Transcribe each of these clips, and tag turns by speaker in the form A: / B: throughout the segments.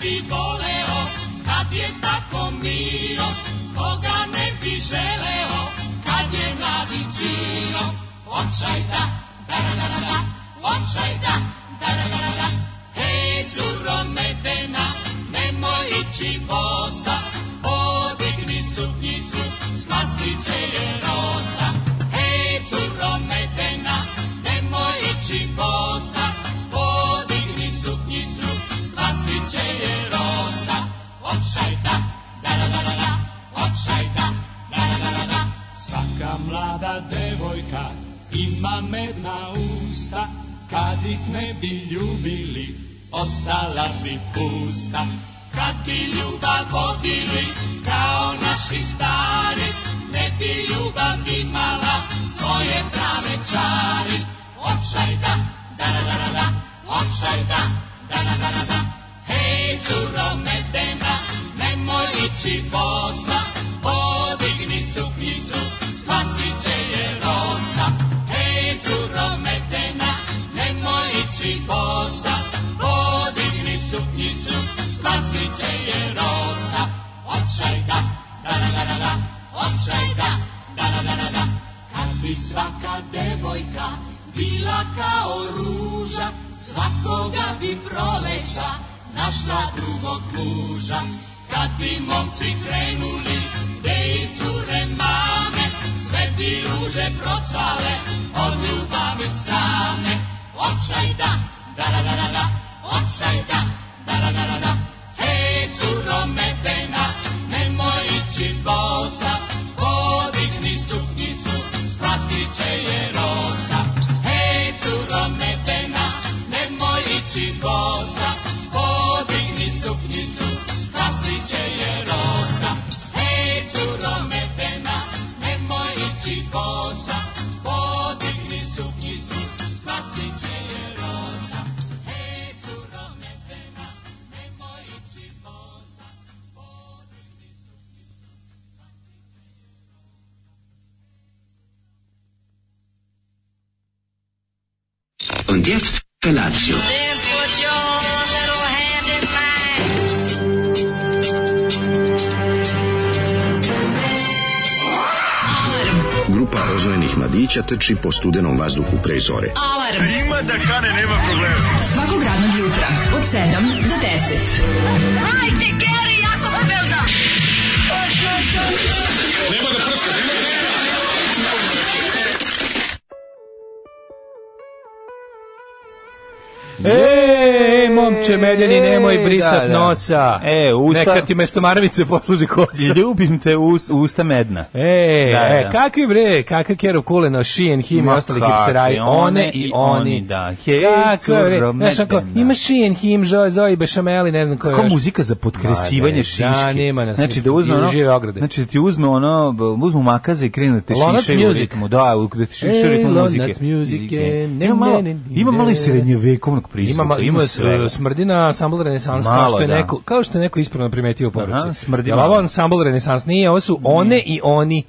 A: bi voleo kad je tako miro, koga ne bi želeo kad je mladi čiro. Očaj da, da da da da da, očaj da, da da da da da. Hej, curo medena, nemoj ići bosa, podigni suknjicu, spasit će je rosa. Hej, curo medena, nemoj ići bosa, podigni suknjicu, spasit će je rosa. Očaj da, da da da da da, očaj da, da da da da da. Svaka mlada devojka ima medna usta, kad ih ne bi ljubili, ostala bi pusta. Kad bi ljubav vodili, kao naši stari, ne bi ljubav imala svoje prave čari. Očaj da, da da da da da, očaj da, da da da da da. Hej, curo medena, nemoj ići bosa, podigni suknjicu, spasit će je rosa. Hej, curo medena, nemoj ići bosa, podigni suknjicu, spasit će je rosa. Očaj da, da da da da da, očaj da, da da da da da. Kad bi svaka devojka bila kao ruža, svakoga bi proleća našla drugog muža. Kad bi momci krenuli, gde ih cure mame, sve bi ruže procvale, od ljubavi same. Očaj da, da da da da da, očaj da, da da da da da. Hej, curo medena, nemoj ići bosa, podigni suknicu, spasit će je rosa. Hej, curo medena, nemoj ići bosa, podigni suknicu, spasit će je rosa. Hej, curo medena, nemoj ići bosa, podigni suknicu, spasit će je rosa. Hej, curo medena, nemoj ići bosa, podigni
B: Und jetzt Felatio.
C: Then put your little hand in mine.
D: Grupa rozvojenih mladića teči po studenom vazduhu pre zore.
E: Alarm. Ima da kane, nema problema. Svakog radnog jutra, od 7 do 10. Hajde, Geri, Jakobelda!
F: E, momče meljeni, nemoj
G: E,
F: brisat
G: da, da.
F: nosa.
G: E, usta-
F: Neka ti mesto maramice posluži kosa.
G: Ljubim te us, usta medna.
F: E,
G: Da,
F: e,
G: da.
F: kakvi bre, kakav Kerov Kuleno, Šijen, Him i
G: Ma
F: ostali
G: kakvi,
F: hipsteraj, one i oni.
G: da. Hej,
F: Kako bre,
G: curo,
F: znaš ako,
G: medena.
F: ima Šijen, Him, Zoe, Zoe, Bešameli, ne znam ko je
G: Kao
F: još.
G: muzika za
F: Ma, ne,
G: potkresivanje šiške.
F: zanima nas
G: znači da
F: ništa,
G: uzme
F: i
G: ono,
F: žive ograde.
G: znači da ti uzme ono, b- uzmu makaze i krenu da te
F: Lonac
G: šišaju u
F: music.
G: ritmu. Da, u- da te šišaju u
F: Ej,
G: ritmu
F: lonac
G: muzike.
F: music, e, ne,
G: Ima malo,
F: ne, ne,
G: ima malo i
F: ne.
G: srednjevekovnog prizvuka.
F: Ima, ma- ima s-
G: svega.
F: smrdina ansambl renesans kao
G: Malo,
F: što je
G: da.
F: neko kao što je neko ispravno primetio u poruci.
G: Aha, smrdi
F: Jel
G: malo.
F: ovo ansambl renesans nije, ovo su one i oni.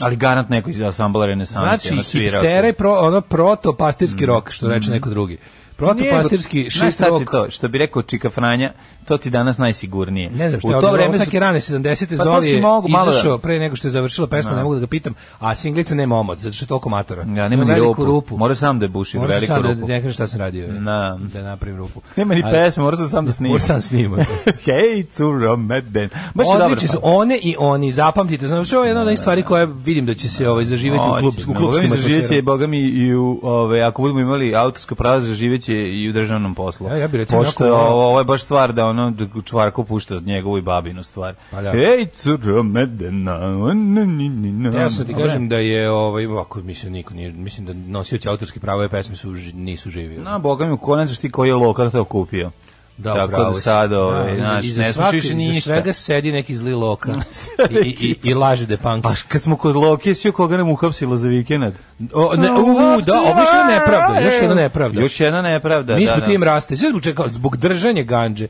G: Ali garant neko iz ansambla ono, renesansi.
F: Znači, hipstere, pro, ono protopastirski rok, što reče neko drugi. Protopastirski
G: Mm. Znaš
F: šest
G: šta ti
F: rok.
G: to, što bi rekao Čika Franja, to ti danas najsigurnije.
F: Ne znam što je
G: u to vreme su-
F: neke rane 70.
G: Pa to
F: Zoli
G: si
F: je
G: mogu malo da-
F: izašao pre nego što je završila pesma, ne mogu da ga pitam, a singlica nema omot, zato što je toliko matora.
G: Ja, nema
F: Ima
G: ni rupu.
F: veliku rupu.
G: Mora sam da je buši
F: Moram
G: veliku
F: sad da-
G: rupu.
F: Da ne kažem šta sam radio.
G: Na.
F: Da napravim rupu.
G: Nema ni
F: Ali-
G: pesme, morao sam sam da snimam.
F: Moram sam snimam.
G: Hej, curo, meden. Baš je dobro.
F: Odlični su one i oni, zapamtite. Znaš, ovo je jedna od onih stvari koja vidim da će se ovaj, zaživeti u, klub, u klubskim
G: Živeće,
F: atmosferama.
G: boga mi, i u, ove, ako budemo imali autorsko pravo, živeće i u državnom poslu.
F: Ja- ja bi recimo
G: Pošto
F: jako volao-
G: ovo, ovo je baš stvar da ono d- čvarko pušta od njegovu i babinu stvar.
F: Pa da.
G: Hej, curo, medena.
F: Ja sam ti kažem da je ovaj ovako mislim niko nije mislim da nosioci autorskih prava ove pesme su ži- nisu živi.
G: Na, boga mi, u konac ti koji je lokar to kupio. Tako
F: upravo
G: da
F: si.
G: sad,
F: Da,
G: ovaj,
F: iza-
G: znaš,
F: iza
G: ne
F: svake-
G: slušiš
F: iza
G: ništa.
F: svega sedi neki zli loka i, i, i, i laže da je punk.
G: Pa š- kad smo kod Loki, svi koga nam uhapsilo za vikend?
F: O, Pa ne, u, da, ovo je još jedna nepravda, još jedna nepravda.
G: Još jedna nepravda,
F: Mi smo
G: da, da.
F: tim raste. Sve zbog čega? Zbog držanja ganđe.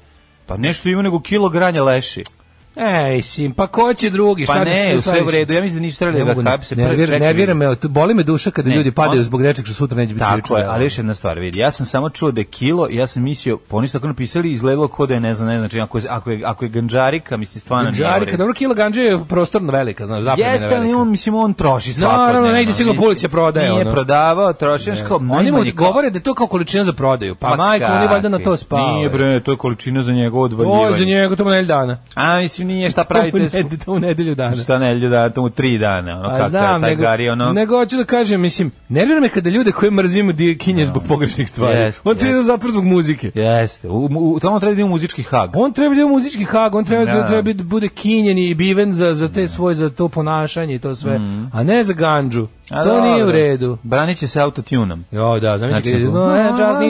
G: Pa nešto ima nego kilo granja leši.
F: Ej, sim, pa ko će drugi?
G: Pa
F: Šta da
G: ne,
F: se
G: sve u
F: slaviš?
G: redu. Ja mislim da nisu trebali
F: Ne
G: da
F: mogu,
G: ga hapse. Prvo
F: nervira,
G: čekaj.
F: nervira me, tu- boli me duša kada
G: Ne,
F: ljudi padaju
G: on-
F: zbog nečeg što sutra neće biti
G: Tako
F: krivično
G: je, ali
F: delo.
G: još jedna stvar, vidi, ja sam samo čuo da je kilo, ja sam mislio, po oni su tako napisali, izgledalo ko da je, ne znam, ne znam, znači, ako je, ako je, ako je ganđarika, mislim, stvarno nije u
F: Ganđarika,
G: redu.
F: dobro, kilo ganđe je prostorno velika, znaš, zapravo
G: ovaj- Jeste, ali on, mislim, on troši svakodnevno.
F: Naravno, negdje sigurno
G: mislim,
F: policija prodaje,
G: Nije
F: ono.
G: prodavao, troši, znaš, kao
F: Oni mu
G: najmanje kao-
F: govore da je to kao količina za prodaju. Pa,
G: Ma
F: majko, oni valjda na to
G: kakvi.
F: spavaju.
G: Nije bre, to je količina za njegovo odvaljivanje.
F: O, za njega to mu nelj dana.
G: A, mislim, nije šta
F: To mu
G: pravite,
F: ned- to mu nedelju dana.
G: šta nelju da, to mu tri dana, ono,
F: A
G: kako
F: znam,
G: je taj
F: nego,
G: gari, ono.
F: nego hoću da kažem, mislim, nervira me kada ljude koje mrzimo di kinje zbog pogrešnih stvari.
G: Jest,
F: on treba
G: jest.
F: da zatvor zbog muzike.
G: Jeste, u, u, tamo treba da ima muzički hag.
F: On treba da ima muzički hag, on treba da
G: Da.
F: treba da bude kinjen i biven za, za te svoje, za to ponašanje i to sve, a ne za ganđu.
G: Mhm. A,
F: to nije u
G: dobro.
F: redu.
G: Branit će se autotunom.
F: Jo, da, zamisli
G: Znači,
F: znači, no, I just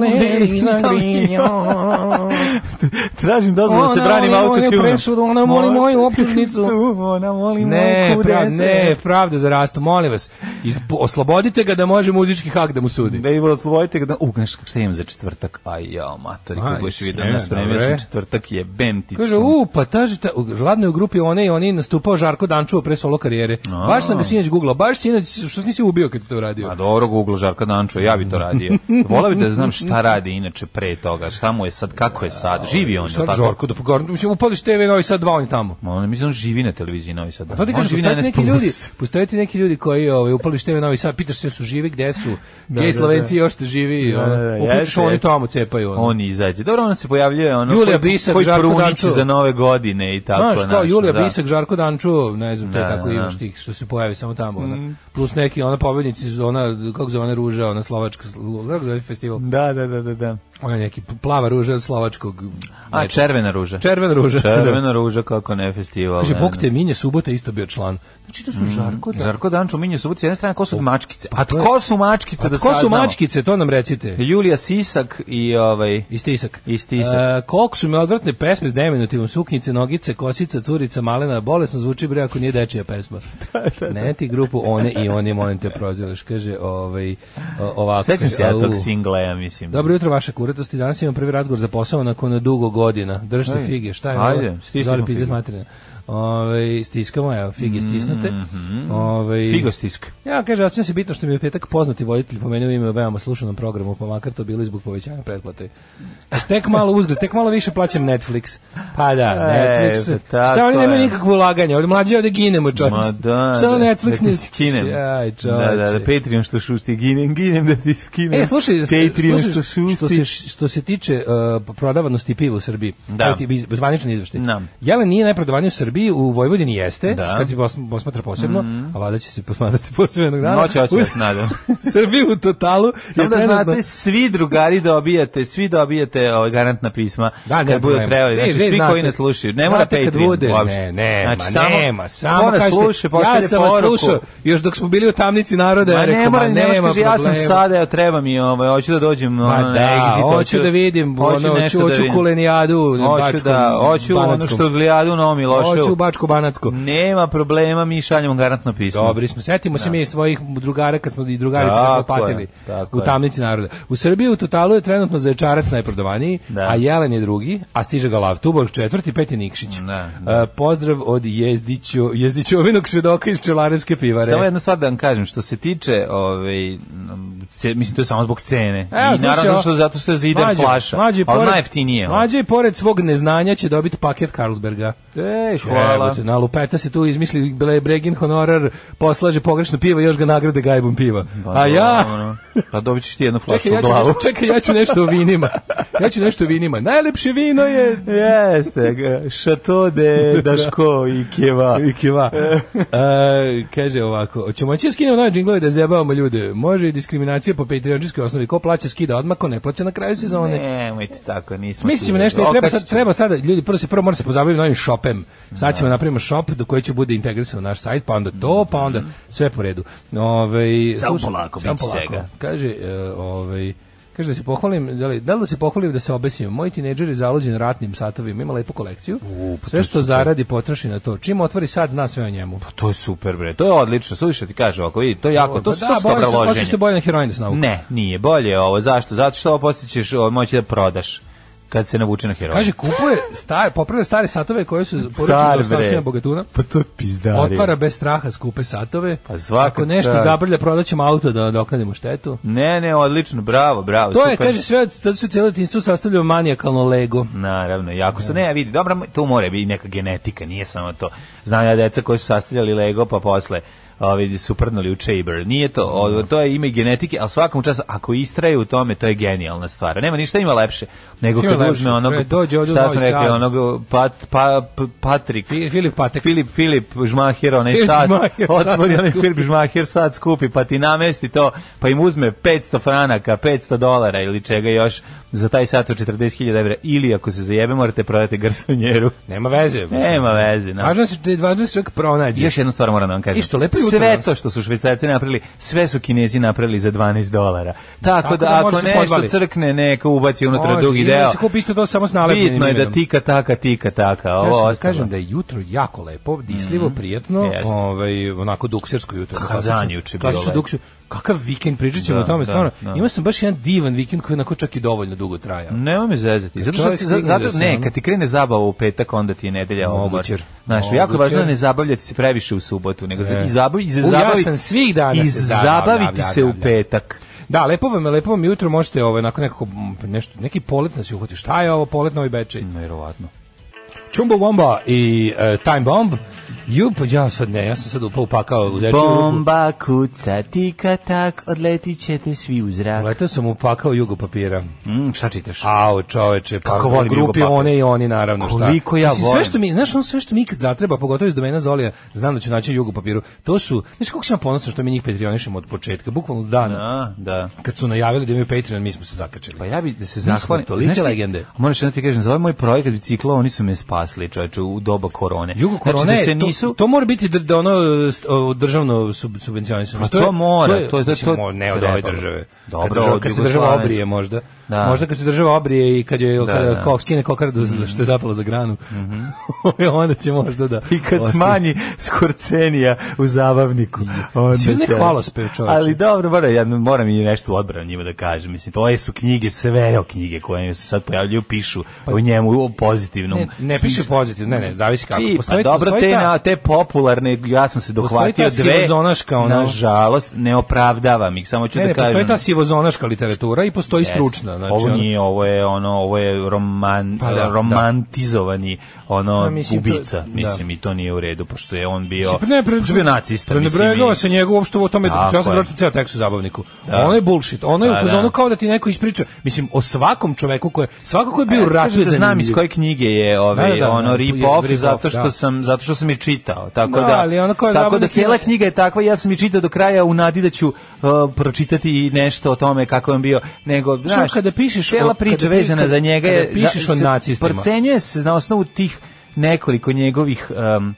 F: need to
G: Nisam
F: know
G: Tražim dozvolu da se branim autotunom.
F: Ona moli moju optužnicu.
G: Tu, ona moli
F: Ne,
G: moju
F: prav,
G: kudese.
F: ne, pravda za rastu, molim vas. Iz, oslobodite ga da može muzički hak da mu sudi.
G: Da i oslobodite ga da... U, znaš kako šta imam za četvrtak? Aj, jao, matori,
F: Aj,
G: kako budeš vidio.
F: sve,
G: Na spremio
F: dobro je.
G: sam četvrtak je bentić.
F: Kaže, u, pa taži, ta, u gladnoj grupi one i oni nastupao Žarko Dančuo pre solo karijere. Baš sam ga sinoć googlao, baš sinoć, što nisi ubio kad si to uradio?
G: A Pa dobro Google Žarka Dančo, ja bi to radio. Volao bi da znam šta radi inače pre toga, šta mu je sad, kako je sad, živi on, je li
F: Sad
G: tako?
F: Žarko, da pogorno, mislim, upališ TV Novi Sad 2, on je tamo.
G: Ma, on, mislim, on živi na televiziji Novi Sad.
F: A to ti
G: on
F: kažem,
G: živi
F: postoje ti
G: na
F: neki
G: NS+.
F: ljudi, postoje ti neki ljudi koji ovaj, upališ TV Novi Sad, pitaš se su živi, gde su, gdje gej Slovenci još te živi,
G: Da,
F: ono,
G: da, da,
F: uključiš
G: jeste,
F: oni
G: jeste.
F: tamo cepaju. Ono.
G: On izađe. Dobro, on se pojavljuje ono
F: Julija
G: koji,
F: Bisak,
G: koji
F: Žarko
G: prunić
F: Dančo.
G: za nove godine i tako.
F: Znaš, kao
G: znaš,
F: Julija
G: da.
F: Bisak, Žarko Danču, ne znam, to je
G: Da,
F: tako
G: da, Mm. da.
F: imaš tih što se pojavi samo tamo. Ona. Plus neki, ona pobednici, iz ona, kako zove ona ruža, ona slovačka, kako zove festival,
G: Da, da, da, da, da.
F: ona je neki plava ruža od slovačkog,
G: A, červena ruža.
F: Znači, červena ruža.
G: Červena ruža, kako ne, festival.
F: Kaže,
G: Pa ne, Mm.
F: Bog
G: ne.
F: te minje, subota je isto bio član. Znači, to su Žarko Danču.
G: Žarko Dančo minje subot s jedne strane, ko su mačkice? A
F: Pa to je-
G: tko su mačkice
F: A
G: da
F: ko su
G: saznamo?
F: mačkice, to nam recite.
G: Julija Sisak i ovaj...
F: I stisak.
G: I stisak.
F: E, koliko su me odvratne pesme s deminutivnom, suknjice, nogice, kosica, curica, malena, bolesno zvuči bre ako nije dečija pesma. Ne ti grupu one i one, molim te proziraš, kaže ovaj, o- ovako.
G: Sećam se ja
F: Au.
G: tog singla, ja mislim.
F: Dobro jutro, vaša kuratost. I Danas imam prvi razgovor za posao nakon dugo godina. Držite
G: Ajde.
F: fige, šta je
G: Ajde,
F: ovo?
G: stisnimo
F: Zoli pizdet
G: fige.
F: materina. Ovaj, stiskamo, evo, fige stisnute.
G: Mhm.
F: Ovaj,
G: Figostiska.
F: ja, kaže, osjećam se bitno što mi je u petak poznati voditelj pomenuo ime u veoma slušanom programu, pa makar to bilo i zbog povećanja pretplate. Tek malo uzgled, tek malo više plaćam Netflix. Pa da, Netflix.
G: pa tako
F: šta oni nemaju
G: je.
F: nikakvo ulaganje, ovdje mlađi ovdje ginemo,
G: Ma
F: čovječe.
G: da.
F: Šta ono
G: da-
F: Netflix
G: da
F: ne...
G: ti skinem.
F: Aj,
G: Da, da, da,
F: čovječe.
G: Patreon što šušti, ginem, ginem da ti skinem.
F: E, slušaj,
G: Patreon
F: slušaj,
G: što
F: što,
G: šušti.
F: se, što se tiče uh, prodavanosti piva u Srbiji,
G: Da.
F: evo ti iz- zvanični izveštaj.
G: Da.
F: Jelen nije najprodavaniji u Srbiji, u Vojvodini jeste,
G: Da. Mhm.
F: kad se pos- posmatra posebno, a vada će se posmatrati posebno jednog dana.
G: Noć hoće
F: U
G: da se nadam.
F: Srbiji u totalu
G: Samo
F: je
G: da
F: trenutno-
G: znate, svi drugari dobijate, svi dobijate ovaj garantna pisma
F: Da, nema
G: kad bude
F: problema.
G: trebali.
F: Ne,
G: Znači,
F: vi
G: svi
F: znate.
G: koji ne slušaju, ne mora
F: Znate kad
G: Patreon
F: bude,
G: uopšte.
F: Ne, nema,
G: Znači,
F: nema, samo,
G: ko nas
F: kažete,
G: sluša, pošalje
F: ja sam vas
G: poruku.
F: slušao, još dok smo bili u tamnici naroda, ja
G: Ma
F: rekao,
G: ne
F: ma
G: mora, ne
F: nema
G: mora, kaže, ja sam
F: problema.
G: sada, evo, treba mi, ovaj, hoću da dođem
F: Ma
G: ono, na
F: da,
G: exit,
F: hoću da vidim, ono,
G: nešto
F: hoću- hoću
G: vidim.
F: kulenijadu,
G: hoću
F: bačkom,
G: da, hoću ono
F: banatskom.
G: što odgledaju na omi loše.
F: Hoću u Bačko Banacko.
G: Nema problema, mi šaljemo garantno pismo.
F: Mm, Dobri smo. Setimo se mi svojih drugara kad smo i drugarice kad smo
G: Tako
F: patili
G: je, tako
F: u
G: je.
F: tamnici naroda. U Srbiji u totalu je trenutno Zaječarac najprodavaniji,
G: Da.
F: a Jelen je drugi, a stiže ga Lav Tuborg četvrti, peti Nikšić.
G: Da,
F: E, pozdrav od Jezdićo, Jezdićovinog svedoka iz Čelarevske pivare.
G: Samo jednu stvar da vam kažem, što se tiče, ovaj, m, ce- mislim, to je samo zbog cene.
F: Evo,
G: I
F: slušaj,
G: naravno
F: ovo-
G: što, zato što je ziden
F: Mlađe,
G: flaša.
F: mlađe je
G: ali
F: pored-
G: najjeftinije. ono.
F: Mlađe i pored svog neznanja će dobiti paket Carlsberga.
G: Ej, hvala.
F: Jebote, na lupeta se tu izmisli bre- Bregin honorar, poslaže pogrešno pivo, još ga nagrade gajbom piva.
G: Pa
F: A ja...
G: dobro, ono. Pa dobit ćeš ti jednu flašu
F: Čekaj, ja
G: u
F: ću,
G: glavu.
F: nešto, čekaj, ja ću nešto o vinima. Ja ću nešto o vinima. Najlepše vino je...
G: Jeste, ga, Chateau de Daško i Kjeva.
F: I Kiva. E, kaže ovako, hoćemo moći da skinemo nove džinglove da zebavamo ljude. Može i diskriminacija po patreončijskoj osnovi. Ko plaća skida odmah, ko ne plaća na kraju sezone.
G: Nemojte tako, nismo.
F: Mislim
G: Znači, ti-
F: nešto, treba sad,
G: Okačit ću.
F: treba sada, ljudi, prvo se prvo mora se pozabaviti novim shopem. Sad ćemo napravimo shop do koji će bude integrisan u naš sajt, pa onda to, pa onda sve po redu. Ovaj
G: Mhm. Samo
F: slušaj,
G: polako,
F: samo
G: bit će
F: polako.
G: svega.
F: Kaže, e, ovaj Kaže da se pohvalim, da li, da li da se pohvalim da se obesim. Moj tinejdžer je zaluđen ratnim satovima, ima lepu kolekciju.
G: pa
F: sve što zaradi potroši na to. Čim otvori sat, zna sve o njemu.
G: To je super, bre. To je odlično. Slušaj, ti kažem, Pa ako vidi, to je jako, to,
F: Pa
G: su to su
F: bolje
G: dobra
F: se- hoćeš
G: loženja.
F: te bolje na heroin da se navuku.
G: Ne, nije bolje je ovo. Zašto? Zato što ovo podsjećaš, ovo moći da prodaš. kad se navuče na heroin.
F: Kaže, kupuje stare, popravlja stare satove koje su poručili
G: Car,
F: za
G: bre.
F: ostavština bogatuna.
G: pa to je pizdarija.
F: Otvara bez straha skupe satove.
G: Pa svaka
F: Ako nešto
G: čast.
F: zabrlja, prodat ćemo auto da doknadimo štetu.
G: Ne, ne, odlično, bravo, bravo.
F: To je,
G: super.
F: kaže, sve, tad su cijelo detinjstvo sastavljao manijakalno Lego.
G: Naravno, jako su, ne, vidi, dobro, tu mora biti neka genetika, nije samo to. Znam ja deca koji su sastavljali Lego, pa posle ovi, su prdnuli u Chamber. Nije to, o, to je ime i genetike, ali svakom času, ako istraje u tome, to je genijalna stvar. Nema ništa ima lepše, nego
F: Ima
G: kad
F: lepše.
G: uzme onog,
F: E, dođe ovdje u
G: šta smo
F: Novi
G: rekli,
F: Sad.
G: onog pat, pa, P- Patrik,
F: Fi- Filip Patek.
G: Filip, Filip Žmaher, onaj
F: Filip
G: sad,
F: Žmaher sad
G: otvori onaj
F: skupi.
G: Filip Žmaher sad skupi, pa ti namesti to, pa im uzme 500 franaka, 500 dolara ili čega još za taj sat od 40.000 evra, ili ako se zajebe morate prodati garsonjeru.
F: Nema veze. mislim.
G: Nema veze, no.
F: E, Važno je da se, važno je da se čovjek pronađe.
G: Još jednu stvar moram da vam kažem.
F: I što, lepo je jutro
G: sve
F: danas.
G: to što su švajcarci napravili, sve su kinezi napravili za 12 dolara. Tako,
F: Tako
G: da,
F: da može
G: ako
F: se
G: nešto
F: podvali.
G: crkne, neka ubaci unutra
F: Može,
G: dugi
F: ili
G: deo.
F: da se kupi isto to samo s nalepnim
G: Bitno je da
F: imenom.
G: tika taka, tika taka.
F: Ja
G: Ovo
F: sam da
G: ostalo. Mhm.
F: kažem da je jutro jako lepo, disljivo, prijetno,
G: Jeste.
F: ovaj, onako duksersko jutro.
G: Kakav
F: klasično-
G: dan juče bio
F: klasično
G: lepo.
F: dukser- Kakav vikend, pričat ćemo
G: Da,
F: o tome,
G: da,
F: stvarno.
G: da.
F: Imao sam baš jedan divan vikend koji je onako čak i dovoljno dugo trajao.
G: Nema me zezati. Zato što
F: Čovjek
G: se-
F: stigne
G: zato
F: da se
G: ne,
F: ono-
G: kad ti krene zabava u petak, onda ti je nedelja odmor.
F: Mogućer.
G: Znaš, jako je
F: Mogućer.
G: važno da ne zabavljati se previše u subotu, nego za-
F: E.
G: i zabavi, i za
F: U, ja
G: zabavi-
F: sam svih dana
G: i
F: se zabavljam,
G: zabaviti se u
F: javljam.
G: petak.
F: Da, lepo vam, je, lepo vam je jutro, možete ovaj, onako nekako, mm, nešto, neki polet nas je uhvatio. Šta je ovo polet na ovoj bečej?
G: Verovatno.
F: Chumbawamba i e, Time Bomb. Ju, pa ja sad ne, ja sam sad upao upakao u dečju ruku.
G: Bomba kuca, tika tak, odletit ćete svi u zrak.
F: Letao Ovaj, sam upakao jugo papira.
G: Mm, šta čitaš?
F: Au, čoveče, pa
G: Kako
F: Kako
G: volim
F: grupi
G: Jugo Papu.
F: one i oni naravno šta.
G: Koliko ja
F: Mislim,
G: volim.
F: Sve što mi, znaš, ono sve što mi ikad zatreba, pogotovo iz domena Zolija, znam da ću naći jugo papiru. To su, znaš kako sam ja ponosan što mi njih patrionišemo od početka, bukvalno od dana.
G: A, da.
F: Kad su najavili da imaju Patreon, mi smo se zakačili.
G: Pa ja bih da se
F: smo
G: zahvalim.
F: tolike
G: Znaš ti,
F: legende.
G: Moraš da ti kažem, za ovaj moj projekat bicikla, oni su me spasili, čoveče, u doba korone.
F: Jugo korona
G: znači, da
F: je-
G: se
F: to-
G: nisu...
F: to, mora biti dr- da ono s- o, državno sub, subvencionisano.
G: Pa to mora, to je- to-
F: mislim,
G: to-
F: mo- ne od
G: trebalo.
F: ove države.
G: Dobro,
F: kad, država,
G: od
F: kad se država
G: Jugoslavije.
F: obrije možda.
G: Da.
F: Možda kad se država obrije i kad joj
G: Da,
F: kada
G: da. Mhm.
F: ko- skine kokardu za- što je zapala za granu. onda će možda da
G: I kad
F: ostane.
G: smanji skorcenija u zabavniku. Onda
F: Svi neki
G: će-
F: hvalospev, čoveče.
G: Ali dobro, moram, ja, moram i nešto u odbranu njima da kažem. Mislim, to su knjige, sve o knjige koje se sad pojavljuju, pišu o njemu u pozitivnom
F: Pa- Ne, ne
G: smislu.
F: piše pozitivno, ne, ne, zavisi kako.
G: Čip,
F: Postoji-
G: pa dobro,
F: postoji
G: te,
F: ta-
G: na, te popularne, ja sam se dohvatio
F: ta
G: dve,
F: sivozonaška, ono.
G: nažalost, ne opravdavam ih, samo ću
F: Ne,
G: da
F: ne,
G: kažem.
F: postoji ta sivozonaška literatura i postoji
G: Jeste.
F: stručna. Znači,
G: ovo
F: ono-
G: nije, ovo je ono, ovo je roman,
F: Pa da,
G: romantizovani ono
F: Pa mislim, to-
G: ubica,
F: da.
G: mislim i to nije u redu pošto je on bio,
F: Mislim, pa ne, pre,
G: pošto je bio nacista,
F: pre- ne
G: mislim. i-
F: bregava se njega uopšte o tome,
G: Tako
F: ja sam
G: je.
F: pročitao ceo tekst u zabavniku.
G: Da.
F: Ono je bullshit, ono je
G: Da,
F: u fazonu
G: da.
F: kao da ti neko ispriča, mislim, o svakom čoveku koje, svako ko je
G: A
F: bio u
G: E, ti kažem
F: ratu je
G: da znam iz
F: zanimljiv.
G: koje knjige je ovaj
F: Da, da, da,
G: ono
F: da,
G: rip
F: je
G: off
F: rip-off,
G: zato što
F: da.
G: sam zato što sam je čitao tako da,
F: Da, ali ono kao je
G: tako da
F: zabavnik
G: cijela
F: ima-
G: knjiga je takva ja sam je čitao do kraja u nadi da ću uh, pročitati i nešto o tome kako je on bio nego
F: Znaš,
G: znaš
F: kada pišeš o-
G: cijela
F: kada
G: priča
F: pi-
G: vezana
F: kada-
G: za njega je
F: kada pišeš o
G: za- se
F: nacistima.
G: procenjuje se na osnovu tih nekoliko njegovih um,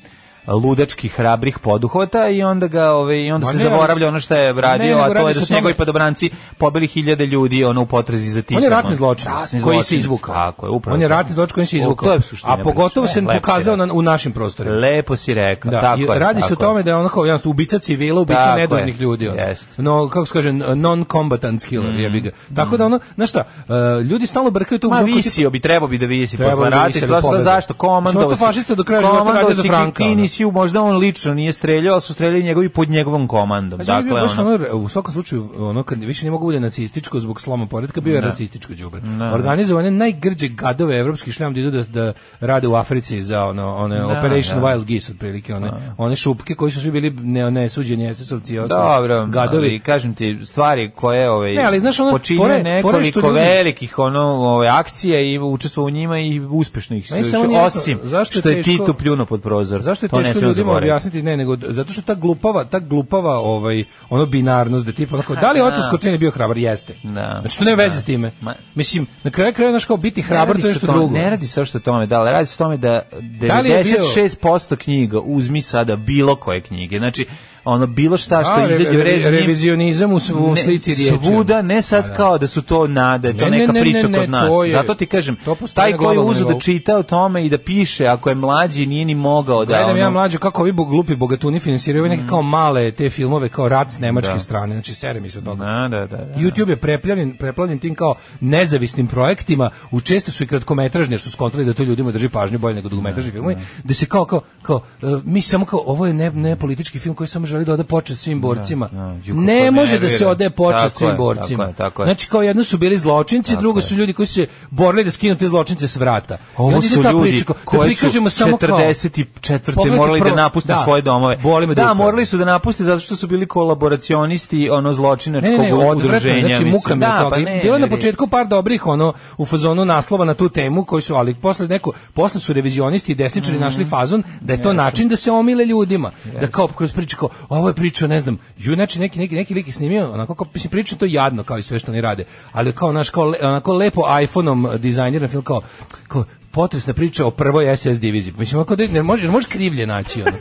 G: ludačkih hrabrih poduhvata i onda ga ovaj i onda
F: Ma
G: se
F: ne,
G: zaboravlja ono što je radio
F: nego
G: a to
F: radi
G: je
F: se
G: da
F: o
G: su
F: tome-
G: njegovi padobranci pobili hiljade ljudi ono u potrazi za Titanom.
F: On je ratni zločinac
G: Ratni
F: koji se
G: zločinac,
F: izvukao.
G: Tako je, upravo.
F: On je
G: to.
F: ratni zločinac koji se
G: O,
F: izvukao.
G: to je suština
F: A pogotovo
G: priče.
F: se
G: Lepo si
F: pokazao
G: rekao.
F: na, u našim prostorima.
G: Lepo si rekao,
F: Da,
G: E, tako
F: i
G: je.
F: radi se o
G: tako
F: tome da je ono kao jednostavno ubica civila, ubica
G: Tako je,
F: nedužnih ljudi. Ono.
G: jeste.
F: No, kako se kaže, non-combatant killer, jebi ga. Tako da ono, znaš šta, e, ljudi stalno brkaju to u
G: Mm-hmm. Ma
F: zonku-
G: visio bi, trebao bi da visi
F: Trebao
G: posle
F: bi da
G: rata.
F: visi
G: i
F: da
G: to sve
F: pobede.
G: zašto? Komando
F: Što
G: si.
F: su fašisti do kraja života radio za Franka,
G: Ti
F: ono.
G: nisi, možda on lično nije streljao, ali su streljali njegovi pod njegovom komandom.
F: Znači, dakle,
G: Dakle,
F: baš
G: ono,
F: ono, u svakom slučaju, ono, kad više ne mogu bude nacističko zbog sloma poredka, bio je rasističko đubre.
G: Ne.
F: Organizovane najgrđe gadove evropski šljam da idu da, da rade u Africi za ono, one Operation
G: da.
F: Wild Geese, otprilike, one, one šupke koji su svi bili ne, nesuđeni SS-ovci i ostali
G: Dobro,
F: gadovi.
G: ali kažem ti stvari koje ovaj
F: Ne, ali, znaš, ono,
G: počinio
F: fore-
G: nekoliko
F: fore je što ljudi-
G: velikih ono ovaj akcija i učestvovao u njima i uspešno ih
F: Meni
G: svršio,
F: samo nije jasno,
G: osim
F: zašto je
G: što je
F: teško-
G: Tito pljuno pod prozor.
F: Zašto je
G: To ne
F: teško
G: smemo
F: ljudima
G: zaboraviti.
F: objasniti? Ne, nego d- zato što ta glupava, ta glupava ovaj ono binarnost da tipa onako, da li je Oto Skočin bio hrabar jeste.
G: Da.
F: Znači to nema veze s time.
G: Ma-
F: Mislim na kraju krajeva znači kao biti hrabar
G: Ne
F: to je
G: radi se
F: nešto
G: o tome-
F: drugo.
G: Ne radi se što o tome, da, ali radi se o tome da
F: Da li je bio-
G: 96% knjiga uzmi sada bilo koje knjige. Znači, ono bilo šta što
F: A, re-
G: izađe
F: re-
G: vrezi njim-
F: revizionizam u svu- u
G: ne,
F: slici riječi,
G: Svuda,
F: ono.
G: ne sad
F: Da, da.
G: kao da su to nada, je to
F: Ne, ne,
G: neka
F: ne,
G: priča
F: ne, ne,
G: kod nas.
F: to je-
G: Zato ti kažem,
F: to postoji
G: taj
F: na
G: koji je
F: globalnom
G: uzu da
F: nivou.
G: čita o tome i da piše, ako je mlađi nije ni mogao da...
F: Gledam ja
G: ono- Mm.
F: mlađo kako ovi bo- glupi bogatuni finansiraju ove neke kao male te filmove kao rat s nemačke strane, znači sere mi se od toga.
G: Da, da, da, da.
F: YouTube je preplavljen, preplavljen tim kao nezavisnim projektima, u često su i kratkometražni, jer su skontrali da to ljudima drži pažnju bolje nego dugometražni filmovi, da se kao, kao, kao e, mi samo kao, ovo je ne, ne politički film koji samo želi da ode počast svim borcima.
G: ju, kako
F: ne može da se
G: nervira.
F: ode počast
G: Tako je,
F: svim
G: tako
F: borcima.
G: je, tako je.
F: Znači kao jedno su bili zločinci, drugo su ljudi koji su se borili da skinu te zločince s vrata. I
G: Pa Ovo
F: onda ide
G: su
F: ta
G: ljudi
F: priča kao, da
G: koji su
F: prikažemo samo kao-
G: 44.
F: Pogledajte
G: morali da
F: prvo-
G: napuste
F: da,
G: svoje domove.
F: boli me
G: da,
F: dupe.
G: morali su da napuste zato što su bili kolaboracionisti ono
F: Ne, ne,
G: zločinačkog
F: ne, odvratno,
G: udruženja.
F: znači
G: mislim.
F: muka mi
G: Da,
F: od toga.
G: pa
F: I
G: ne,
F: Bilo je na
G: ljudi.
F: početku par dobrih ono u fazonu naslova na tu temu koji su ali posle neko posle su revizionisti i desničari
G: Mm.
F: našli fazon da je to način da se omile ljudima. Da kao kroz priče kao ovo je priča ne znam, ju znači neki neki neki lik je snimio onako kao mislim priča to je jadno kao i sve što oni rade, ali kao naš kao le- onako lepo iPhoneom dizajniran film kao kao potresna priča o prvoj SS diviziji. Mislim, ako da, jel možeš, jel možeš krivlje naći? Ono?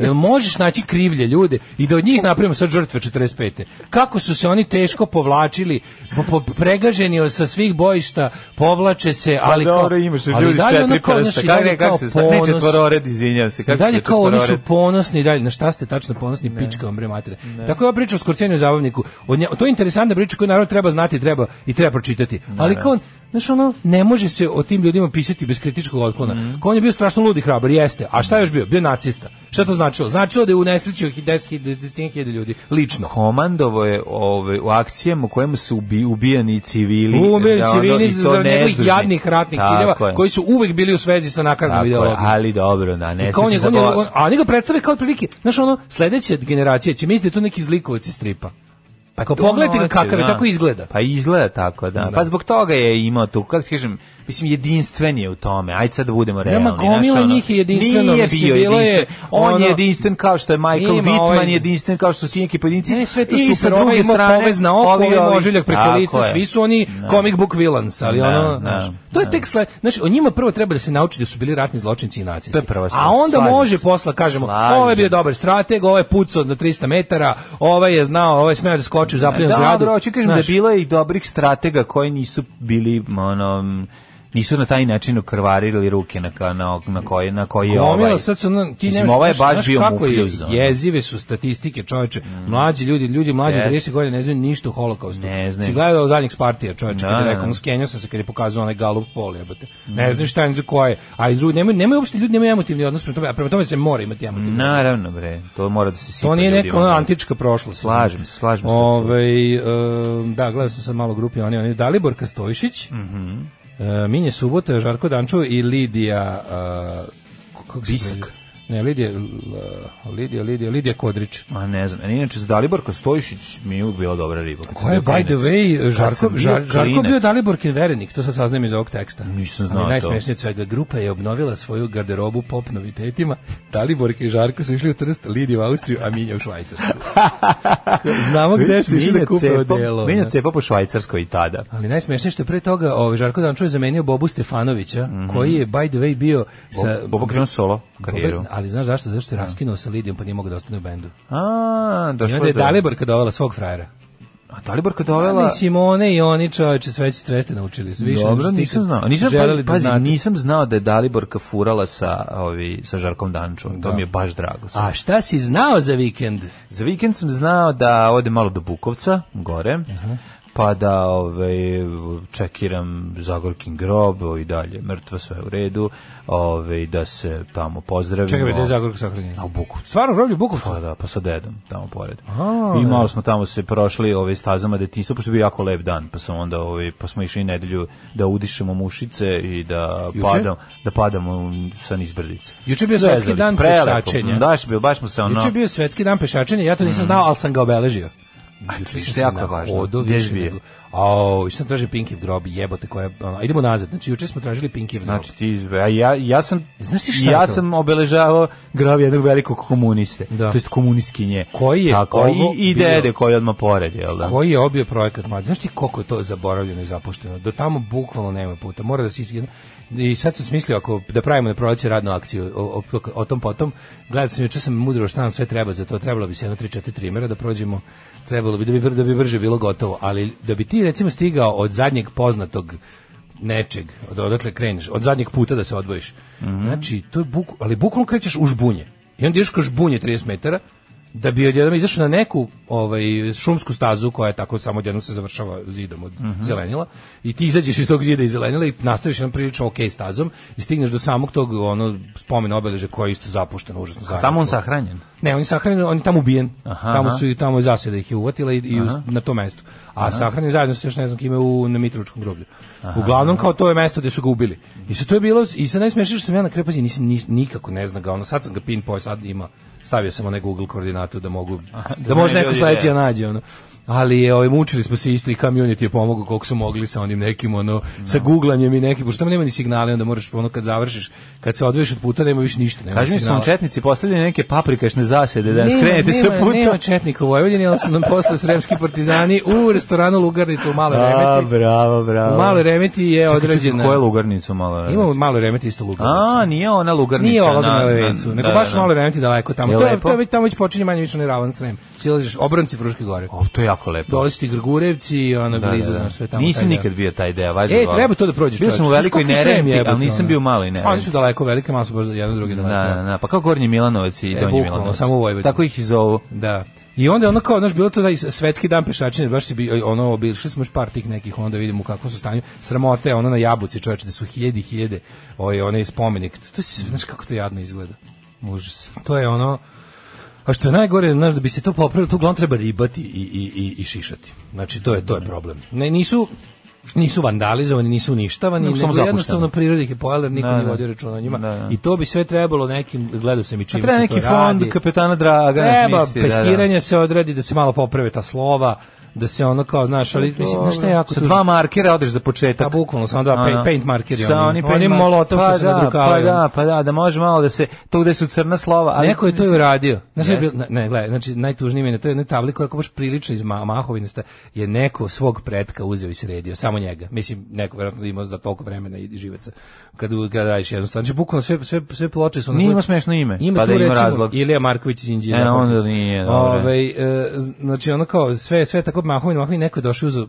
F: Jel možeš naći krivlje ljude i da od njih napravimo sad žrtve 45. Kako su se oni teško povlačili, po, po- pregaženi od- sa svih bojišta, povlače se, ali kao...
G: Pa dobro, imaš
F: ali
G: ljudi s
F: dalje ono
G: četiri
F: kao,
G: prsta.
F: znaš, i
G: Kako
F: dalje
G: ne, kako
F: kao
G: se zna- ne,
F: ponos-
G: četvorored, izvinjavam se.
F: i
G: Kako se
F: dalje kao oni su
G: četvorored?
F: ponosni i dalje, na šta ste tačno ponosni, pička vam bre matere. Tako je ova priča o Skorceniju zabavniku. Od nje- to je interesantna priča koju naravno treba znati treba, i treba pročitati. Ali kao, znaš ono, ne može se o tim ljudima pisati bez kritičkog otklona.
G: Mhm.
F: Kao on je bio strašno lud i hrabar, jeste. A šta je još bio? Bio je nacista. Šta to značilo? Značilo da je unesrećio 10.000 ljudi, lično.
G: komandovo je ovaj u akcijama u kojima su ubi, ubijani civili.
F: Ubili
G: da, ono,
F: civili
G: i to
F: za nekih
G: nedužni.
F: jadnih ratnih
G: Tako
F: ciljeva
G: je,
F: koji su uvek bili u svezi sa nakaradnom
G: tako je,
F: ideologijom.
G: ali dobro, da, ne
F: Kao
G: smije
F: on
G: E, se
F: je, on je,
G: zaboraviti.
F: on, a oni ga predstave kao otprilike, znaš ono, sledeća generacija će misliti da je to neki zlikovac iz stripa. Pa kao
G: To
F: pogledajte ga
G: hoće,
F: kakav je,
G: da.
F: tako izgleda.
G: Pa izgleda tako, da.
F: Da.
G: Pa zbog toga je imao tu, kako ti kažem, mislim, jedinstven je u tome. Ajde sad da budemo realni. znaš,
F: gomila
G: ono,
F: njih je jedinstveno,
G: Nije
F: mislim,
G: bio
F: bilo je,
G: jedinstven. On
F: ono,
G: je jedinstven kao što je Michael
F: ima
G: Whitman
F: ovaj-
G: jedinstven, kao što su ti neki pojedinci.
F: Ne, sve to
G: I sa
F: super, ovaj
G: druge
F: ima
G: strane,
F: povez na oko,
G: ovi,
F: ovaj ima
G: ovi.
F: ožiljak preko
G: Tako
F: lica,
G: je.
F: svi su oni comic book villains, ali
G: Da,
F: ono,
G: da,
F: znaš, to je
G: da.
F: tek sle, znaš, o njima prvo treba da se nauči da su bili ratni zločinci i nacisti.
G: To je prva stvar,
F: A onda
G: slažem
F: može
G: se.
F: posla, kažemo,
G: Slažem
F: ovo je bio
G: se.
F: dobar strateg, ovo je pucao na 300 metara, ovaj je znao, ovaj je smeo da skoči u zapljenu
G: Da,
F: zgradu.
G: dobro, hoću kažem
F: Znaš,
G: da bilo je i dobrih stratega koji nisu bili ono m, nisu na taj način okrvarili ruke na ka- na na koji na koji je
F: Gomila,
G: ovaj.
F: sad se ono, ti
G: Mislim,
F: nemaš-
G: ovaj je
F: znaš-
G: baš
F: znaš
G: bio
F: kako je,
G: mufljuz, ono.
F: Jezive su statistike, čoveče. Mlađi ljudi, ljudi mlađi od
G: Jest.
F: 30 godina ne znaju ništa o holokaustu.
G: Ne znaju.
F: Si gledao zadnjih Spartija, čoveče,
G: Da,
F: kad
G: da.
F: je rekao, mu skenjao sam se kad je pokazao onaj Galup pol, jebote. Ne znaju šta je, ne znaju ko je. A i drugi, nemaju, nemaju uopšte ljudi, nemaju emotivni odnos prema tome, a prema tome se mora imati emotivni.
G: Naravno bre, to mora da se sipa.
F: To nije
G: ljudima.
F: neka ono antička prošlost.
G: Slažem se, slažem se. apsolutno.
F: Ovaj, em, da, gledao sam sad malo grupi, oni, oni, Dalibor Kastojšić,
G: Mhm.
F: e, Minje Subota, Žarko Dančo i Lidija... e, k- kako se
G: Bisak.
F: zove? Ne, Lidija, l- Lidija, Lidija, Lidija Kodrić.
G: A ne znam, a inače za Daliborka Stojišić mi je uvijek bila dobra riba. Kad sam
F: Koja je,
G: bio
F: by the
G: klinac.
F: way,
G: Kad
F: Žarko,
G: sam bio
F: Žar- Žarko
G: klinac.
F: bio Dalibor Kinverenik, to sad saznajem iz ovog teksta.
G: Nisam znao
F: Ali
G: to.
F: najsmešnije od svega, grupa je obnovila svoju garderobu pop novitetima, Daliborka i Žarko su išli u Trst, Lidija u Austriju, a Minja u Švajcarsku. Znamo gde
G: Vidiš,
F: su išli
G: Minja
F: da kupe
G: cepa-
F: odelo.
G: Minja
F: ne?
G: cepa po Švajcarskoj i tada.
F: Ali najsmešnije što je pre toga ovaj Žarko Dančo je zamenio Bobu Stefanovića,
G: Mhm.
F: koji je by the way bio sa
G: Bobo krenuo solo karijeru.
F: Boba- ali znaš zašto? Zašto je raskinuo sa Lidijom pa nije mogao da ostane u bendu.
G: A,
F: I
G: došlo
F: onda je
G: je do-
F: Daliborka dovela svog frajera. Pa
G: A Daliborka dovela...
F: Mislim, Simone i oni čoveče sve će treste naučili. su, Više
G: Dobro,
F: nego što ste
G: nisam
F: ikad
G: znao. Nisam
F: želeli
G: pazi,
F: da
G: pazi,
F: znate.
G: nisam znao da je Daliborka furala sa ovi sa Žarkom Dančom. To
F: Da.
G: mi je baš drago.
F: A šta si znao za vikend?
G: Za vikend sam znao da odem malo do Bukovca, gore.
F: Mhm.
G: Pa da ovaj, čekiram Zagorkin grob i dalje, mrtva sve u redu, ovaj, da se tamo pozdravimo.
F: Čekaj, bre, gde je Zagorka sahranjena?
G: A u Bukovcu.
F: Stvarno, groblje Bukovca?
G: Pa da, pa sa dedom, tamo pored.
F: A.
G: I malo smo tamo se prošli ove stazama detinjstva, pošto je bio jako lep dan, pa sam onda ovaj pa smo išli nedelju da udišemo mušice i da
F: Juče?
G: padamo, da padamo sa nizbrdice.
F: Juče je bio svetski dan pešačenja.
G: Daš bio, baš smo se ono.
F: Juče je bio
G: Mhm.
F: svetski dan pešačenja, ja to nisam znao, ali sam ga obeležio. Juče
G: što
F: sam
G: je
F: se
G: jako
F: nahodao
G: važno. Gde
F: više
G: je bio?
F: nego- Au, i sad traže Pinkiv grob, jebote koja. Ono, idemo nazad. Znači juče smo tražili Pinkiv grob.
G: Znači ti, izbe- a ja, ja sam,
F: E, Znaš ti šta je
G: ja
F: to?
G: sam obeležavao grob jednog velikog komuniste,
F: Da.
G: to jest komunistkinje.
F: Koji je
G: Tako,
F: ovo
G: i, i
F: bio?
G: dede koji je odmah pored, jel da?
F: Koji je obio projekat mladi? Znaš ti koliko je to zaboravljeno i zapušteno? Do tamo bukvalno nema puta. Mora da se izgledno. I sad sam smislio ako da pravimo na proleće radnu akciju o, o, o tom potom. Gledao sam juče sam mudro šta nam sve treba za to. Trebalo bi se jedno 3 4 trimera da prođemo. Trebalo bi da bi br- da bi brže bilo gotovo, ali da bi ti recimo stigao od zadnjeg poznatog nečeg, od odakle kreneš, od zadnjeg puta da se odvojiš. Znači, to je buk, ali bukvalno krećeš u žbunje. I onda ideš kroz žbunje 30 metara, da bi odjednom izašao na neku ovaj šumsku stazu koja je tako samo odjednom se završava zidom od zelenila i ti izađeš iz tog zida i zelenila i nastaviš na prilično ok stazom i stigneš do samog tog ono spomen obeleže koje je isto zapušteno užasno zaraslo.
G: Tamo on sahranjen.
F: Ne, on je sahranjen, on je tamo ubijen.
G: Aha,
F: tamo
G: aha.
F: su i tamo je zasjeda ih je uvatila i, i uz- na to mesto. A sahranjen je zajedno sa još ne znam kime u na Mitrovičkom groblju. Uglavnom kao to je mesto gde su ga ubili. I sad to je bilo i sad najsmešnije što sam ja na krepazi nisam nis- nikako ne zna ga. Ono sad sam ga pin poj sad ima stavio sam onaj Google koordinatu da mogu da,
G: znaju
F: može neko
G: ljudi
F: sledeći
G: gde
F: da
G: je.
F: nađe ono. Ali je, ovaj, mučili smo se isto i community je pomogao koliko su mogli sa onim nekim, ono, sa googlanjem i nekim, pošto tamo nema ni signale, onda moraš, ono, kad završiš, kad se odvojiš od puta, nema više ništa. Nema
G: Kaži mi su
F: signala.
G: vam četnici postavljeni neke paprikašne zasede da nas
F: Znači, Nema-
G: krenete sa
F: nema- Nema
G: puta.
F: četnika u Vojvodini, ali su nam posle sremski partizani u restoranu Lugarnica u Maloj
G: A,
F: Remeti.
G: bravo, bravo.
F: U Maloj Remeti je određena...
G: Koje lugarnicu malo?
F: Ima u Maloj Remeti isto Lugarnica.
G: A, nije ona lugarnica.
F: Nije ovo
G: na-
F: na
G: na-
F: Levencu, nego
G: da,
F: baš
G: da, da.
F: malo remeti daleko tamo.
G: Je
F: To je,
G: lepo?
F: to je već tamo već počinje manje više onaj ravan srem. Silaziš, obronci Fruške gore.
G: O, to je jako lepo.
F: Dole su ti Grgurevci, ono
G: Da,
F: blizu,
G: da, da.
F: znaš, sve tamo.
G: Nisam
F: taj deo.
G: nikad bio taj deo, valjda.
F: E,
G: volim.
F: treba to da prođeš.
G: Bio sam u
F: čoveče.
G: velikoj
F: Znaš koliko Srem
G: nerenti,
F: jebote,
G: ali nisam
F: ono?
G: bio u maloj nerenti.
F: Oni su daleko velike, malo su baš jedan drugi
G: Da,
F: daleko.
G: da, da, pa kao Gornji Milanovac i
F: E,
G: Donji
F: bukvalno,
G: Milanovac.
F: samo u Vojvodini.
G: Tako ih i zovu.
F: Da. I onda je ono kao, znaš, bilo to taj svetski dan pešačine, baš si bi, ono, obišli smo još par tih nekih, onda vidimo u kakvom su stanju. Sramote, ono na Jabuci, čoveče, da su hiljede i hiljede, ovaj, onaj spomenik. To, to, je- znaš kako to jadno izgleda.
G: Užas.
F: To je ono, a što je najgore, znaš, da bi se to popravilo, tu uglavnom treba ribati i, i, i, i šišati. Znači, to je, to je problem. Ne, nisu, nisu vandalizovani, nisu uništavani,
G: Nego
F: nego,
G: samo
F: jednostavno
G: zapušteni.
F: priroda ih je pojela, jer niko
G: Da,
F: nije
G: da.
F: vodio računa o njima.
G: Da, da.
F: I to bi sve trebalo nekim, gledao sam i čim
G: Treba
F: se to
G: neki
F: radi.
G: fond kapetana Dragana
F: Treba,
G: smisliti, da, da.
F: peskiranje se odradi da se malo poprave ta slova, da se ono kao, znaš, ali mislim, znaš šta je jako
G: ono, Sa
F: tužno?
G: dva markera odeš za početak.
F: Pa bukvalno, samo dva
G: Ono.
F: paint, paint markeri.
G: Sa
F: oni.
G: onim
F: Oni
G: paint mar-
F: molotov što
G: pa
F: se
G: da,
F: nadrukavaju.
G: Pa da, pa da, da može malo da se, to gde su crna slova. Ali,
F: Neko je to i uradio. Znaš, je
G: Jeste.
F: bil- ne, ne, gledaj, znači, najtužnije meni, je to je jedna tabla koja je baš prilično iz ma- mahovinasta, je neko svog pretka uzeo i sredio, samo njega. Mislim, neko vjerojatno imao za toliko vremena i živaca. Kad, kad radiš jednu stvar. Znači, bukvalno sve, sve, sve ploče su... onako-
G: Nije imao smešno ime,
F: Ima
G: pa
F: tu
G: da ima
F: recimo
G: razlog.
F: Ilija Marković iz Inđije.
G: E,
F: da,
G: onda
F: potpis.
G: nije, dobro.
F: Ovaj, e, znači, ono kao, sve, sve tako mahovin, mahovin, neko je došao i uzeo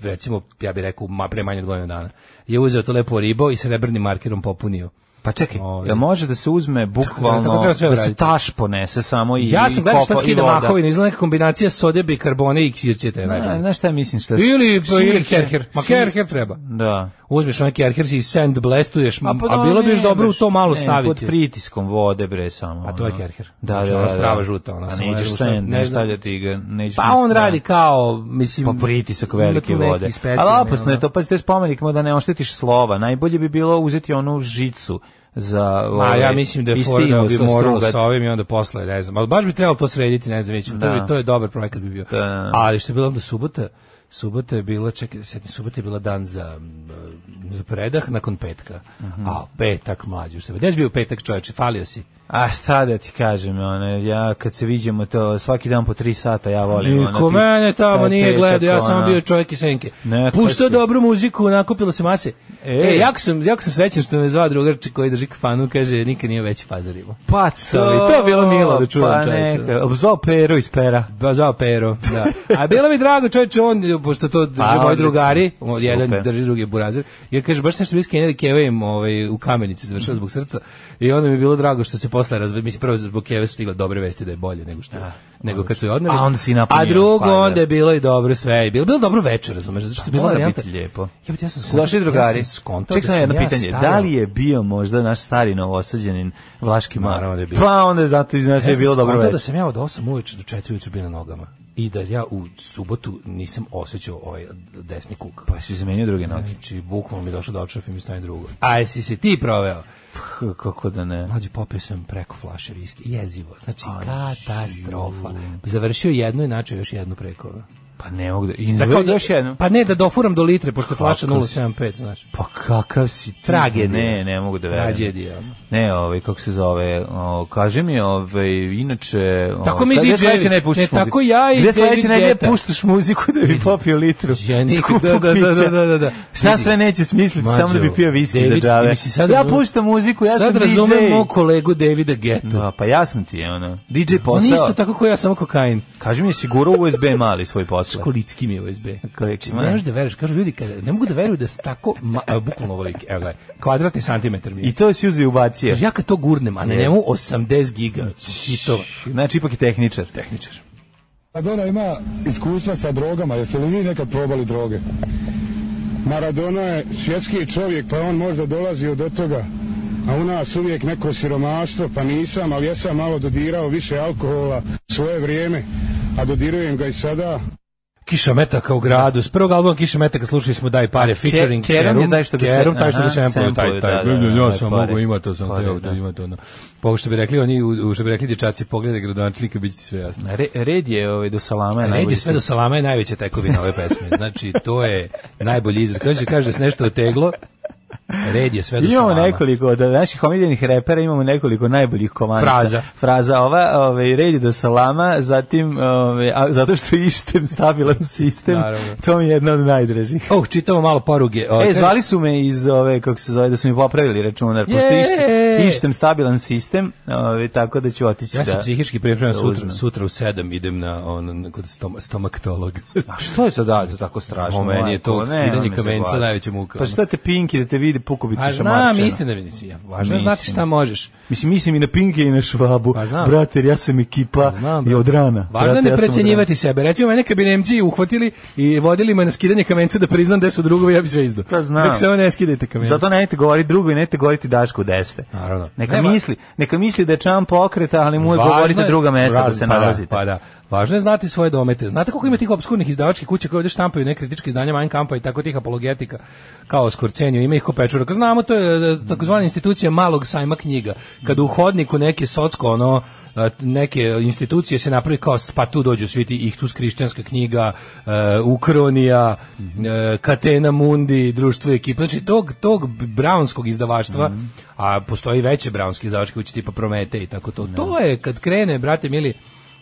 F: recimo, ja bih rekao, ma, pre manje od godinu dana, je uzeo to lepo ribo i srebrnim markerom popunio.
G: Pa čekaj,
F: Ovi.
G: jel može da se uzme bukvalno,
F: tako treba sve
G: da se
F: uraditi.
G: taš ponese samo i
F: Ja sam gledao šta
G: kopa- i
F: skida
G: voda.
F: mahovina, izgleda neka kombinacija sode, bikarbone i ksirćete. je
G: A,
F: najbolje.
G: Znaš šta mislim šta...
F: Ili, pa, ili
G: Šilće.
F: kerher. Ma kerher treba.
G: Da.
F: Uzmeš onaj kerher i sand blestuješ, a,
G: pa da,
F: bilo bi još
G: ne,
F: dobro u
G: baš,
F: to malo
G: ne, Pod
F: staviti.
G: pritiskom vode bre samo.
F: A to je
G: ono.
F: kerher.
G: Da,
F: Znači,
G: da,
F: ona
G: da,
F: strava
G: da.
F: žuta, ona
G: A
F: samo ne
G: nećeš
F: znam šta-
G: sen,
F: ne
G: ne
F: znam.
G: stavljati ga, nećeš...
F: Pa
G: ništa-
F: on
G: da.
F: radi kao, mislim...
G: Pa pritisak
F: ima tu
G: velike
F: neki
G: vode.
F: specijalni,
G: Ali opasno je
F: ono.
G: to, pa te spomenik ima da ne oštetiš slova. Najbolje bi bilo uzeti onu žicu za...
F: Ma
G: ovaj,
F: ja mislim da je
G: i s
F: fora
G: tim
F: da bi
G: sa
F: moralo
G: strugat.
F: sa ovim i onda posle, ne znam. Ali baš bi trebalo to srediti, ne znam, već. To, bi, to je dobar projekat bi bio.
G: Da.
F: Ali što je bilo onda subota, subota je bila, čekaj, da se setim, subota je bila dan za, m, za predah nakon petka.
G: Mhm.
F: A petak mlađi u sebe. Gde si bio u petak čoveče, falio si.
G: A šta da ti kažem, ono, ja kad se viđemo to svaki dan po tri sata, ja volim. ono,
F: Niko
G: ti-
F: mene tamo
G: taj
F: nije
G: petak,
F: gledao, ja
G: ono.
F: sam bio čovjek iz senke.
G: Ne, to
F: Puštao
G: si.
F: dobru muziku, nakupilo se mase.
G: E.
F: E, jako sam, jako sam srećan što me zvao drugarče koji drži kafanu, kaže, nikad nije veći pazar imao.
G: Pa
F: ali to je bilo milo da čujem,
G: pa
F: čoveče.
G: neka, Obzvao peru iz pera.
F: Ba, zvao Pero, da. A bilo mi drago, čovječe, on, pošto to drže
G: Pa,
F: moji
G: odlično.
F: drugari, on, jedan
G: Super.
F: drži drugi je burazer, jer kaže, baš nešto bliske Keve Kevejem ovaj, u kamenici završao zbog srca i onda mi je bilo drago što se posle razve, mislim, prvo zbog Keve su stigle dobre vesti da je bolje nego što nego kad su je odneli.
G: A onda si napunio,
F: A drugo,
G: pa, da.
F: onda je bilo i dobro sve. i Bilo, bilo dobro večer, razumeš, zato što je bila
G: Mora
F: varijanta.
G: biti lijepo.
F: Ja, ja sam
G: Su došli
F: skontao-
G: drugari.
F: Ja sam skontao
G: Ček
F: da
G: sam
F: sam
G: jedno
F: ja
G: pitanje.
F: stari.
G: Da li je bio možda naš stari novosađenin Vlaški Mar?
F: Naravno da je bio.
G: Pa onda je zato i znači je
F: sam
G: bilo dobro
F: skontao da
G: već.
F: sam ja od 8 uveče do 4 uveče bio na nogama i da ja u subotu nisam osjećao ovaj desni kuk.
G: Pa si zamenio druge noge.
F: Znači, bukvalno mi je došao da očrafim i stane drugo. A jesi se ti proveo?
G: K- Kako da ne?
F: Mlađi popio sam preko flaše viski. Jezivo. Znači, katastrofa. Završio jedno i načeo još jednu preko.
G: Pa ne mogu da... I
F: Da
G: da
F: kao da-
G: još jednom.
F: Pa ne, da dofuram do litre, pošto je flaša 0,75, znaš.
G: Pa kakav si ti?
F: Tragedija.
G: Ne, ne mogu da verujem.
F: Tragedija.
G: Ne, ovaj, kako se zove, o, kaži mi, ovaj, inače... O,
F: Tako mi
G: gde
F: DJ-evi.
G: sledeće ne puštaš
F: Ne,
G: muziku?
F: tako ja i
G: Gde sledeće
F: David
G: negdje
F: Guetta.
G: puštaš muziku da bi popio litru?
F: Ja nikad-
G: skupog
F: da, da,
G: pića?
F: da, da, da, da.
G: Šta
F: Vidi.
G: sve neće smisliti,
F: Mlađo,
G: samo da bi pio viski
F: David,
G: za džave.
F: mislim, sad
G: ja
F: razumem-
G: puštam muziku, ja
F: Sad
G: sam DJ.
F: razumem mog kolegu Davida Getu.
G: Da, pa jasno ti je, ono. DJ
F: On je
G: posao.
F: isto tako kao ja, samo kokain.
G: Kaži mi, siguro USB mali svoj posao.
F: Kolicki mi je USB.
G: Kolicki,
F: ne možeš da veruješ, kažu ljudi, kada, ne mogu da veruju da se tako, ma, a, bukvalno ovaj, evo gledaj, kvadratni santimetar mi je.
G: I to si uzeo i ubacio.
F: Kaže, ja kad to gurnem, a na
G: Je.
F: njemu 80 giga hitova.
G: Znači, ipak je tehničar.
F: Tehničar.
B: Maradona Pa ima iskustva sa drogama, jeste li vi nekad probali droge? Maradona je svjetski čovjek, pa on možda dolazi od toga. A u nas uvijek neko siromaštvo, pa nisam, ali jesam malo dodirao više alkohola svoje vrijeme, a dodirujem ga i sada.
F: Kiša metaka u gradu. S prvog albuma Kiša metaka slušali smo Daj pare featuring
G: Kerum je
F: Kerum.
G: daj što ga se-
F: Kerum, taj što ga
G: aha,
F: sempluju, taj,
G: sempluju,
F: taj.
G: da, da, da,
F: ja
G: daj
F: sam
G: pare.
F: mogu imati, to sam
G: Pare,
F: teo da
G: da.
F: imati ono. Pa ovo što bi rekli oni, u- u- što bi rekli dječaci, pogledaj gradonačelnika, bit će ti sve jasno.
G: Re, red je ovaj, do salama. je
F: Red
G: najbolji
F: je sve do salama je najveća tekovina ove pesme. Znači, to je najbolji izraz. Kada se kaže da se nešto oteglo, red je sve do
G: Imamo
F: salama.
G: nekoliko od naših omiljenih repera, imamo nekoliko najboljih komanica.
F: Fraza.
G: Fraza ova, ovaj red je do salama, zatim ovaj, a, zato što ištem stabilan sistem.
F: Naravno.
G: To mi je jedna od najdražih.
F: Oh, čitamo malo poruge. O,
G: E,
F: kaže-
G: zvali su me iz ove, kako se zove, da su mi popravili računar, pošto
F: Je!
G: ištem, ištem stabilan sistem, ovaj, tako da ću otići
F: Ja
G: da...
F: sam psihički pripremljen
G: da
F: sutra,
G: uzmem.
F: sutra u sedam idem na on, na- kod stoma, stomaktologa.
G: A što je sad da, to tako strašno?
F: O, meni je to
G: majko, ne,
F: skidanje
G: ono me
F: kamenca
G: zabavlja.
F: najveća muka,
G: Pa
F: ono.
G: šta te pinki da te vidi pukubi
F: A
G: ti
F: znam, istina mi nisi. ja. Važno je znati
G: Pa, Mislim.
F: šta možeš.
G: Mislim, mislim i na Pinke i na Švabu.
F: Pa znam. Pa
G: Brate, jer ja sam ekipa
F: Znam,
G: i od rana.
F: Važno je
G: Brate,
F: ne
G: ja sam od
F: precenjivati sebe. Recimo, mene kad bi Nemci uhvatili i vodili me na skidanje kamenca da priznam gde su drugovi, ja bi sve izdao.
G: Pa znam.
F: Dok samo ne skidajte
G: rana.
F: kamenca.
G: Zato nemojte govoriti drugo i nemojte govoriti Dašku u desne.
F: Naravno.
G: Neka
F: Nema-
G: misli, neka misli da je čam pokreta, ali mu je
F: Važno
G: govorite
F: je-
G: druga mesta da
F: Raz-
G: se
F: pa
G: nalazite.
F: Pa da, Važno je znati svoje domete. Znate koliko ima tih obskurnih izdavačkih kuća koje ovde štampaju nekritički izdanja Mein Kampa i tako tih apologetika kao Skorceniju, ima ih ko pečuraka. Znamo, to je e, takozvana institucija malog sajma knjiga. Kada u hodniku neke socko, ono, e, neke institucije se napravi kao pa tu dođu svi ti Ihtus hrišćanska knjiga, e, Ukronija, e, Katena Mundi, društvo i ekipa. Znači tog, tog braunskog izdavaštva, a postoji veće braunski izdavačke kuće tipa Promete i tako to. To je kad krene, brate mili,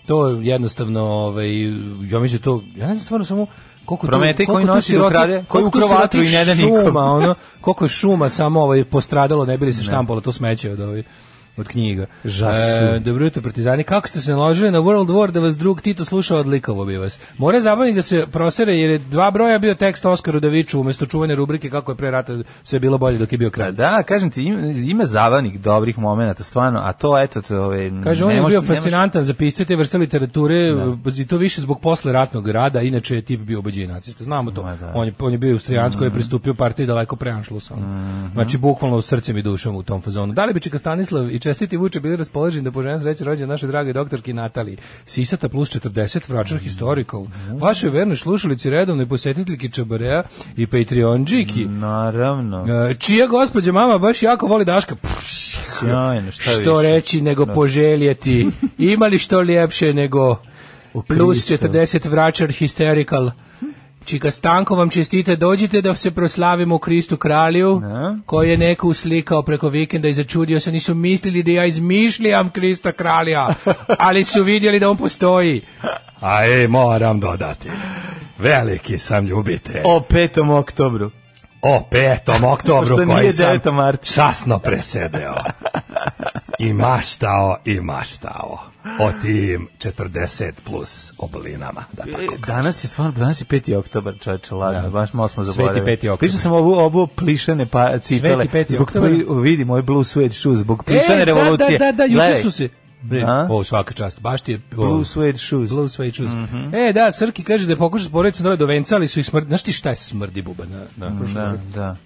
F: to jednostavno, ovaj, ja mislim da to, ja ne znam stvarno samo koliko tu-
G: Prometej koji
F: koliko tu
G: nosi da
F: siroti-
G: ukrade, koji
F: koliko tu
G: ukrao vatru i
F: sirotih
G: ne da nikom.
F: šuma, ono, koliko je šuma samo ovaj, postradalo, ne bili se štampalo to smeće od ovaj, od knjiga.
G: Žasu.
F: E, dobro jutro, partizani. Kako ste se naložili na World War da vas drug Tito slušao odlikovo bi vas? Mora zabavnik da se prosere jer je dva broja bio tekst Oskaru Daviću umesto čuvene rubrike kako je pre rata sve bilo bolje dok je bio kralj.
G: Da, kažem ti, ima, ima zavanik dobrih momenata, stvarno, a to, eto, to, ove,
F: Kaže,
G: ne
F: on je
G: može-
F: bio
G: ne može-
F: fascinantan za pisce te vrste literature, i to više zbog posle ratnog rada, inače je tip bio obađen nacista, znamo to.
G: Ma da. Mm.
F: On, je, on je bio Austrijansko, koji je pristupio partiji daleko pre Anšlusa. ono.
G: Mm-hmm.
F: Znači, bukvalno srcem i dušom u tom fazonu. Da li bi Čika Stanislav i čestiti Vuče bili raspoloženi da poželjam sreće rođen naše drage doktorki Nataliji Sisata plus 40, vračar
G: Mm-hmm.
F: historical. Vaše verne slušalici redovne posetiteljki Čabareja i Patreonđiki.
G: Mm-hmm. Naravno,
F: E, Čija gospođa mama baš jako voli Daška.
G: sjajno, šta
F: Što
G: više?
F: reći nego poželjeti. Ima li što ljepše nego plus 40 vračar hysterical? Čika Stanko vam čestite, dođite da se proslavimo u Kristu kralju,
G: Ne.
F: koji je neko uslikao preko vikenda i začudio se, nisu mislili da ja izmišljam Krista kralja, ali su vidjeli da on postoji. A e, moram dodati, veliki sam ljubitelj.
G: O 5. oktobru.
F: O petom oktobru
G: Pošto
F: koji
G: nije
F: sam
G: 9. marta.
F: časno presedeo i maštao i maštao o tim 40 plus oblinama. Da tako.
G: E, Danas je stvarno, danas je 5. oktobar, čoveče, lagano, baš malo smo
F: Sveti
G: zaboravili.
F: peti oktobar.
G: Pričao sam ovu, obu plišane pa, cipele,
F: peti
G: zbog
F: oktobar.
G: pli, vidi moj blue suede shoes, zbog plišane
F: E,
G: revolucije.
F: Da, da, da,
G: Gledaj,
F: juče su se... Bre,
G: A?
F: o, svaka čast, baš ti je... o,
G: Blue suede shoes.
F: Blue suede shoes. E, da, Srki kaže da je pokušao sporediti sa nove do venca, ali su ih smrdi... Znaš ti šta je smrdi buba na, na
G: Mhm, Da, da.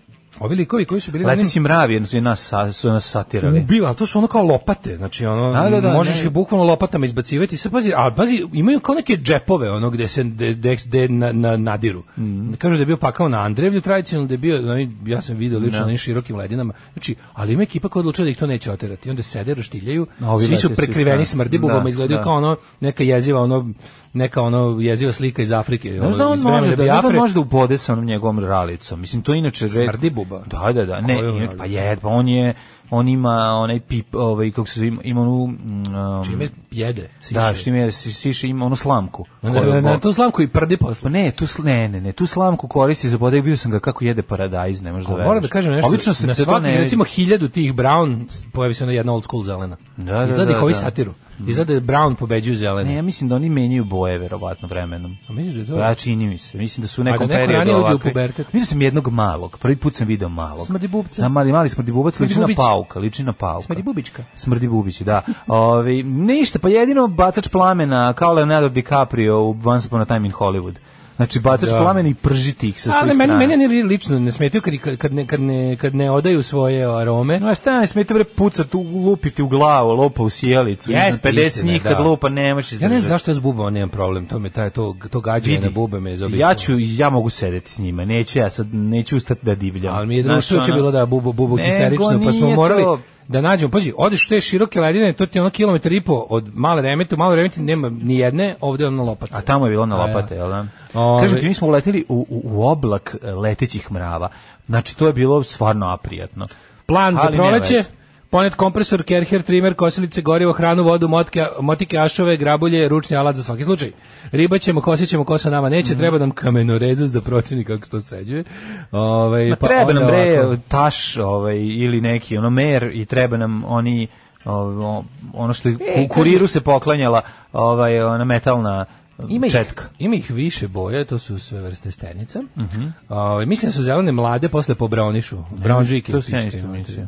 F: Ovi likovi koji su bili na onim-
G: Leteći mravi jer su nas, sa- su nas satirali.
F: Ubila, ali to su ono kao lopate, znači ono,
G: Da, da, da,
F: možeš
G: ne.
F: ih bukvalno lopatama izbacivati, sad pazi, a pazi, imaju kao neke džepove, ono gde se de, de, de na, na, nadiru.
G: Mhm.
F: Kažu da je bio pakao na Andrevlju tradicionalno, da je bio, no, ja sam video lično na onim širokim ledinama, znači, ali ima ekipa koja odlučila da ih to neće oterati, I onda sede, raštiljaju,
G: A ovi
F: svi su
G: lete svi,
F: prekriveni
G: da.
F: smrdibubama,
G: Da,
F: izgledaju
G: da.
F: kao ono, neka jeziva, ono, neka ono jeziva slika iz Afrike.
G: Znaš
F: ono,
G: da on
F: iz vremena
G: može da, znaš da on
F: Biafre.
G: može da ubode sa onom njegovom ralicom. Mislim, to je inače... red-
F: Smrdi buba.
G: Da, da, da. Ne,
F: Koju
G: inače,
F: ralicu?
G: pa je, pa on je... On ima onaj pip, ovaj, kako se zove, ima- ima onu... mm, um,
F: Čime jede, siše.
G: Da, što ima, si- siše, ima onu slamku.
F: Na,
G: koju-
F: na, na tu slamku i prdi
G: Pa
F: posle.
G: ne, tu sl- ne, ne, ne, tu slamku koristi za bodaj, vidio sam ga kako jede paradajz, ne možeš da
F: A
G: veruješ.
F: Pa moram da kažem nešto.
G: Obično se
F: na
G: to ne
F: svakih,
G: vidi.
F: recimo, hiljadu tih Brown pojavi se ona jedna old school zelena.
G: Da, da,
F: Izgleda
G: da,
F: ih ovi
G: da.
F: satiru. Izgleda da Brown pobeđuju zelene.
G: Ne, ja mislim da oni menjaju boje verovatno vremenom.
F: A misliš da je to?
G: Pa Ja čini mi se. Mislim da su u nekom
F: da neko
G: periodu
F: ranije uđe u
G: ovakvi.
F: pubertet?
G: Vidio sam jednog malog. Prvi put sam video malog.
F: Smrdibubca?
G: Da, mali, mali smrdibubac liči na
F: Smrdibubić.
G: pauka, liči na pauka.
F: Smrdi bubička.
G: Smrdi bubići, da. Ovi, ništa, pa jedino bacač plamena kao Leonardo DiCaprio u Once Upon a Time in Hollywood. Znači, bacač
F: Da.
G: plamena i pržiti ih sa svih
F: Ali meni,
G: strana.
F: meni ne lično ne smetaju kad, kad, kad, ne, kad, ne, kad ne odaju svoje arome.
G: No, šta ne smete bre pucat, u- lupiti u glavu, lopa u sjelicu.
F: Jeste,
G: iznad 50
F: istina,
G: njih
F: da.
G: kad lupa, ne možeš
F: Ja ne
G: izdržati.
F: znam zašto ja s bubama nemam problem, to me taj to to gađanje na bube me izobično.
G: Ja ću ja mogu sedeti s njima. Neću ja sad neću ustati da divljam.
F: Ali mi je
G: Znaš,
F: društvo juče
G: ono-
F: bilo da bubu bubu
G: Nego
F: histerično, pa smo
G: nije
F: morali
G: to-
F: da nađemo. Pazi, odeš u te široke ledine, to ti je ono kilometar i po od male remete, u maloj remeti nema ni jedne, ovde je ono lopata.
G: A tamo je bilo na
F: A, ja.
G: lopate, jel da?
F: Ove-
G: Kažem ti, mi smo uleteli u, u, u oblak e, letećih mrava. Znači, to je bilo stvarno aprijatno.
F: Plan za
G: Ali nema
F: proleće,
G: veze.
F: ponet kompresor, kerher, trimer, kosilice, gorivo, hranu, vodu, motke, motike, ašove, grabulje, ručni alat za svaki slučaj. Riba ćemo, kosit ćemo, kosa nama neće,
G: Mhm.
F: treba nam kamenoredac da proceni kako se to sređuje. Ovaj,
G: Ma Pa treba
F: onda
G: nam bre
F: ovako.
G: taš ovaj, ili neki ono mer i treba nam oni o- o- ono što
F: E,
G: je u kuriru se poklanjala ovaj, ona metalna
F: Ima ih,
G: četka.
F: ima ih više boja, to su sve vrste stenica.
G: Mhm.
F: Ovaj, mislim da su zelene mlade, posle pobraunišu. Braunžike.
G: to sam ja
F: pičke,
G: isto
F: imate.
G: mislio.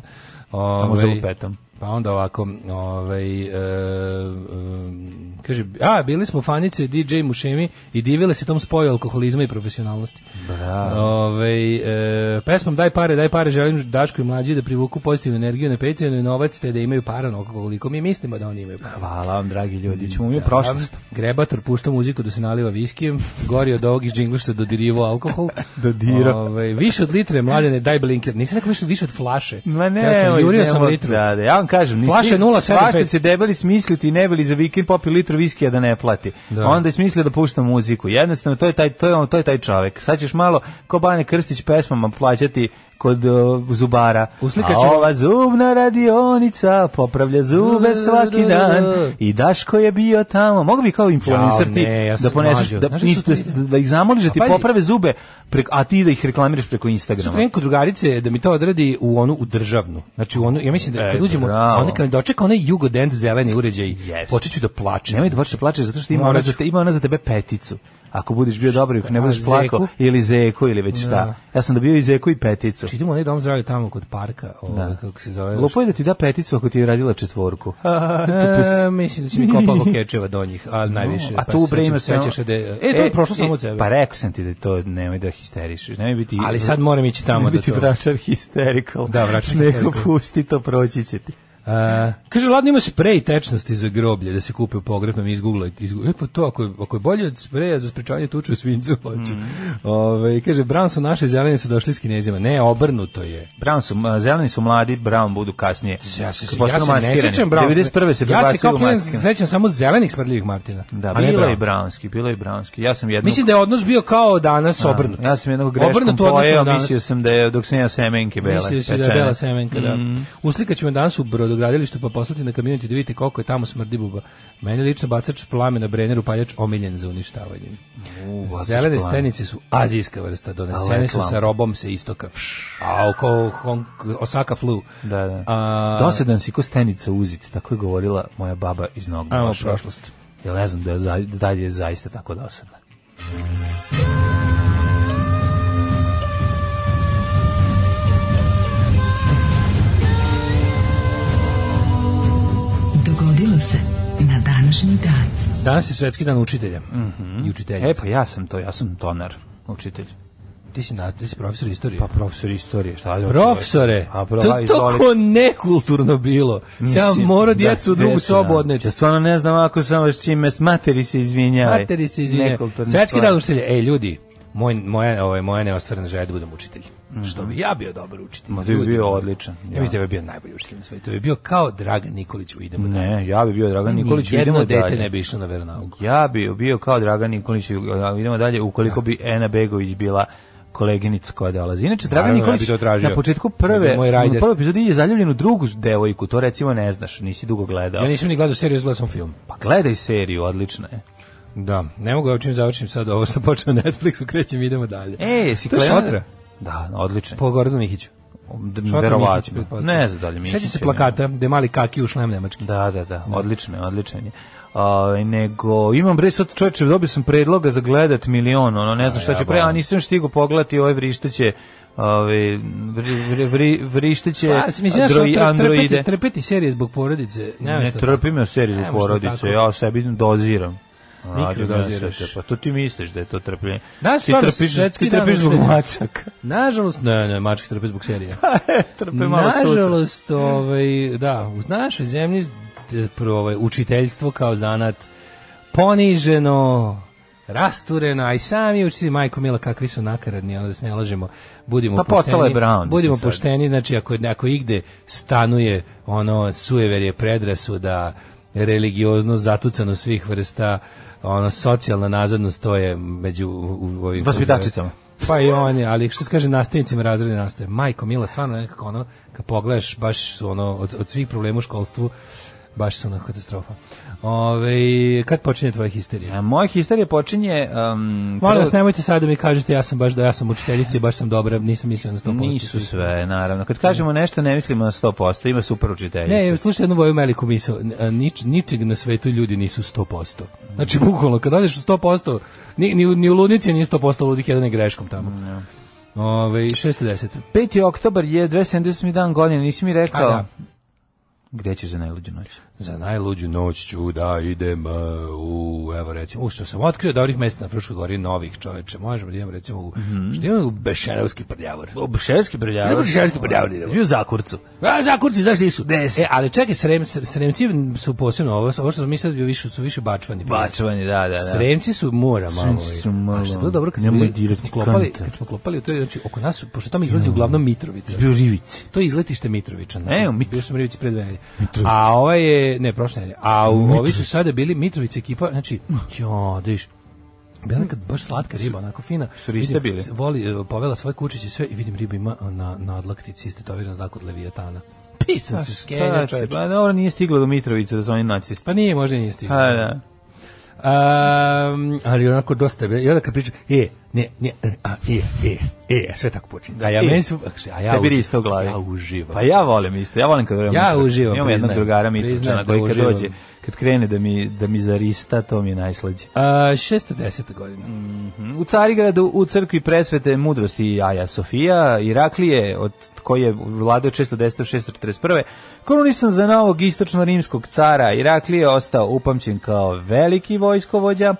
F: Ovaj,
G: možda lupetam.
F: Pa onda ovako, ovaj, e, em, kaže, a, bili smo fanice DJ Mušemi i divile se tom spoju alkoholizma i profesionalnosti.
G: Bravo.
F: Ovaj, e, pesmom Daj pare, daj pare, želim Daško i mlađi da privuku pozitivnu energiju na Patreonu i novac, te da imaju para onoliko koliko mi mislimo da oni imaju para.
G: Hvala vam, dragi ljudi. Ćemo mi u prošlost.
F: Grebator pušta muziku da se naliva viskijem, gori od ovog iz džingla što je dodirivo alkohol.
G: Dodirao.
F: Ovaj, više od litre, mladene, daj blinker. Nisam rekao više, više od flaše.
G: Ma ne, ovaj,
F: ja sam, jurio sam
G: nemoj-
F: litru.
G: Da, da, ja vam kažem, nisi,
F: Flaša je 0,75.
G: svašta će debeli smisliti i ne bili za vikend popi litru viskija da ne plati.
F: Da.
G: Onda je smislio da pušta muziku. Jednostavno, to je taj, to je, on- to je taj čovek. Sad ćeš malo, ko Bane Krstić pesmama plaćati kod uh, zubara.
F: Uslikat
G: A
F: ćemo-
G: ova zubna radionica popravlja zube svaki dan i Daško je bio tamo. Mogu bi kao influencer
F: Jao,
G: ti
F: ne, ja sam
G: da poneseš,
F: mlađo.
G: da,
F: Znaš šta su
G: da,
F: to ide?
G: da ih zamoliš da ti
F: pazi.
G: poprave zube, preko, a ti da ih reklamiraš preko Instagrama.
F: Sutra idem kod drugarice da mi to odradi u onu u državnu. Znači u onu, ja mislim da
G: E,
F: kad uđemo,
G: bravo.
F: onda kad me dočeka onaj jugodend zeleni uređaj,
G: Yes.
F: počet ću da plačem.
G: Znači, Nemoj da počneš da plačeš zato što ima
F: Morat
G: ona
F: ću.
G: za te, ima ona za tebe peticu. Ako budeš bio dobar i ako ne
F: A,
G: budeš
F: zeku?
G: plakao ili zeku ili već šta. Ja sam dobio i zeku i peticu.
F: Znači, idemo u onaj dom zdravlja tamo kod parka, ovaj, kako se zove.
G: Lupo je da ti da peticu ako ti je radila četvorku.
F: E, mislim da će mi kopalo kečeva do njih, ali najviše. pa
G: A tu bre ima se...
F: sećaš da je- E, to je prošlo samo od sebe.
G: Pa rekao sam ti da to nemoj da histerišiš. Nemoj biti...
F: Ali sad moram ići tamo
G: Nemoj
F: da
G: biti
F: to-
G: vračar histerikal.
F: Da, vračar
G: Neko
F: hysterical.
G: pusti to, proći će ti.
F: E, kaže, ladno ima sprej tečnosti za groblje, da se kupe u pogrebnom iz Google. Iz Google. E, pa to, ako je, ako je bolje od spreja za sprečavanje tuče u svincu, hoću.
G: Mm.
F: Ove, kaže, Brown su naše zelene su došli s kinezima. Ne, obrnuto je.
G: Brown su, a, zeleni su mladi, brown budu kasnije.
F: Ja se,
G: Postanu
F: ja se ne
G: maskirani.
F: sećam Brown.
G: 91. se
F: ja se
G: prebacuju
F: kao
G: u
F: klinac
G: maskirane.
F: sećam samo zelenih smrdljivih Martina.
G: Da,
F: a ne
G: bilo je
F: Brown.
G: i brownski, bilo je i brownski. Ja sam jednog...
F: Mislim da je odnos bio kao danas
G: Da,
F: obrnut.
G: Ja sam jednog greškom
F: Obrnut u odnosu na
G: pojeo,
F: danas.
G: mislio sam da je dok sam ja semenke bele.
F: Mislio si da je
G: pečene. Mm.
F: bela semenka, da. Uslikat ćemo danas u brodogradilištu pa poslati na kamioniti da vidite koliko je tamo smrdi buba. Meni je lično bacač plame na Brenner upaljač omiljen za uništavanje.
G: U, bacač
F: Zelene
G: plame.
F: stenice su azijska vrsta, donesene su
G: reklama.
F: sa robom se istoka. A oko Hong, Osaka flu.
G: Da, da.
F: A,
G: Dosadan si ko stenica uzit, tako je govorila moja baba iz Novog
F: Ajmo
G: Vaša.
F: prošlost.
G: Jel ne znam da je, za- da li je zaista tako dosadna.
E: Dogodilo se na današnji dan.
F: Danas je svetski dan učitelja. I
G: E
F: učiteljica.
G: pa ja sam to, ja sam tonar, učitelj.
F: Ti si, na, ti si profesor istorije.
G: Pa profesor istorije, šta je?
F: Profesore,
G: A pro,
F: to je toliko nekulturno bilo. Ja morao djecu u drugu sobu odneti.
G: Ja stvarno ne znam ako sam vas čime, materi se izvinjavaj.
F: Materi se izvinja.
G: Nekulturna
F: Svetski
G: stvar.
F: dan učitelja. Ej, ljudi, moj, moja, ovaj, moja neostvarena želja je da budem učitelj. Što bi ja bio dobar učitelj.
G: Mhm. Ma, ti bi
F: Ljudi
G: bio
F: moji.
G: odličan,
F: Ja
G: ja.
F: mislim da bi bio najbolji učitelj na svetu. To bi bio kao Dragan Nikolić u Idemo dalje.
G: Ne, ja bi bio Dragan Nikolić,
F: jedno
G: idemo
F: dete
G: dalje.
F: ne bi išlo na veronauku.
G: Ja bi bio kao Dragan Nikolić, a idemo dalje, ukoliko bi Ena Begović bila koleginica koja dolazi. Inače, Dragan
F: Naravno, ja
G: Nikolić
F: bi to tražio.
G: na početku
F: Da bi
G: prve,
F: moj
G: u
F: rider.
G: prvoj epizodi je zaljubljen u drugu devojku, to recimo ne znaš, nisi dugo gledao.
F: Ja nisam ni gledao seriju, gledao sam film.
G: Pa gledaj seriju, odlična je.
F: Da, ne mogu ja čim završim sad ovo, sam počeo na Netflixu, krećem, idemo dalje.
G: E, si
F: To je
G: krenula-
F: Šotra.
G: Da, odlično.
F: Po Gordanu Mihiću. Šotra Mihić,
G: Verovatno.
F: pretpostavljam.
G: Ne znam da li mi.
F: Sećam se plakata, gde je mali kaki u šlem nemački.
G: Da, da, da, odlično je, odličan je. Ovaj, nego, imam bre, sad čovječe, dobio sam predloga za gledat milion, ono, ne znam šta ću pre, a nisam stigo pogledati ove vrišteće, ove, vri, vri, vri, vrišteće
F: Pa, mislim, ja što
G: androi-
F: tre-
G: androide.
F: trpeti, trpeti serije zbog porodice. Ne,
G: Ne trpi me seriju za
F: Nema što
G: porodice,
F: tako.
G: ja sebi doziram. Ono,
F: Mikro
G: radim ja
F: doziraš.
G: sebe, Pa to ti misliš da je to trpljenje.
F: Danas
G: ti
F: stvarno
G: trpiš,
F: svetski
G: ti
F: dan
G: trpiš zbog
F: učitelja.
G: mačaka.
F: Nažalost, ne, ne, mačke trpe zbog serija.
G: Trpe Pa, malo sutra.
F: Nažalost, ovaj, da, u našoj zemlji d- pro, ovaj, učiteljstvo kao zanat poniženo, rastureno, a i sami učitelji, majko mila, kakvi su nakaradni, ono da se ne lažemo, budimo
G: Pa
F: pošteni.
G: postala je Brown, mislim
F: Budimo
G: sad.
F: pošteni, znači ako, ako igde stanuje ono sujeverje predrasuda, religioznost, zatucanost svih vrsta, ono socijalna nazadnost, to je među u, u ovim
G: Vaspitačicama.
F: pa i on je, ali što se kaže nastavnicima razrede nastave. Majko Mila, stvarno nekako ono, kad pogledaš, baš su ono, od, od svih problema u školstvu, baš su ono katastrofa. Ove, kad počinje tvoja histerija?
G: A E, Moja histerija počinje... Um,
F: Molim
G: prvo-
F: vas, nemojte sad da mi kažete ja sam baš da ja sam učiteljica i baš sam dobra, nisam mislila na 100%.
G: Nisu sve, naravno. Kad kažemo nešto, ne mislimo na 100%, ima super učiteljica.
F: Ne, slušaj jednu voju meliku misao, nič, ničeg na svetu ljudi nisu 100%. Znači, bukvalno, kad odeš u 100%, ni, ni, u- ni u ludnici nije 100% ludih, jedan je greškom tamo. Ove, 610.
G: 5. oktobar je 278. dan godine, nisi mi
F: A,
G: rekao.
F: da.
G: Gde ćeš za najluđu noć?
F: Za najluđu noć ću da idem e, u, evo recimo, u što sam otkrio dobrih mesta na Fruškoj gori, novih čoveče, možemo da idem recimo u, što idem u Bešerovski prljavor.
G: U Bšerski prljavor.
F: U Bešerski prljavor idemo.
G: Bio zakurcu.
F: A, zakurci, zašto nisu?
G: Des.
F: E, ali čekaj, srem, sremci su posebno, ovo, ovo što sam mislio da bi više, su više bačvani. bili.
G: Bačvani, da, da, da.
F: Sremci su mora malo.
G: Sremci su malo.
F: A što je bilo dobro kad smo,
G: Nemoj
F: bili, kad
G: dirati
F: smo klopali,
G: kanta.
F: kad smo klopali u toj, znači oko nas, su- pošto tamo izlazi uglavnom Mitrovica.
G: Bio rivici.
F: To je izletište Mitrovića. Ne,
G: E, u Mitrovici.
F: Bio sam u Rivici pre dve nedelje. A ova je, ne, prošle nedelje. A u, ovi su sada bili Mitrovica ekipa, znači, jo, da viš, bila nekad baš slatka riba, onako fina.
G: su riste
F: Vidim,
G: bili?
F: s- Voli, e, povela svoje kučiće i sve i vidim riba ima na, na odlaktici, isto to znak od Levijetana. Pisan se skenja,
G: Tači,
F: čoveče.
G: pa dobro, nije stiglo do Mitrovice da su oni nacisti.
F: Pa nije, možda i nije
G: Pa
F: stigao.
G: da.
F: Um, ali onako dosta je. I onda kad pričam, e, ne, ne, a, e, e, e, sve tako počinje. A ja,
G: E.
F: meni su, a ja,
G: Tebi
F: uživam.
G: rista u glavi.
F: Ja uživam.
G: Pa ja volim isto, ja volim kad vrem.
F: Ja uživam,
G: Imam jednog
F: priznajem.
G: drugara
F: Priznajem
G: Mitrovićana
F: da
G: koji kad
F: uživam.
G: dođe, kad krene da mi, da mi zarista, to mi je najslađe.
F: A, 610. godina. Mm.
G: U Carigradu, u crkvi presvete mudrosti Jaja Sofija, Iraklije, od koji je vladao 610-641. Korunisan za novog istočno-rimskog cara, Iraklije je ostao upamćen kao veliki vojskovođa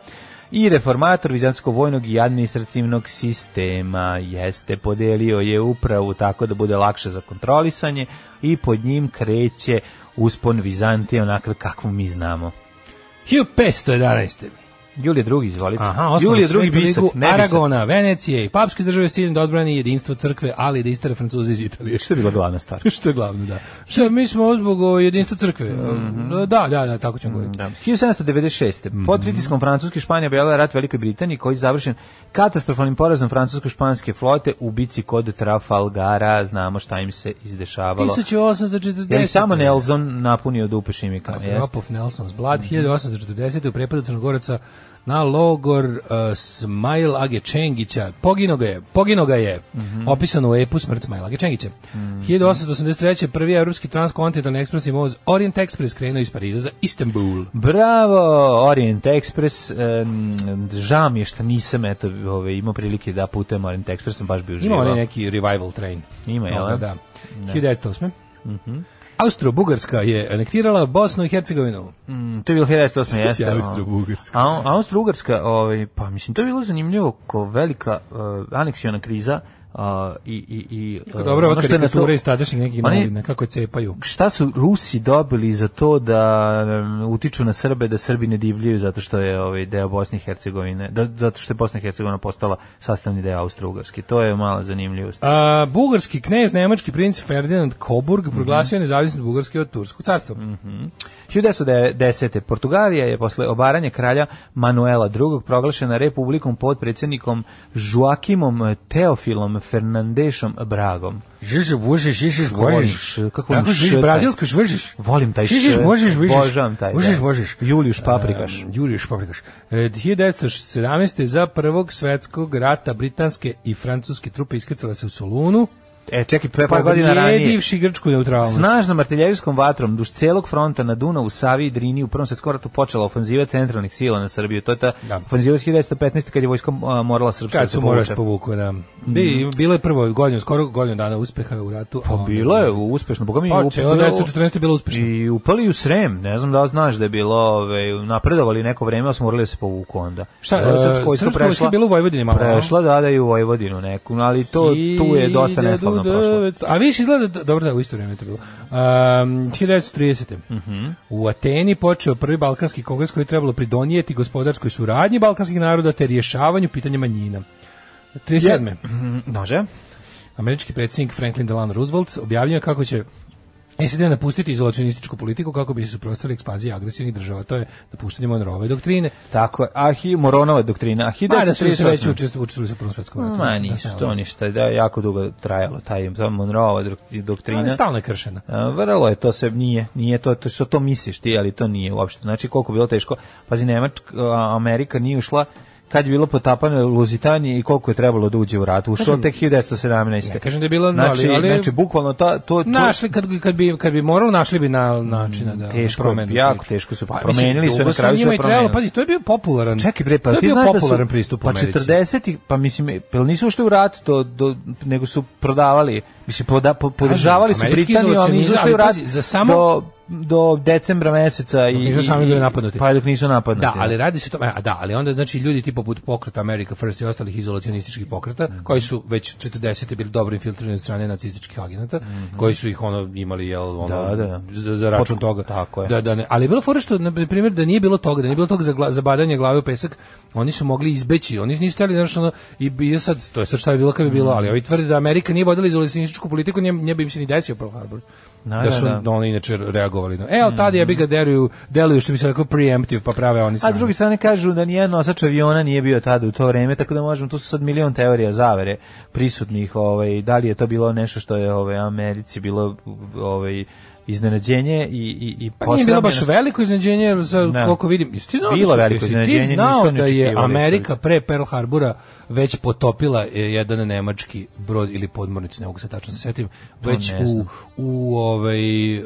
G: i reformator vizantskog vojnog i administrativnog sistema. Jeste, podelio je upravu tako da bude lakše za kontrolisanje i pod njim kreće uspon Vizantije onakav kakvu mi znamo.
F: 1511.
G: Julije drugi, izvolite.
F: Aha, osnovu
G: Julije drugi
F: Svetu
G: bisak,
F: ligu
G: ne bisak.
F: Aragona, Venecije i papske države s ciljem da odbrani jedinstvo crkve, ali i da istere Francuze iz Italije.
G: Što je bila glavna stvar?
F: Što je glavno, da. Što, mi smo zbog o, jedinstva crkve. Da, da, da, tako ćemo govoriti.
G: Mhm. Da. 1796. Pod pritiskom Francuske Španija objavila rat Velikoj Britaniji koji je završen katastrofalnim porazom francusko-španske flote u bici kod Trafalgara. Znamo šta im se izdešavalo.
F: 1840.
G: Je li samo Nelson napunio dupe šimikama? Jeste. Mhm.
F: Drop of Nelson's Blood, 1840. u prepadu Crnogoraca na logor uh, Smajl Age Čengića. Pogino ga je, pogino ga je,
G: Mhm.
F: opisano u epu Smrt Smajl Age Čengića. 1883. prvi evropski transkontinentalni ekspresni voz Orient Express krenuo iz Pariza za Istanbul.
G: Bravo, Orient Express. em, žao mi je što nisam eto, ove, imao prilike da putujem Orient Expressom, baš bi uživao.
F: Ima onaj neki revival train.
G: Ima, jel? Mhm.
F: Toga, Da. 1908. Austro-Bugarska je anektirala Bosnu i Hercegovinu.
G: Mm, to je bilo 1908. jeste. ono.
F: si Austro-Bugarska.
G: A- Austro-Ugarska, ovaj, pa mislim, to je bilo zanimljivo ko velika uh, aneksijona kriza uh, i, i, i uh,
F: Dobro, ova
G: ono što je
F: karikatura
G: naslo-
F: iz tadašnjih nekih
G: Oni-
F: novina, kako je cepaju.
G: šta su Rusi dobili za to da um, utiču na Srbe, da Srbi ne divljaju zato što je ovaj deo Bosne i Hercegovine, da, zato što je Bosna i Hercegovina postala sastavni deo Austro-Ugarske. To je mala zanimljivost.
F: A, bugarski knez, nemački princ Ferdinand Coburg
G: Mhm.
F: proglasio je nezavisnost Bugarske od Turskog carstva.
G: Mm. 1910. Portugalija je posle obaranja kralja Manuela II. proglašena republikom pod predsjednikom Joakimom Teofilom Fernandešom Bragom.
F: Žiže, buže, žižeš,
G: Voliš, kako on
F: Kako žižiš,
G: šeta.
F: brazilsko žvržiš.
G: Volim taj
F: Žižiš,
G: šet.
F: možeš, vižiš.
G: Obožavam taj,
F: Možeš,
G: da.
F: možeš.
G: Julijuš Paprikaš.
F: Um, Julijuš Paprikaš. E, 1917. za prvog svetskog rata britanske i francuske trupe iskrcale se u Solunu.
G: E, čekaj, pre par godina ranije.
F: Pobjedivši grčku neutralnost.
G: Snažnom artiljerijskom vatrom duž celog fronta na Dunavu, Savi i Drini u Prvom svetskom ratu počela ofanziva centralnih sila na Srbiju. To je ta
F: Da.
G: ofanziva iz 1915. kad je vojska a, morala srpska da
F: Kad
G: se Mhm.
F: su moraš
G: povuče.
F: povuku, da. Bi, bilo je prvo godinu, skoro godinu dana uspeha u ratu.
G: Pa bilo je uspešno, boga mi
F: Pa,
G: upali-
F: če, od 1914. je bilo uspešno.
G: I upali u Srem, ne znam da li znaš da je bilo, ovaj, napredovali neko vreme, ali su morali da se povuku onda.
F: Šta,
G: Onda je
F: e,
G: srpska vojska
F: srpska vojska je bila u Vojvodini malo, a?
G: Prešla, da, da, i u Vojvodinu neku, ali to, tu je dosta neslavno prošlo.
F: 1900 A više izgleda, da- dobro da, u isto vrijeme je to bilo. Um, 1930.
G: Mhm.
F: U Ateni počeo prvi Balkanski kongres koji je trebalo pridonijeti gospodarskoj suradnji balkanskih naroda te rješavanju pitanja manjina. 37.
G: Mhm, Može?
F: Američki predsjednik Franklin Delano Roosevelt objavljuje kako će SAD napustiti izolacionističku politiku kako bi se suprotstavili ekspanziji agresivnih država. To je napuštanje Monroeve doktrine.
G: Tako je, Ahi, Moronova doktrina, Ahi,
F: Ma da su se već
G: 1938.
F: učest- učestvovali su u Prvom svjetskom ratu.
G: Ma
F: mislim, da
G: nisu
F: sam-
G: to ništa, da je jako dugo trajalo taj ta Monroeova dok-
F: Ali
G: doktrina.
F: Stalno je kršena.
G: A, Vrlo je to se nije, nije to to što to misliš ti, ali to nije uopšte. Znači koliko je bilo teško. Pazi Nemačka, a, Amerika nije ušla kad je bilo potapano Luzitanije i koliko je trebalo da uđe u rat. Ušlo tek 1917.
F: Ja kažem da je bilo, no, ali-
G: znači,
F: ali-
G: znači bukvalno ta, to, to
F: Našli kad kad bi kad bi moralo našli bi na načina da
G: Teško,
F: promenu
G: jako
F: priču.
G: teško su
F: Pa,
G: promenili
F: mislim,
G: su, na
F: dugo
G: kraju su
F: njima i
G: promenili.
F: trebalo, pazi, to je bio popularan.
G: Čekaj bre, pa
F: to je
G: ti
F: bio
G: znaš da su-
F: popularan pristup u
G: pa
F: Americi.
G: 40 pa mislim, pa nisu ušli u rat, to, do, nego su prodavali, mislim, poda, po, podržavali su
F: američki
G: Britaniju, ali nisu
F: izolacionizam,
G: ušli u
F: ali
G: rat
F: pazi, za samo-
G: do, do decembra meseca. I,
F: nisu
G: i-
F: sami bili
G: i-
F: napadnuti.
G: Pa dok nisu napadnuti.
F: Da, ali radi se o tome, a da, ali onda znači ljudi tipa poput pokreta America First i ostalih izolacionističkih pokreta
G: Mhm.
F: koji su već 40 bili dobro infiltrirani od strane nacističkih agenata, koji su ih ono imali jel ono
G: Mhm. Da, da.
F: za, za račun
G: Pot-
F: toga.
G: tako je.
F: Da, da, ne. Ali je bilo fora što na primjer da nije bilo toga, da nije bilo toga za, gla- za badanje glave u pesak, oni su mogli izbeći, oni nisu htjeli znači ono i bi sad to je sad šta bi bilo kad bi
G: Mhm.
F: bilo, ali ovi tvrde da Amerika nije vodila izolacionističku politiku, nije, nije bi im se ni desio Pearl Harbor. Da,
G: da,
F: su
G: da.
F: da oni inače reagovali. na- E, ali tada je bi ga deluju, deluju što bi se rekao preemptive, pa prave oni
G: A
F: sami.
G: s druge strane kažu da nijedan nosač aviona nije bio tada u to vreme, tako da možemo, tu su sad milion teorija zavere prisutnih, ovaj, da li je to bilo nešto što je ovaj, Americi bilo ovaj, iznenađenje i, i, i
F: Pa nije bilo baš
G: posramljenost.
F: veliko iznenađenje, jer za
G: Da.
F: koliko vidim, jesi ti znao
G: Bilo
F: da su-
G: veliko
F: jesi
G: iznenađenje,
F: ti znao
G: nisu
F: da
G: ni
F: je
G: očekivali
F: Amerika
G: isto.
F: pre Pearl Harbora već potopila e, jedan nemački brod ili podmornicu, ne mogu se tačno se setim, već
G: ne
F: u,
G: znam.
F: u ovaj, e,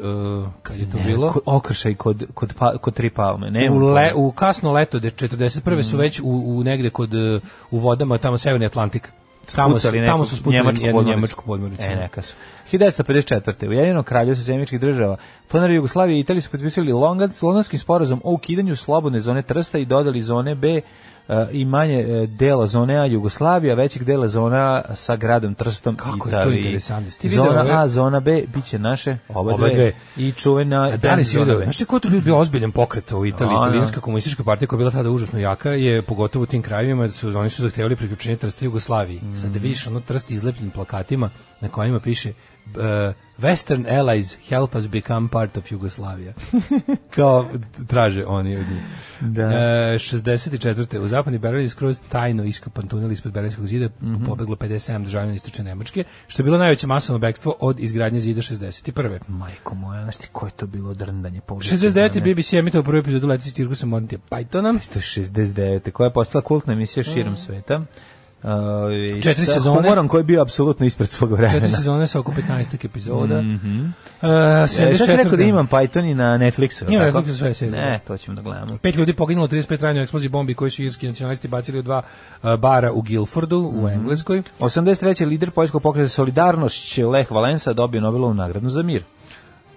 F: kad je to bilo?
G: Ko- okršaj kod, kod, pa- kod tri palme. Ne, Mm.
F: U, le, u kasno leto, de 41. su već u, u negde kod, e, u vodama, tamo Severni Atlantik. Tamo, su-
G: Spucali neku
F: tamo su spucali
G: njemačku
F: jednu
G: podmornicu.
F: njemačku podmornicu.
G: E, neka su. 1954. Ujedinjeno kraljevstvo zemljičkih država, Fonar Jugoslavije i Italije su potpisali Longan- Londonski sporazum o ukidanju slobodne zone Trsta i dodali zone B e, i manje e, dela zone A Jugoslavija, većeg dela zona sa gradom Trstom
F: Kako je to
G: Italiji.
F: interesantno. Jesi ti video ove-
G: Zona A, zona B, bit će naše oba,
F: Oba dve.
G: dve. I čuvena
F: A da li si
G: zona
F: video?
G: B.
F: Znaš ti ko je tu bio, bio ozbiljan pokret u Italiji?
G: A, da.
F: Italijanska komunistička partija koja je bila tada užasno jaka je pogotovo u tim krajevima da su, oni su zahtevali priključenje Trsta Jugoslaviji.
G: Mm.
F: Sad da vidiš ono Trst izlepljen plakatima na kojima piše uh, Western allies help us become part of Jugoslavia. Kao traže oni od njih.
G: Da.
F: E, 64. U zapadni Berlin je skroz tajno iskopan tunel ispod Berlinskog zida,
G: Mhm.
F: pobeglo 57 državljana istočne Nemačke, što je bilo najveće masovno bekstvo od izgradnje zida 61.
G: Majko moja, znaš ti ko je to bilo drndanje? povraćaj
F: 69.
G: zemlje?
F: BBC emitao prvu epizodu Leci s cirkusom Monty Pythona.
G: To je 69. koja je postala kultna emisija širom sveta. Uh, i
F: Mm. Četiri
G: sa
F: sezone.
G: Humorom koji je bio apsolutno ispred svog vremena.
F: Četiri sezone sa oko 15 epizoda.
G: Mhm.
F: uh,
G: E, šta si rekao da
F: 74..
G: imam Python i na Netflixu?
F: Ima
G: tako?
F: Netflixu sve serije.
G: Ne, to ćemo da gledamo.
F: Pet ljudi poginulo 35 ranjeno u eksploziji bombi koji su irski nacionalisti bacili u dva uh, bara u Guilfordu
G: Mhm.
F: u Engleskoj.
G: 83. lider poljskog pokreta Solidarnošć Lech Valensa dobio Nobelovu nagradu za mir.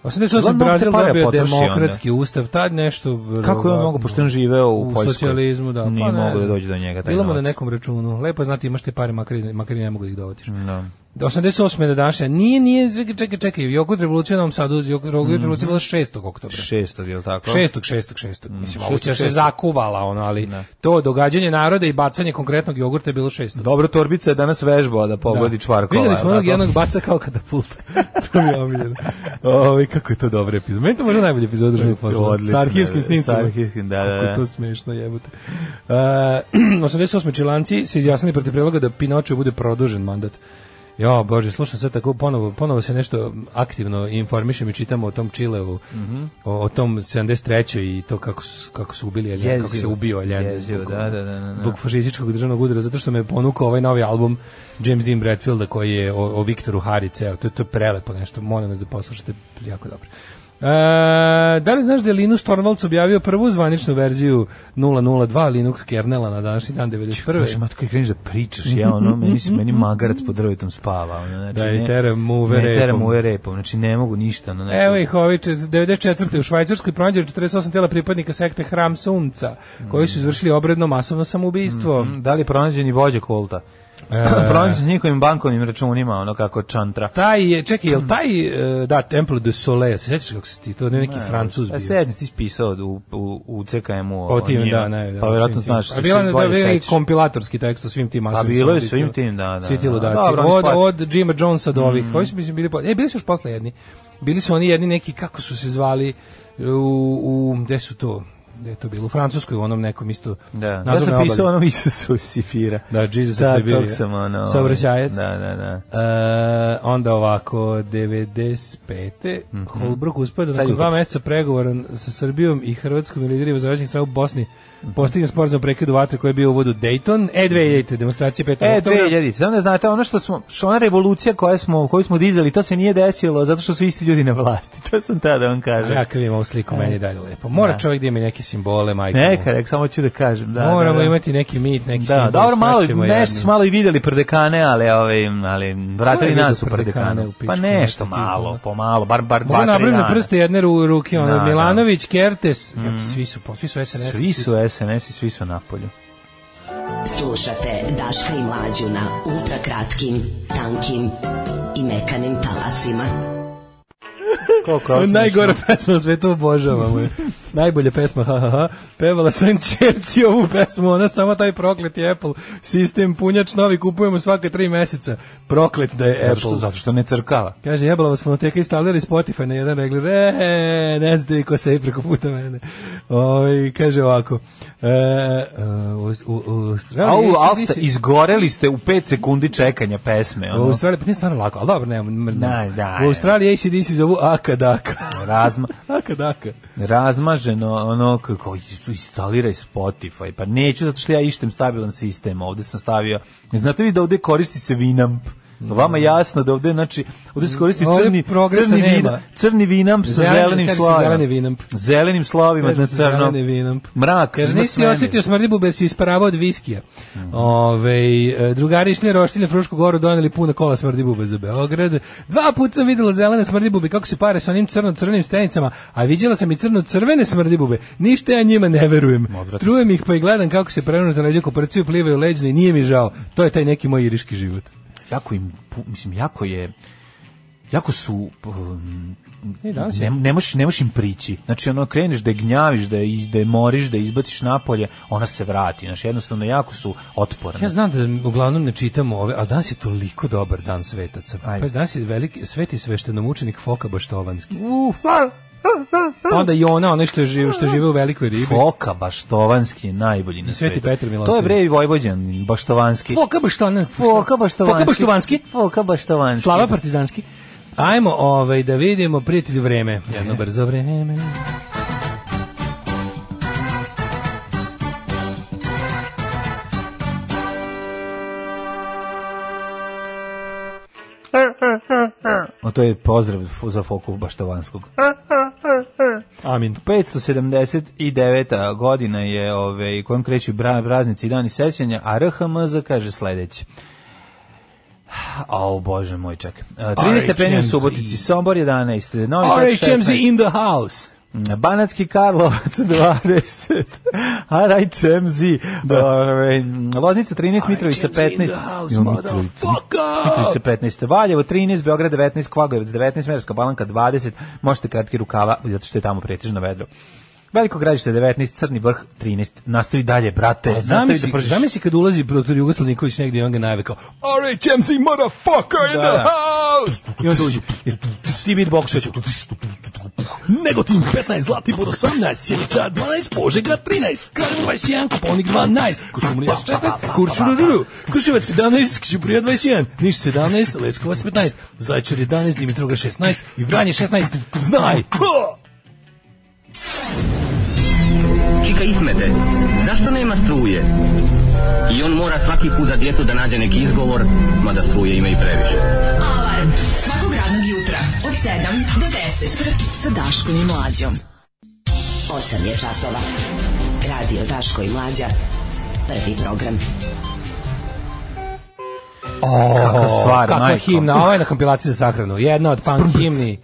F: 88.
G: Gordon
F: Brazil
G: Pare
F: dobio
G: potroši onda.
F: demokratski ustav, tad nešto...
G: Kako je on mogao, pošto je on živeo u,
F: u
G: Poljskoj?
F: socijalizmu, da.
G: Nije
F: pa ne
G: mogao da
F: znam.
G: dođe do njega taj
F: Bilo mu na
G: novac.
F: nekom računu. Lepo je znati imaš te pare, makar, i- makar i ne mogu da ih dovodiš.
G: Da.
F: 88. do današnja. Nije, nije, čekaj, čekaj, čekaj. Jogurt revolucija u Novom Sadu, Jogurt revolucija je bila 6. oktobra.
G: Mhm. Šestog, je li tako?
F: Šestog, šestog, šestog. Mislim,
G: šestog,
F: ovuća se
G: šestog.
F: zakuvala, ono, ali to događanje naroda i bacanje konkretnog jogurta je bilo šestog.
G: Dobro, torbica je danas vežbao da pogodi čvarkova.
F: Videli smo
G: je li
F: onog
G: tako?
F: jednog baca kao katapult. to mi je omiljeno.
G: Ovaj kako je to dobar epizod.
F: Meni to možda najbolji epizod državnog posla.
G: Odlično,
F: sa arhivskim
G: da,
F: snimcima.
G: sa arhivskim, da, da,
F: Kako je
G: da.
F: to smešno jebote. Uh, 88. čilanci se izjasnili protiv predloga da Pinočeo bude produžen mandat. Jo, bože, slušam sad tako ponovo, ponovo se nešto aktivno informišem i čitamo o tom Čileu,
G: Mhm.
F: o, o tom 73. i to kako su, kako su ubili Aljen, kako se
G: Jezivo.
F: ubio Aljen.
G: Jezivo,
F: zbog-
G: da, da, da, da, da.
F: Zbog fašističkog državnog udara, zato što me ponukao ovaj novi album James Dean Bradfielda koji je o, o Viktoru Hari ceo. To, je- to je prelepo nešto, molim vas da poslušate, jako dobro. E, da li znaš da je Linus Torvalds objavio prvu zvaničnu verziju 002 Linux kernela na današnji dan 91.
G: Kaže, matko, kreneš da pričaš, ja ono, meni, se- meni magarac pod drvetom spava. Ono, znači,
F: Da, i
G: ne-
F: tera muve
G: ne, tera
F: repom.
G: muve repom, znači ne mogu ništa. Ono, znači,
F: Evo ih ovi, čet- 94. u Švajcarskoj pronađeno 48 tela pripadnika sekte Hram Sunca, koji su izvršili obredno masovno samoubistvo.
G: Mm, Da li je pronađen i vođa kolta?
F: E,
G: pronađen s njihovim bankovnim računima, ono kako čantra.
F: Taj je, čekaj, jel taj, e, da, Temple de Soleil, se sjećaš kako si ti, to je neki francuz bio.
G: A sedmi E, ti ispisao u, u, u CKM-u.
F: O tim,
G: ono, njima.
F: da, ne, da.
G: Pa vjerojatno
F: svim tim.
G: znaš,
F: A bila
G: se
F: je
G: bolje
F: da je
G: sećaš.
F: kompilatorski tekst o svim tim
G: Pa
F: masovnim.
G: bilo je svim
F: samobistvima.
G: tim, da, da.
F: Svi ti
G: da.
F: ludaci.
G: Dobro, oni pa- Mm.
F: od,
G: spad-
F: od Jima Jonesa do ovih. Koji su mislim bili po... E, bili su još posle jedni. Bili su oni jedni neki, kako su se zvali, u, u gde su to? Gde je to bilo? U Francuskoj, u onom nekom isto
G: Da. Ja
F: nazornoj
G: sam
F: obali.
G: pisao ono Isusu Sifira.
F: Da, Jesus of
G: da,
F: Siberia.
G: tog sam ono...
F: Saobraćajac.
G: Da, da, da.
F: E, onda ovako 95. Holbrooke uspio da
G: Mhm. Sad
F: nakon
G: je
F: dva
G: uhapšen.
F: meseca pregovora sa Srbijom i Hrvatskom i liderima zavećnih strana u Bosni
G: Mhm.
F: postigne sporazum o prekidu vatre koji je bio u vodu Dayton. E, 2000. demonstracije 5.
G: E,
F: oktobra.
G: 2000, samo da znate, ono što smo, što ona revolucija koja smo, koju smo dizali, to se nije desilo zato što su isti ljudi na vlasti, to sam tada vam
F: A Ja
G: kažem.
F: kad vidim ovu sliku, meni je dalje lepo. Mora
G: E. Da.
F: čovjek da ima i neke simbole, majke. mu.
G: Neka, rek, samo ću da kažem. Da,
F: Moramo
G: da, da.
F: imati neki mit, neki
G: Da,
F: simbol.
G: dobro,
F: šta
G: malo,
F: ćemo
G: nešto
F: jadni.
G: su malo i vidjeli prdekane, ali, ovaj, ali vratili
F: Ko je
G: nas u
F: vidio prdekane
G: prdekane.
F: u pičku,
G: Pa
F: nešto
G: nešto
F: ti, ono.
G: malo, pomalo, bar, bar dva,
F: Mogu
G: tri
F: napraviti na
G: dana.
F: prste jedne ru, ruke, ono,
G: Da, da.
F: Milanović, Kertes, svi su, po- svi su SNS.
G: Svi su SNS i svi su napolju.
E: Slušate Daška i Mlađu na ultra kratkim, tankim i mekanim talasima.
G: Koliko je ovo
F: Najgora pesma na svetu obožavamo je. Najbolja pesma, ha, ha, ha. Pevala sam čerci ovu pesmu, ona samo taj prokleti Apple. Sistem punjač novi kupujemo svake tri meseca. Proklet da je
G: Zato što,
F: Apple.
G: zato što ne crkava.
F: Kaže, jebala vas fonoteka instalirali Spotify na jedan regler. E, ne znate vi ko se preko puta mene. Oj, kaže ovako. E, e, u, u, u
G: A
F: Australiji...
G: u Alsta, izgoreli ste u 5 sekundi čekanja pesme.
F: U
G: Ono,
F: Australiji, pa nije stvarno lako, ali dobro, nema. nema.
G: Da, da,
F: u Australiji ACDC zovu Akadaka.
G: razma,
F: Akadaka.
G: razmaženo, ono, kako, instaliraj Spotify. Pa neću, zato što ja ištem stabilan sistem. Ovde sam stavio, znate vi da ovde koristi se Winamp. Vama jasno da ovde, znači, ovde se koristi
F: Ovde
G: crni,
F: progresa
G: crni,
F: nema.
G: vina, crni Winamp sa
F: Zeleni-
G: zelenim
F: kaže se
G: slovima.
F: zeleni Winamp.
G: Zelenim slovima
F: Kaže
G: na
F: se
G: crnom.
F: zeleni Winamp.
G: Mrak,
F: Kaže,
G: ima Mhm.
F: nisi
G: svemir.
F: osjetio smrdi bube, si isparavao od viskija. Ovej, e, drugari išli roštilje na Frušku goru, doneli puna kola smrdi bube za Beograd. Dva puta sam videla zelene smrdi bube, kako se pare sa onim crno-crvenim stenicama, a vidjela sam i crno-crvene smrdi bube. Ništa ja njima ne verujem. Trujem ih pa i gledam kako se prenužno leđe koprciju, plivaju leđno i nije mi žao. To je taj neki moj iriški život.
G: jako im, pu- mislim, jako je, jako su, um,
F: I danas
G: ne,
F: je.
G: ne, možeš, ne možeš im prići. Znači, ono, kreneš da je gnjaviš, da je, iz- da je moriš, da je izbaciš napolje, ona se vrati. Znači, jednostavno, jako su otporne.
F: Ja znam da uglavnom ne čitamo ove, a danas je toliko dobar dan svetaca.
G: Ajde.
F: Pa danas je veliki sveti sveštenomučenik Foka Baštovanski.
G: Uf,
F: Pa onda i ona, onaj što je živo, što žive u velikoj ribi.
G: Foka Baštovanski je najbolji na
F: Sveti
G: svetu.
F: Petar
G: to je
F: Milosrdni.
G: bre i Vojvođan Baštovanski.
F: Foka Baštovanski.
G: Foka Baštovanski.
F: Foka Baštovanski.
G: Foka Baštovanski.
F: Slava Partizanski. Ajmo ovaj, da vidimo prijatelju vreme. Jedno brzo vreme.
G: O, to je pozdrav f- za Foku Baštovanskog.
F: Amin.
G: 579. godina je ovaj, ove, kojom kreću bra, braznici i dani sećanja, a RHMZ kaže sledeće. O, bože moj, čak. 13 stepeni u
F: RHMZ.
G: Subotici, Sombor 11, Novi Sad
F: RHMZ
G: 16,
F: in the house.
G: Banatski Karlovac 20, RHMZ, ovaj, Loznica 13, Mitrovica
F: RHMZ in
G: 15,
F: the house,
G: Jo,
F: motherfucker.
G: Mitrovica 15, Valjevo 13, Beograd 19, Kvagojevac 19, Merska Balanka 20, možete kratki rukava, zato što je tamo pretežno vedro. Veliko gradište 19, Crni vrh 13, nastavi dalje, brate,
F: A
G: nastavi da
F: zamisli,
G: pržiš.
F: zamisli kad ulazi protor Jugoslav Nikolić negdje i on ga najave kao RHMZ motherfucker in
G: Da,
F: the
G: da.
F: house! I on suđe, jer ti beatbox već. Negotin 15, Zlatibor 18, Sjenica 12, Požega 13, Kraljevo 21, Koponik 12, Košumlija 16, Kuršururu, Kuševac 17, Kćuprija 21, Niš 17, Leskovac 15, Zajčar 11, Dimitroga 16 i Vranje 16, znaj! Ha!
H: Čika Ismete, zašto nema struje? I on mora svaki put za djetu da nađe neki izgovor, mada struje ima i previše.
E: Alarm. Svakog radnog jutra od 7 do 10. Sa Daškom i Mlađom.
I: 8 je časova. Radio Daško i Mlađa. Prvi program.
G: Kakva stvar,
F: kakva
G: majko.
F: himna, ovo je na kompilaciji za sahranu. Jedna od punk himni.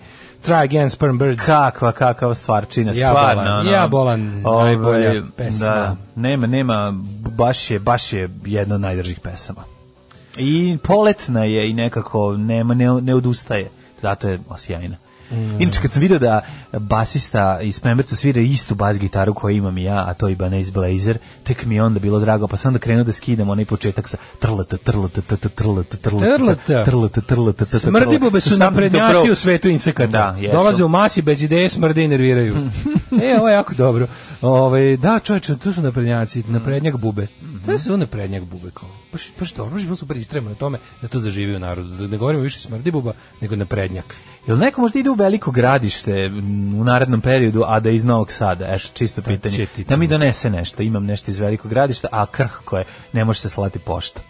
F: Try again, Sperm Bird.
G: kakva kakva stvarčina
F: Ja
G: stvarno
F: bolan,
G: ono.
F: ja bolan,
G: Ovaj,
F: najbolja pesma.
G: da, nema nema baš je baš je jedna od najdržih pesama i poletna je i nekako nema ne, ne odustaje zato je sjajna
F: Mm.
G: Inače, kad sam vidio da basista iz Pemberca svira istu bas gitaru koju imam i ja, a to je Ibanez Blazer, tek mi je onda bilo drago, pa sam onda krenuo da skidam onaj početak sa trlata, trlata, trlata, trlata,
F: Trlata.
G: trlata, trlata, trlata, trlata.
F: Smrdibobe su
G: Sam to
F: naprednjaci
G: prvo-
F: u svetu insekata.
G: Da, jesu. Hmm.
F: Dolaze u masi bez ideje, smrde i nerviraju. e, ovo je jako dobro. Ove, da, čovječe, tu su naprednjaci,
G: Hmm.
F: naprednjak bube. To su naprednjak bube kao. Baš, baš dobro, baš bilo super istrema na tome da to zaživi u narodu. Da ne govorimo više smrdibuba, nego naprednjak.
G: Jel neko možda ide u veliko gradište m, u narednom periodu, a da je iz Novog Sada? Eš, čisto
F: će
G: pitanje.
F: ti
G: Da mi donese nešto, imam nešto iz velikog gradišta, a krhko je, ne može se slati pošta.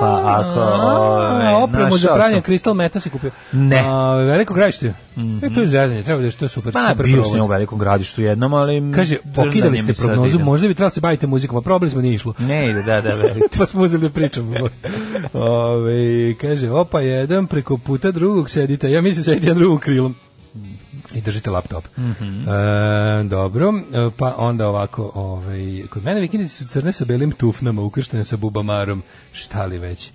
G: Pa ako... ove,
F: A, opremu za
G: našao
F: pranje
G: sam-
F: kristal meta se kupio.
G: Ne.
F: A, veliko gravište. E, to je zezanje, treba da je što super,
G: Pa,
F: super
G: bio
F: provod.
G: sam ja u velikom gradištu jednom, ali...
F: Kaže, pokidali
G: drndanje
F: ste
G: mi sad
F: prognozu,
G: ide.
F: možda bi trebalo se baviti muzikom, a probali smo nije išlo.
G: Ne ide, da, da, verujte.
F: pa smo uzeli da pričamo. Ove, kaže, opa, jedan preko puta drugog sedite, ja mislim sedite jedan drugom krilom. I držite laptop. E, dobro, e, pa onda ovako, ovaj, kod mene vikendice su crne sa belim tufnama, ukrštene sa bubamarom, šta li već.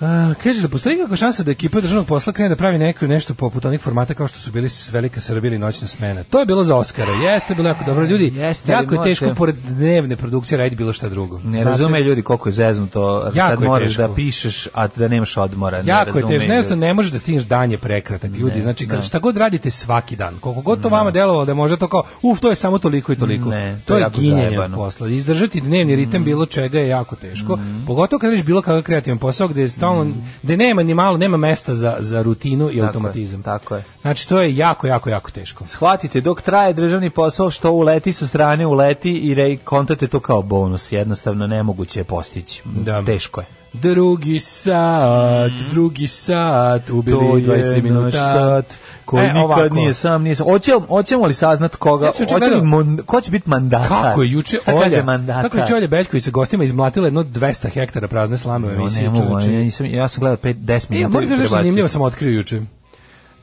F: A, kaže da postoji kakva šansa da ekipa državnog posla krene da pravi neko nešto poput onih formata kao što su bili s Velika Srbija ili Noćna smena. To je bilo za Oscara. Jeste bilo jako dobro ljudi.
G: Jeste, ali
F: jako je
G: morate-
F: teško pored dnevne produkcije raditi bilo šta drugo.
G: Ne
F: Znate?
G: razume ljudi koliko je zeznuto
F: Jako
G: kad
F: je
G: moraš
F: teško.
G: da pišeš, a da nemaš odmora. ne
F: Jako je
G: razumeju
F: teško,
G: ljudi.
F: nešto ne možeš da stigneš dan je prekratak, ljudi. znači, kad, šta god radite svaki dan, koliko god to vama delovalo da je možda to kao, uf, to je samo toliko i toliko.
G: Ne,
F: to,
G: to je
F: je
G: jako
F: ginjenje od
G: zajebano. Mm.
F: posla. Izdržati dnevni ritam bilo čega je jako teško. Pogotovo kad radiš bilo kakav kreativan posao gde, je stalno, gde nema ni malo, nema mesta za, za rutinu i
G: Mm. Tako je,
F: automatizam.
G: Tako je.
F: Znači, to je jako, jako, jako teško.
G: Shvatite, dok traje državni posao, što uleti sa strane, uleti i re, kontate to kao bonus. Jednostavno nemoguće je postići.
F: Da.
G: Teško je.
F: Drugi sat, drugi sat, ubili
G: Mm. To je 23
F: je
G: minuta
F: naš
G: sat koji
F: E,
G: nikad
F: ovako.
G: nije sam, nije sam. Hoćemo, hoćemo li saznat koga?
F: Ja sam juče
G: Hoće li
F: gledao-
G: mon- ko će biti mandatar?
F: Kako je juče
G: Šta kaže
F: Olja,
G: mandatar?
F: kako je juče Olja Bećković sa gostima izmlatila jedno 200 hektara prazne slame u
G: No,
F: emisiji
G: ne mogu,
F: čoveče.
G: ja, nisam, ja sam gledao 5-10
F: E,
G: minuta.
F: moram
G: i
F: da nešto
G: prebacio
F: zanimljivo
G: sam.
F: sam otkrio juče.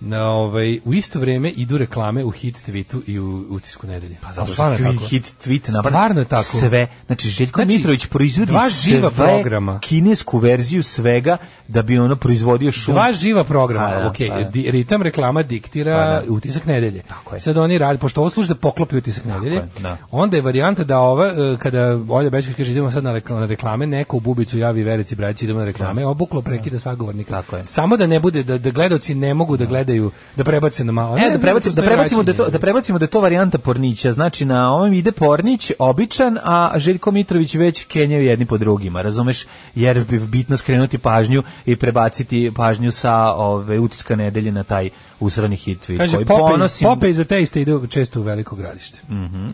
F: Na, ovaj, u isto vrijeme idu reklame u hit tweetu i u utisku nedelje. Pa
G: Zato što je hit tweet napravio.
F: Stvarno je tako.
G: Sve, znači Željko
F: Znači,
G: Mitrović proizvodi
F: dva živa
G: sve
F: programa.
G: kinesku verziju svega da bi ono proizvodio šum.
F: Dva živa programa,
G: Pa da,
F: ok,
G: pa da. Pa
F: di- ritam reklama diktira utisak nedelje.
G: Tako je.
F: Sad oni rade, pošto ovo služi da poklopi utisak nedelje,
G: je, da.
F: onda je varijanta da ova, e, kada Olja Bečković kaže idemo sad na rekla- na reklame, neko u bubicu javi Verici Braći idemo na reklame, obuklo prekida sagovornika.
G: Tako je.
F: Samo da ne bude, da, da gledaoci ne mogu da gledaju, da prebace na malo.
G: E, da prebacimo, da
F: postoji
G: prebacimo da je to
F: vraćanje.
G: da prebacimo da je to varijanta Pornića. Znači na ovom ide Pornić običan, a Željko Mitrović već kenjaju jedni po drugima, razumeš? Jer bi bitno skrenuti pažnju i prebaciti pažnju sa ove utiska nedelje na taj usrani hit tweet
F: Kaže,
G: koji
F: pope, iz-
G: ponosim.
F: pope iza teiste ide često u veliko gradište.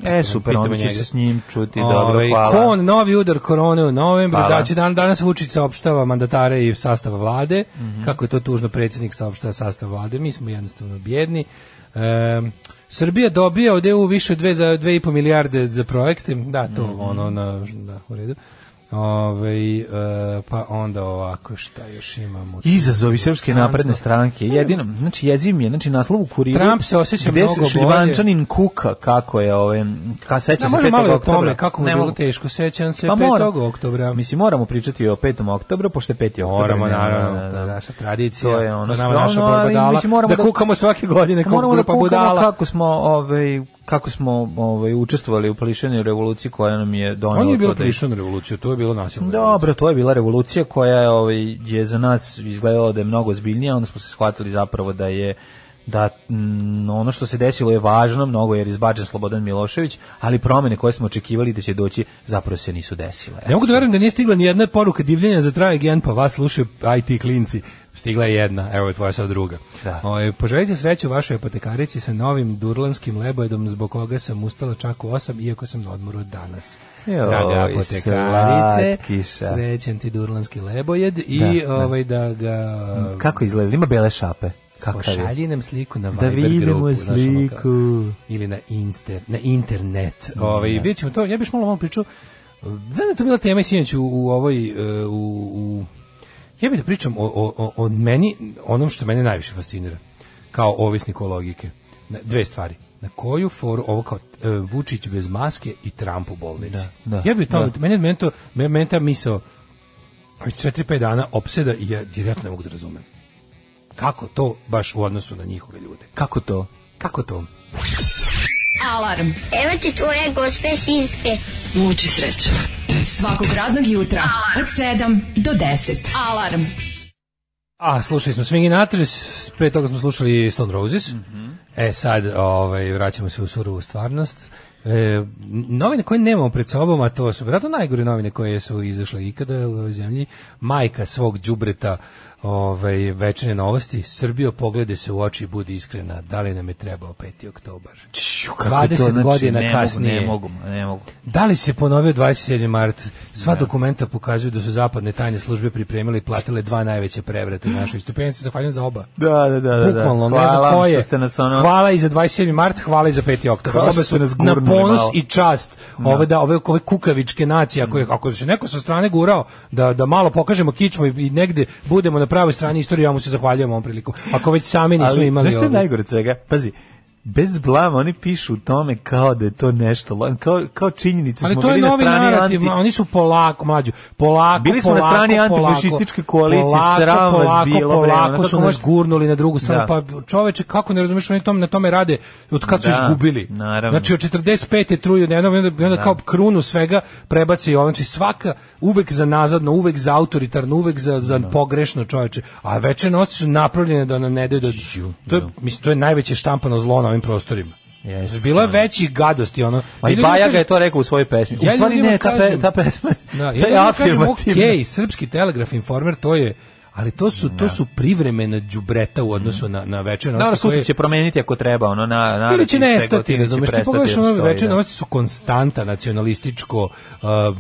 G: E, super,
F: Pitamo
G: onda ću
F: njega.
G: se s njim čuti, dobro,
F: Ovaj,
G: hvala.
F: Kon, novi udar korone u novembru,
G: Hvala.
F: da će dan, danas Vučić saopštava mandatare i sastava vlade,
G: Mhm.
F: kako je to tužno predsjednik saopštava sastav vlade, mi smo jednostavno bjedni. Ehm, Srbija E dobija
G: Mhm.
F: od EU više od 2,5 milijarde za projekte, da, to ono, na, da, u redu. Ove, pa onda ovako šta još imamo.
G: Izazovi srpske napredne stranke. Jedino, znači jeziv mi je, znači naslov u kuriru.
F: Trump se osjeća
G: gde
F: mnogo
G: se Šljivančanin kuka kako je ovaj ka seća
F: Da,
G: se 5.
F: može malo i o
G: oktobra.
F: tome, kako mu je
G: Ne
F: bilo
G: mogu.
F: teško, sećam se
G: Pa
F: 5.
G: moram.
F: oktobra.
G: Mislim moramo pričati i o 5. oktobru pošto je 5. oktobar.
F: Moramo,
G: ne,
F: naravno,
G: da, da,
F: to je
G: da.
F: naša tradicija,
G: To je ono
F: to je nama
G: skromno,
F: naša
G: ali
F: borba dala,
G: mislim, moramo Pa
F: da kukamo svake godine kao
G: moramo da
F: grupa
G: kukamo
F: budala.
G: Kako smo, ovaj, kako smo ovaj, učestvovali u plišenju revoluciji koja nam je donela.
F: On nije bilo
G: to da je-
F: prišao na revoluciju, to je bilo nasilno.
G: Dobro, to je bila revolucija koja je, ovaj, je za nas izgledala da je mnogo zbiljnija, onda smo se shvatili zapravo da je da mm, ono što se desilo je važno mnogo jer je izbačen Slobodan Milošević, ali promene koje smo očekivali da će doći zapravo se nisu desile.
F: Ne mogu da verujem da nije stigla ni jedna poruka divljenja za traje gen, pa vas slušaju IT klinci. Stigla je jedna, evo je tvoja sad druga.
G: Da.
F: Oj, poželite sreću vašoj apotekarici sa novim durlanskim lebojedom zbog koga sam ustala čak u 8, iako sam na odmoru danas.
G: Joj,
F: Drage apotekarice,
G: slatkiša.
F: srećan ti durlanski lebojed i
G: Da, da.
F: ovaj da ga
G: Kako izgleda? Ima bele šape. Kakav je?
F: Pošalji nam sliku na
G: Da
F: Viber
G: vidimo
F: grupu, znaš, ono kao-
G: sliku.
F: ili na, inster, na internet. Ovaj, vidjet ćemo to, ja bih još malo vam pričao, znam da je to bila tema i sinoć u, u ovoj, e, u, u, ja bih da pričam o, o, o, o meni, onom što mene najviše fascinira, kao ovisniku logike. Na, dve stvari. Na koju foru, ovo kao e, Vučić bez maske i Trump u bolnici.
G: da,
F: ja bih to,
G: da.
F: meni, meni, to, meni, meni ta misao, već 4-5 dana opseda i ja direktno ne mogu da razumem. Kako to baš u odnosu na njihove ljude?
G: Kako to?
F: Kako to?
E: Alarm.
J: Evo ti tvoje gospe sinske.
E: Muči sreće. Svakog radnog jutra od 7 do 10. Alarm.
F: A, slušali smo Swingin' Atres, pre toga smo slušali Stone Roses. E, sad ovaj, vraćamo se u surovu stvarnost. E, novine koje nemamo pred sobom, a to su vjerojatno najgore novine koje su izašle ikada u ovoj zemlji, majka svog đubreta ovaj, večerne novosti, Srbijo poglede se u oči i budi iskrena, da li nam je trebao 5. oktobar?
G: Ću,
F: 20 godina
G: znači, ne mogu,
F: kasnije.
G: Ne mogu, ne mogu.
F: Da li se ponovio 27. mart? Sva dokumenta pokazuju da su zapadne tajne službe pripremile i platile dva najveće prevrata u našoj istoriji. Ja se zahvaljujem za oba.
G: Da, da, da. da, da.
F: Bukvalno, ne
G: Hvala
F: znam
G: vam
F: koje.
G: Što ste nas ono...
F: Hvala i za 27. mart, hvala i za 5. oktober.
G: Hvala
F: Obe
G: što
F: su
G: ste nas
F: na
G: gurnuli
F: ponos
G: malo.
F: i čast. Ove, da, ove, ove kukavičke nacije, ako, je, ako se neko sa strane gurao da, da malo pokažemo kičmu i, i negde budemo na pravoj strani istorije, ja mu se zahvaljujem ovom priliku. Ako već sami nismo imali
G: znaš što je
F: ovo.
G: najgore od svega? Pazi, bez blama oni pišu u tome kao da je to nešto, lo- kao, kao činjenice
F: Ali
G: smo
F: to je
G: bili na
F: novi
G: strani
F: narativ, ma,
G: anti...
F: oni su polako, mlađu, polako,
G: Bili smo na
F: polako,
G: strani
F: polako,
G: antifašističke koalicije,
F: polako,
G: sram vas
F: polako,
G: bilo, bre, ono,
F: Polako
G: kako
F: su nas
G: možete-
F: gurnuli na drugu stranu,
G: Da.
F: pa čoveče, kako ne razumiješ, oni tom, na tome rade od kad su
G: Da,
F: izgubili.
G: naravno.
F: Znači, od 45. truju, ne, onda, onda, onda kao krunu svega prebaci i ovo, znači svaka, uvek za nazadno, uvek za autoritarno, uvek za, za pogrešno čoveče, a veče noći su napravljene da nam ne daju da... To je, mislim, to je najveće štampano zlo na ovim prostorima.
G: Jeste,
F: Bilo je
G: stvarno.
F: većih gadosti, ono.
G: Ma i
F: Ili ljudi
G: Bajaga
F: kažu-
G: je to rekao u svojoj pesmi. U
F: ja
G: stvari
F: ljudima
G: ne, ta, pe,
F: kažem-
G: ta pesma
F: Da,
G: ta
F: ja
G: je
F: ljudima kažem,
G: afirmativna.
F: okej, srpski telegraf informer to je ali to su to su privremena đubreta u odnosu na na večernje
G: Naravno,
F: novosti
G: sutra
F: koje-
G: će promeniti ako treba, ono, na, na
F: ili će nestati, razumeš, ti pogledaš ono večernje novosti su konstanta nacionalističko uh,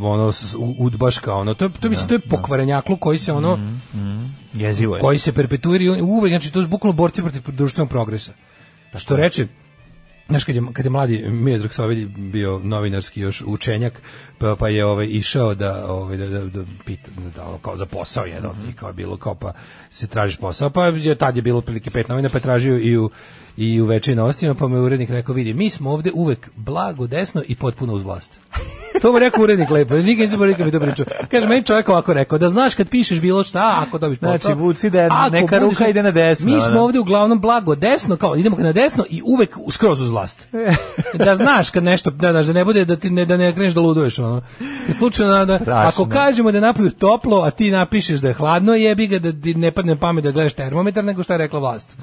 F: ono s- u- udbaška ono to je- to mislim to je pokvarenjaklu koji se ono
G: Mhm. Jezivo je.
F: koji se perpetuira i on- uvek znači to su bukvalno borci protiv društvenog progresa što reče Znaš, kad je, kad je mladi Miodrag Sovelj bio novinarski još učenjak, pa, pa je ovaj, išao da, ovaj, da, da, da pita, da, ono, kao za posao jedan od tih, kao je bilo, kao pa se tražiš posao, pa je, tad je bilo otprilike pet novina, pa je tražio i u, i u večeri novostima, pa mu je urednik rekao, vidi, mi smo ovde uvek blago desno i potpuno uz vlast. To mu je rekao urednik lepo, nikad nisam nikad mi to pričao. Kaže, meni čovjek ovako rekao, da znaš kad pišeš bilo šta, ako dobiš
G: Znači,
F: posao,
G: vuci da je
F: ako
G: neka
F: budeš-
G: ruka ide na desno,
F: Mi smo
G: ono.
F: ovde uglavnom blago desno, kao idemo na desno i uvek skroz uz vlast. Da znaš kad nešto, da, znaš, da ne bude, da, ti ne, da ne kreneš da luduješ. Ono. Kad Slučajno, da, ako kažemo da je napolju toplo, a ti napišeš da je hladno, jebi ga da ti ne padne pamet da gledaš termometar, nego šta je rekla vlast.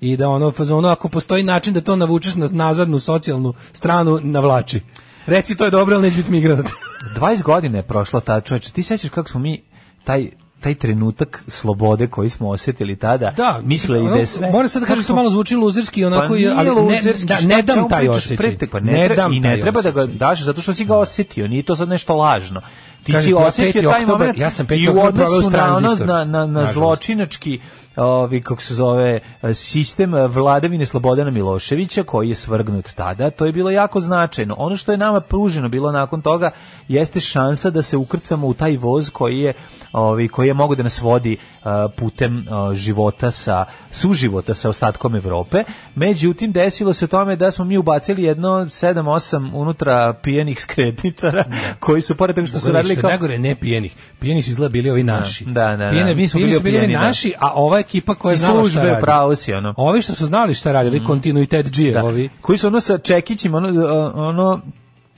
F: I da ono, ono, ako postoji način da to navučeš na nazadnu socijalnu stranu, navlači. Reci to je dobro, ali neće biti migrant.
G: 20 godina je prošlo ta čoveče. Ti sećaš kako smo mi taj taj trenutak slobode koji smo osjetili tada, misle i da je sve.
F: Moram Ono, sad da kažem
G: Kako
F: što
G: smo-
F: malo zvuči luzerski, onako,
G: pa
F: je,
G: nije
F: ali ne,
G: luzerski,
F: da,
G: šta
F: ne
G: ti
F: dam
G: samo
F: taj
G: pričaš
F: osjećaj.
G: pretek, pa ne, treba-
F: dam
G: I ne
F: taj
G: treba da ga
F: osjećaj.
G: daš zato što si ga osjetio, nije to sad nešto lažno. Ti
F: Kažem
G: si
F: ti, ja
G: osetio
F: peti
G: taj
F: oktobar-
G: moment
F: ja sam peti
G: i u
F: oktobar
G: odnosu
F: proveo
G: na, ono,
F: tranzistor.
G: na, na, na
F: Nažalost.
G: zločinački ovi, kako se zove, sistem vladavine Slobodana Miloševića koji je svrgnut tada, to je bilo jako značajno. Ono što je nama pruženo bilo nakon toga jeste šansa da se ukrcamo u taj voz koji je, ovi, koji je mogo da nas vodi eh, putem eh, života sa, suživota sa ostatkom Evrope. Međutim, desilo se tome da smo mi ubacili jedno 7-8 unutra pijenih skretničara koji su, pored toga što su
F: Pogledaj,
G: radili
F: što je
G: kao...
F: najgore ne pijenih. Pijeni su izgleda bili ovi naši.
G: Da, da, da.
F: Pijene,
G: Mi smo bili
F: su bili
G: opijeni,
F: ovi
G: da.
F: naši, a ova ekipa
G: I
F: koja je znala šta
G: službe,
F: radi.
G: pravo si, ono.
F: Ovi što su znali šta radi, ovi kontinuitet džije,
G: Da.
F: ovi.
G: Koji su ono sa čekićima, ono, ono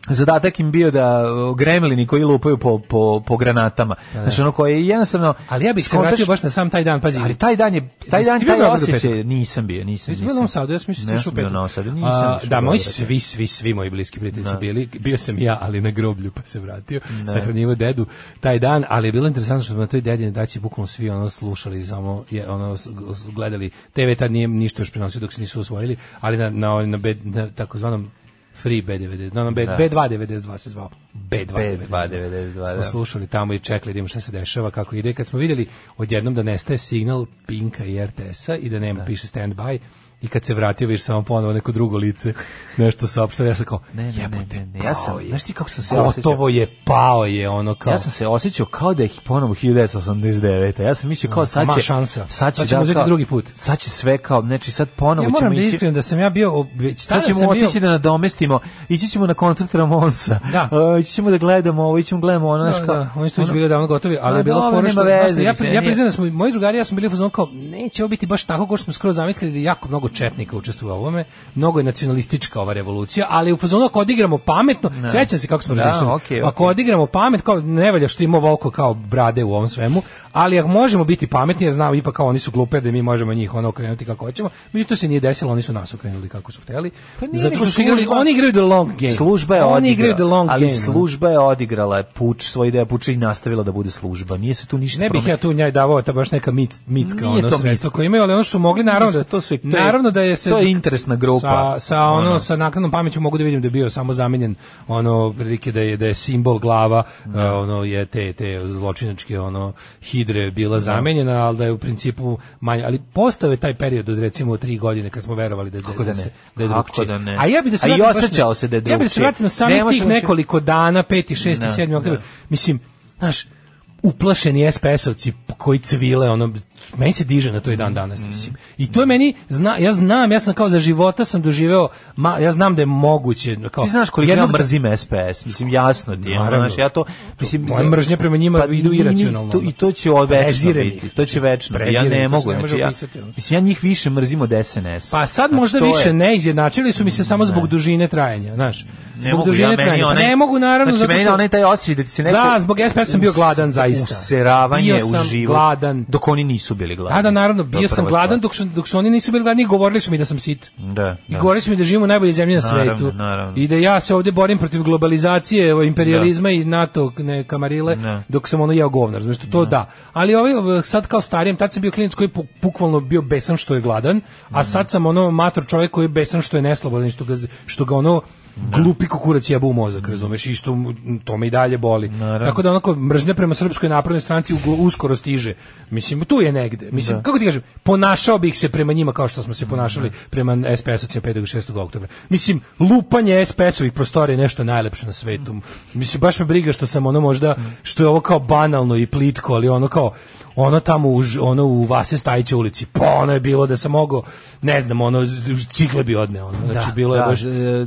G: zadatak im bio da o, gremlini koji lupaju po, po, po granatama. Znači ono koje je jednostavno...
F: Ali ja bih se
G: skontaš-
F: vratio baš na sam taj dan, pazi.
G: Ali taj dan je, taj
F: Jesi
G: dan,
F: ti bio
G: taj
F: u Beogradu
G: osjećaj,
F: petak?
G: nisam bio, nisam,
F: Nisam bio u
G: nisam.
F: Novom Sadu, ja sam mislio da
G: Ne
F: si išao
G: sam
F: u
G: bio u
F: petak.
G: Novom Sadu,
F: A,
G: nisam. išao
F: Da,
G: u
F: moji
G: Beograd.
F: svi, svi, svi moji bliski prijatelji su bili, bio sam i ja, ali na groblju, pa se vratio,
G: Da.
F: sahranjivo dedu taj dan, ali je bilo interesantno što smo na toj dedine daći bukvalno svi ono slušali, samo je, ono s- s- gledali, TV tad nije ništa još prenosio dok se nisu osvojili, ali na, na, na, B, na takozvanom Free B90, no, na B,
G: Da.
F: B292 se zvao. B292.
G: B292,
F: Smo
G: da.
F: slušali tamo i čekali da vidimo šta se dešava, kako ide. Kad smo vidjeli odjednom da nestaje signal Pinka i RTS-a i da nema, piše stand by, i kad se vratio, viš samo ponovo neko drugo lice, nešto saopštava, ja sam kao,
G: Ne, ne,
F: jebote,
G: ne, ne, ne, ja sam-
F: pao je.
G: znaš ti kako sam se
F: Gotovo je, pao je, ono kao,
G: Ja sam se osjećao kao da je ponovo 1989. Ja sam mislio kao sad
F: Ma
G: će...
F: šansa.
G: Sad, će
F: Sad ćemo
G: da,
F: uzeti
G: kao-
F: drugi put.
G: Sad će sve kao, znači sad ponovo
F: ja moram
G: ćemo
F: da
G: ići...
F: iskrenim da sam ja bio, ob- već tada
G: Sad ćemo
F: sam bio,
G: otići da nadomestimo, ići ćemo na koncert Ramonsa,
F: Da.
G: E, ići ćemo da gledamo ovo, ići ćemo gledamo ono, znaš
F: Da,
G: kao...
F: da, oni su već
G: ono-
F: bili davno gotovi, ali
G: Ma
F: je bilo
G: dobro,
F: fora
G: nema
F: što
G: veze,
F: znaš šta, ja,
G: mislim,
F: pri- ja
G: nije-
F: priznam da smo moji drugari ja smo bili u fazonu kao neće ovo biti baš tako kao što smo skoro zamislili, jako mnogo četnika učestvuje u ovome, mnogo je nacionalistička ova revolucija, ali u fazonu ako odigramo pametno, sećam se kako smo
G: Da,
F: razmišljali.
G: okej,
F: Ako
G: okej.
F: odigramo pamet kao ne valja što ima volko kao brade u ovom svemu, ali ako možemo biti pametni, jer znamo ipak kao oni su glupe da mi možemo njih ono okrenuti kako hoćemo. Međutim to se nije desilo, oni su nas okrenuli kako su hteli.
G: Pa nije,
F: Zato
G: nego
F: što su igrali,
G: služba-
F: oni igraju the long game.
G: Služba je
F: oni
G: odigrala,
F: igraju the long
G: ali
F: game. ono.
G: služba je odigrala je puč, svoj ideja puča i nastavila da bude služba. Nije se tu ništa
F: Ne bih ja tu njaj davao ta baš neka mic, micka
G: Nije
F: ono
G: to
F: sredstvo
G: micka.
F: koje imaju, ali ono što su mogli naravno da
G: To su- to je-
F: naravno da je se
G: to je interesna grupa.
F: Sa, sa ono,
G: Ono.
F: sa naknadnom pameću mogu da vidim da je bio samo zamenjen ono prilike da je da je simbol glava e, ono je te te zločinačke ono hidre bila zamenjena, ali da je u principu manje, ali postao je taj period od recimo tri godine kad smo verovali da
G: Kako
F: da,
G: da ne?
F: se da je
G: Kako
F: drugčije.
G: da ne?
F: A ja bih da se
G: A i
F: vratim baš na-
G: osjećao se da je
F: Ja bih da se
G: drugčije.
F: vratim na
G: Ne
F: samih
G: možemo
F: tih
G: uopće-
F: nekoliko dana, 5. 6.
G: Da,
F: 7. oktobar.
G: da.
F: Mislim, znaš, uplašeni SPS-ovci koji civile, ono, meni se diže na to
G: Mm,
F: dan danas, mislim. I to je meni, zna, ja znam, ja sam kao za života sam doživeo, ma, ja znam da je moguće. Kao,
G: Ti znaš koliko
F: jednog-
G: ja mrzim SPS, mislim jasno ti je,
F: Naravno.
G: znaš, ja to mislim
F: Moje mržnje prema njima idu
G: ni- ni-
F: iracionalno,
G: To,
F: ono.
G: I to će od večno
F: Prezirem
G: biti,
F: ih.
G: to će večno. biti. Ja
F: Prezirem,
G: ne
F: to se
G: mogu,
F: ne može
G: znači ja,
F: opisati, ono.
G: mislim ja njih više mrzim od SNS.
F: Pa sad
G: Znači,
F: možda
G: to je- Mm,
F: više ne izjednačili su mi se samo zbog dužine trajanja, znaš. Zbog
G: Ne mogu, ja,
F: dužine
G: meni
F: trajanja. Pa
G: onaj-
F: ne mogu naravno
G: znači,
F: zato
G: meni
F: što
G: onaj taj osjećaj da ti se neko...
F: Da, zbog SPS sam bio gladan, zaista.
G: Useravanje
F: Bio
G: u
F: sam
G: život.
F: gladan.
G: Dok oni nisu bili gladni.
F: Da, da, naravno,
G: To je
F: bio sam
G: prva
F: gladan
G: stvar.
F: dok su, dok su oni nisu bili gladni, govorili su mi da sam sit.
G: Da,
F: I
G: da.
F: govorili su mi da živimo u najboljoj zemlji na
G: Naravno,
F: svetu.
G: naravno.
F: I da ja se ovdje borim protiv globalizacije, evo, imperializma i NATO ne, kamarile,
G: Da.
F: dok sam ono jeo govnar. Znači, to da. Ali ovaj, ovaj, sad kao starijem, tad sam bio klinic koji je bu- bukvalno bio besan što je gladan, a sad sam ono mator čovjek koji je besan što je neslobodan i što ga, što ga ono glupi kukurac jebu u mozak, razumeš, i što mu- to me i dalje boli. Tako da onako mržnja prema srpskoj naprednoj stranci ugo- uskoro stiže. Mislim, tu je negde. Mislim, kako ti kažem, ponašao bih se prema njima kao što smo se ponašali
G: Mhm.
F: prema SPS-ovcima 5. i 6. oktobra. Mislim, lupanje SPS-ovih prostorija je nešto najlepše na svetu. Mislim, baš me briga što sam ono možda,
G: Mhm.
F: što je ovo kao banalno i plitko, ali ono kao, ono tamo u, Ž- ono u Vase Stajića ulici, pa ono je bilo da sam mogao, ne znam, ono, z- cigle bi odneo. Ono. Znači, bilo je
G: da,
F: baš...
G: e,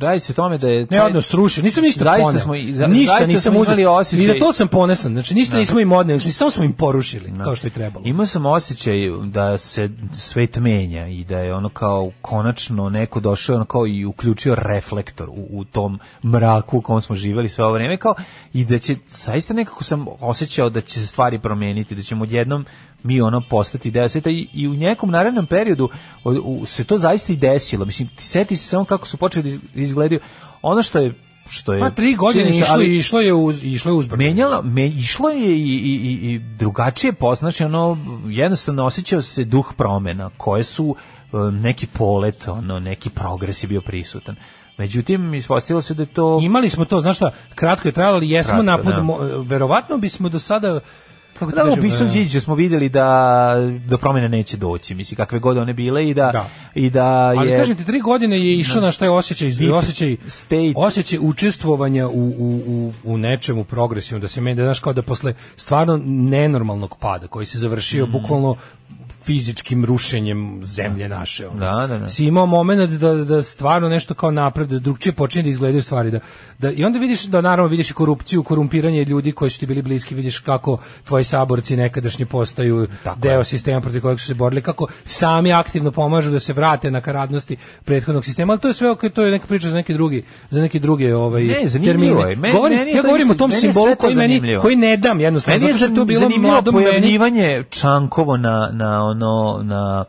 G: Radi se o tome da je...
F: Ne,
G: taj-
F: odnos srušio. Nisam ništa
G: Zaista
F: poneo.
G: smo i- za-
F: ništa
G: zaista
F: nisam
G: smo
F: uzeo.
G: imali osjećaj-
F: Ni na to sam ponesan. Znači ništa nismo im odneli, smo- samo smo im porušili, kao što je trebalo.
G: Imao sam osjećaj da se svet menja i da je ono kao konačno neko došao ono kao i uključio reflektor u, u tom mraku u kom smo živjeli sve ovo vrijeme kao i da će zaista nekako sam osjećao da će se stvari promijeniti, da ćemo odjednom mi ono postati deo sveta i, i u nekom narednom periodu o- u- se to zaista i desilo. Mislim, ti seti se samo kako su počeli da iz- izgledaju. Ono što je što je
F: Ma tri godine
G: činjenica,
F: išlo,
G: ali-
F: išlo je uz, išlo je uzbrdo.
G: Menjalo, me, išlo je i, i, i- i drugačije poznaš, ono, jednostavno osjećao se duh promjena, koje su e, neki polet, ono, neki progres je bio prisutan. Međutim, ispostavilo se da je to...
F: Imali smo to, znaš šta, kratko je trajalo, ali jesmo
G: Kratko,
F: napod,
G: da.
F: mo- verovatno bismo do sada kako ti
G: Da, u
F: kažem,
G: Bisom
F: e,
G: Điđiću smo vidjeli da do promjene neće doći, mislim kakve god one bile i da,
F: Da.
G: i da
F: ali
G: je
F: kažem ti, tri godine je išao na šta je osjećaj,
G: Deep
F: osjećaj,
G: state.
F: osjećaj učestvovanja u, u, u, u nečemu progresivnom, da se meni, da znaš kao da posle stvarno nenormalnog pada koji se završio bukvalno fizičkim rušenjem zemlje naše. ono.
G: Da, da, da.
F: Si imao moment da, da stvarno nešto kao napred, da drugčije počinje da izgledaju stvari. Da, da, I onda vidiš da naravno vidiš i korupciju, korumpiranje ljudi koji su ti bili bliski, vidiš kako tvoji saborci nekadašnji postaju deo sistema protiv kojeg su se borili, kako sami aktivno pomažu da se vrate na karadnosti prethodnog sistema, ali to je sve ok, to je neka priča za neke drugi, za neke druge ovaj
G: Ne, zanimljivo
F: termine.
G: je. Meni-
F: govorim,
G: meni je
F: ja
G: to
F: govorim o
G: isto-
F: tom
G: meni je
F: simbolu
G: sve to
F: koji meni
G: zanimljivo.
F: koji ne dam jednostavno,
G: Meni je
F: zato što je to bilo
G: zanimljivo
F: mladom meni.
G: pojavljivanje Čankova na, na ono, na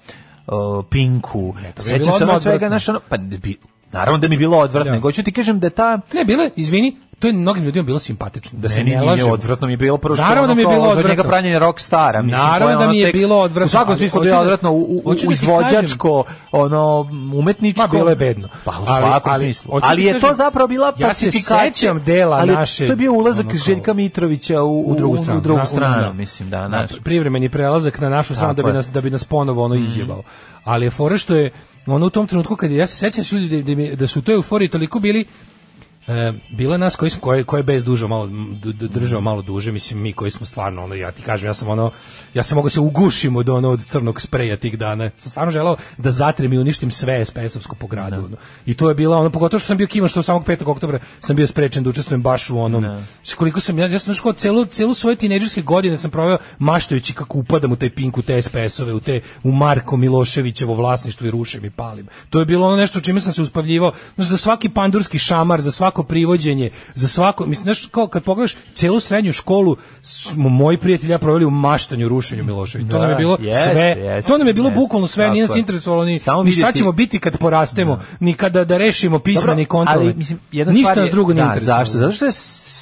G: o, Pinku.
F: to bi
G: Sećam
F: bilo
G: se ono
F: odmah
G: svega,
F: odvratno.
G: znaš, ono, pa bi, naravno da mi je bilo odvratno,
F: Da.
G: nego hoću ti kažem da ta
F: Ne, bilo je, izvini, to je mnogim ljudima bilo simpatično, da se
G: Meni
F: ne
G: nije
F: lažemo.
G: odvratno mi je bilo prvo što
F: Naravno
G: ono
F: da mi je
G: kao
F: bilo
G: od njega
F: odvratno.
G: pranjenje rock stara. Mislim,
F: Naravno
G: koje ono
F: da mi je
G: tek-
F: bilo odvratno,
G: U svakom
F: ali
G: smislu
F: hoću
G: bilo
F: da-
G: odvratno, u, u,
F: hoću
G: u
F: da ti
G: izvođačko, ono, umetničko.
F: Ma, bilo je bedno.
G: Pa u
F: Ali-
G: svakom
F: ali-
G: smislu.
F: hoću
G: Ali
F: ti
G: je to
F: kažem,
G: zapravo bila
F: ja se
G: pacifikacija.
F: sećam dela
G: ali je-
F: naše,
G: To je bio ulazak
F: ono, kao-
G: Željka Mitrovića u, u,
F: u drugu stranu,
G: u drugu
F: na- u-
G: stranu,
F: na-
G: mislim, da,
F: na
G: znaš.
F: privremeni prelazak na našu stranu da
G: Tako
F: bi
G: je. Mhm.
F: nas da bi nas ponovo ono izjebao. Ali je fora što je ono u tom trenutku kad je- ja se sećam da su ljudi da, da, mi- da su u toj euforiji toliko bili E, bilo je nas koji smo koje koje bez dužo malo d- d- držao malo duže mislim mi koji smo stvarno ono ja ti kažem ja sam ono ja se mogu se ugušim od ono od crnog spreja tih dana sam stvarno želeo da zatrem i uništim sve SPS-ovsko po gradu ono. i to je bila ono pogotovo što sam bio kivan što samog 5. oktobra sam bio sprečen da učestvujem baš u onom s koliko sam ja ja sam našao celu celu svoje tinejdžerske godine sam proveo maštajući kako upadam u taj pink u te SPS-ove u te u Marko Miloševićevo vlasništvo i rušim i palim to je bilo ono nešto čime sam se uspavljivao Znaš, za svaki pandurski šamar za svako privođenje za svako mislim znaš kao kad pogledaš celu srednju školu smo moji prijatelji i ja proveli u maštanju rušenju Miloševića to
G: Da,
F: nam je bilo
G: jeste,
F: sve
G: jeste,
F: to nam je bilo
G: jeste.
F: bukvalno sve
G: Tako
F: nije nas
G: je.
F: interesovalo ni,
G: Samo
F: ni šta
G: vidjeti-
F: ćemo biti kad porastemo ni kada da rešimo pismeni ni
G: Dobro,
F: kontrolne
G: Ali, mislim, jedna
F: ništa
G: stvar
F: nas
G: je-
F: drugo nije
G: da,
F: interesovalo
G: Zašto? Zato što je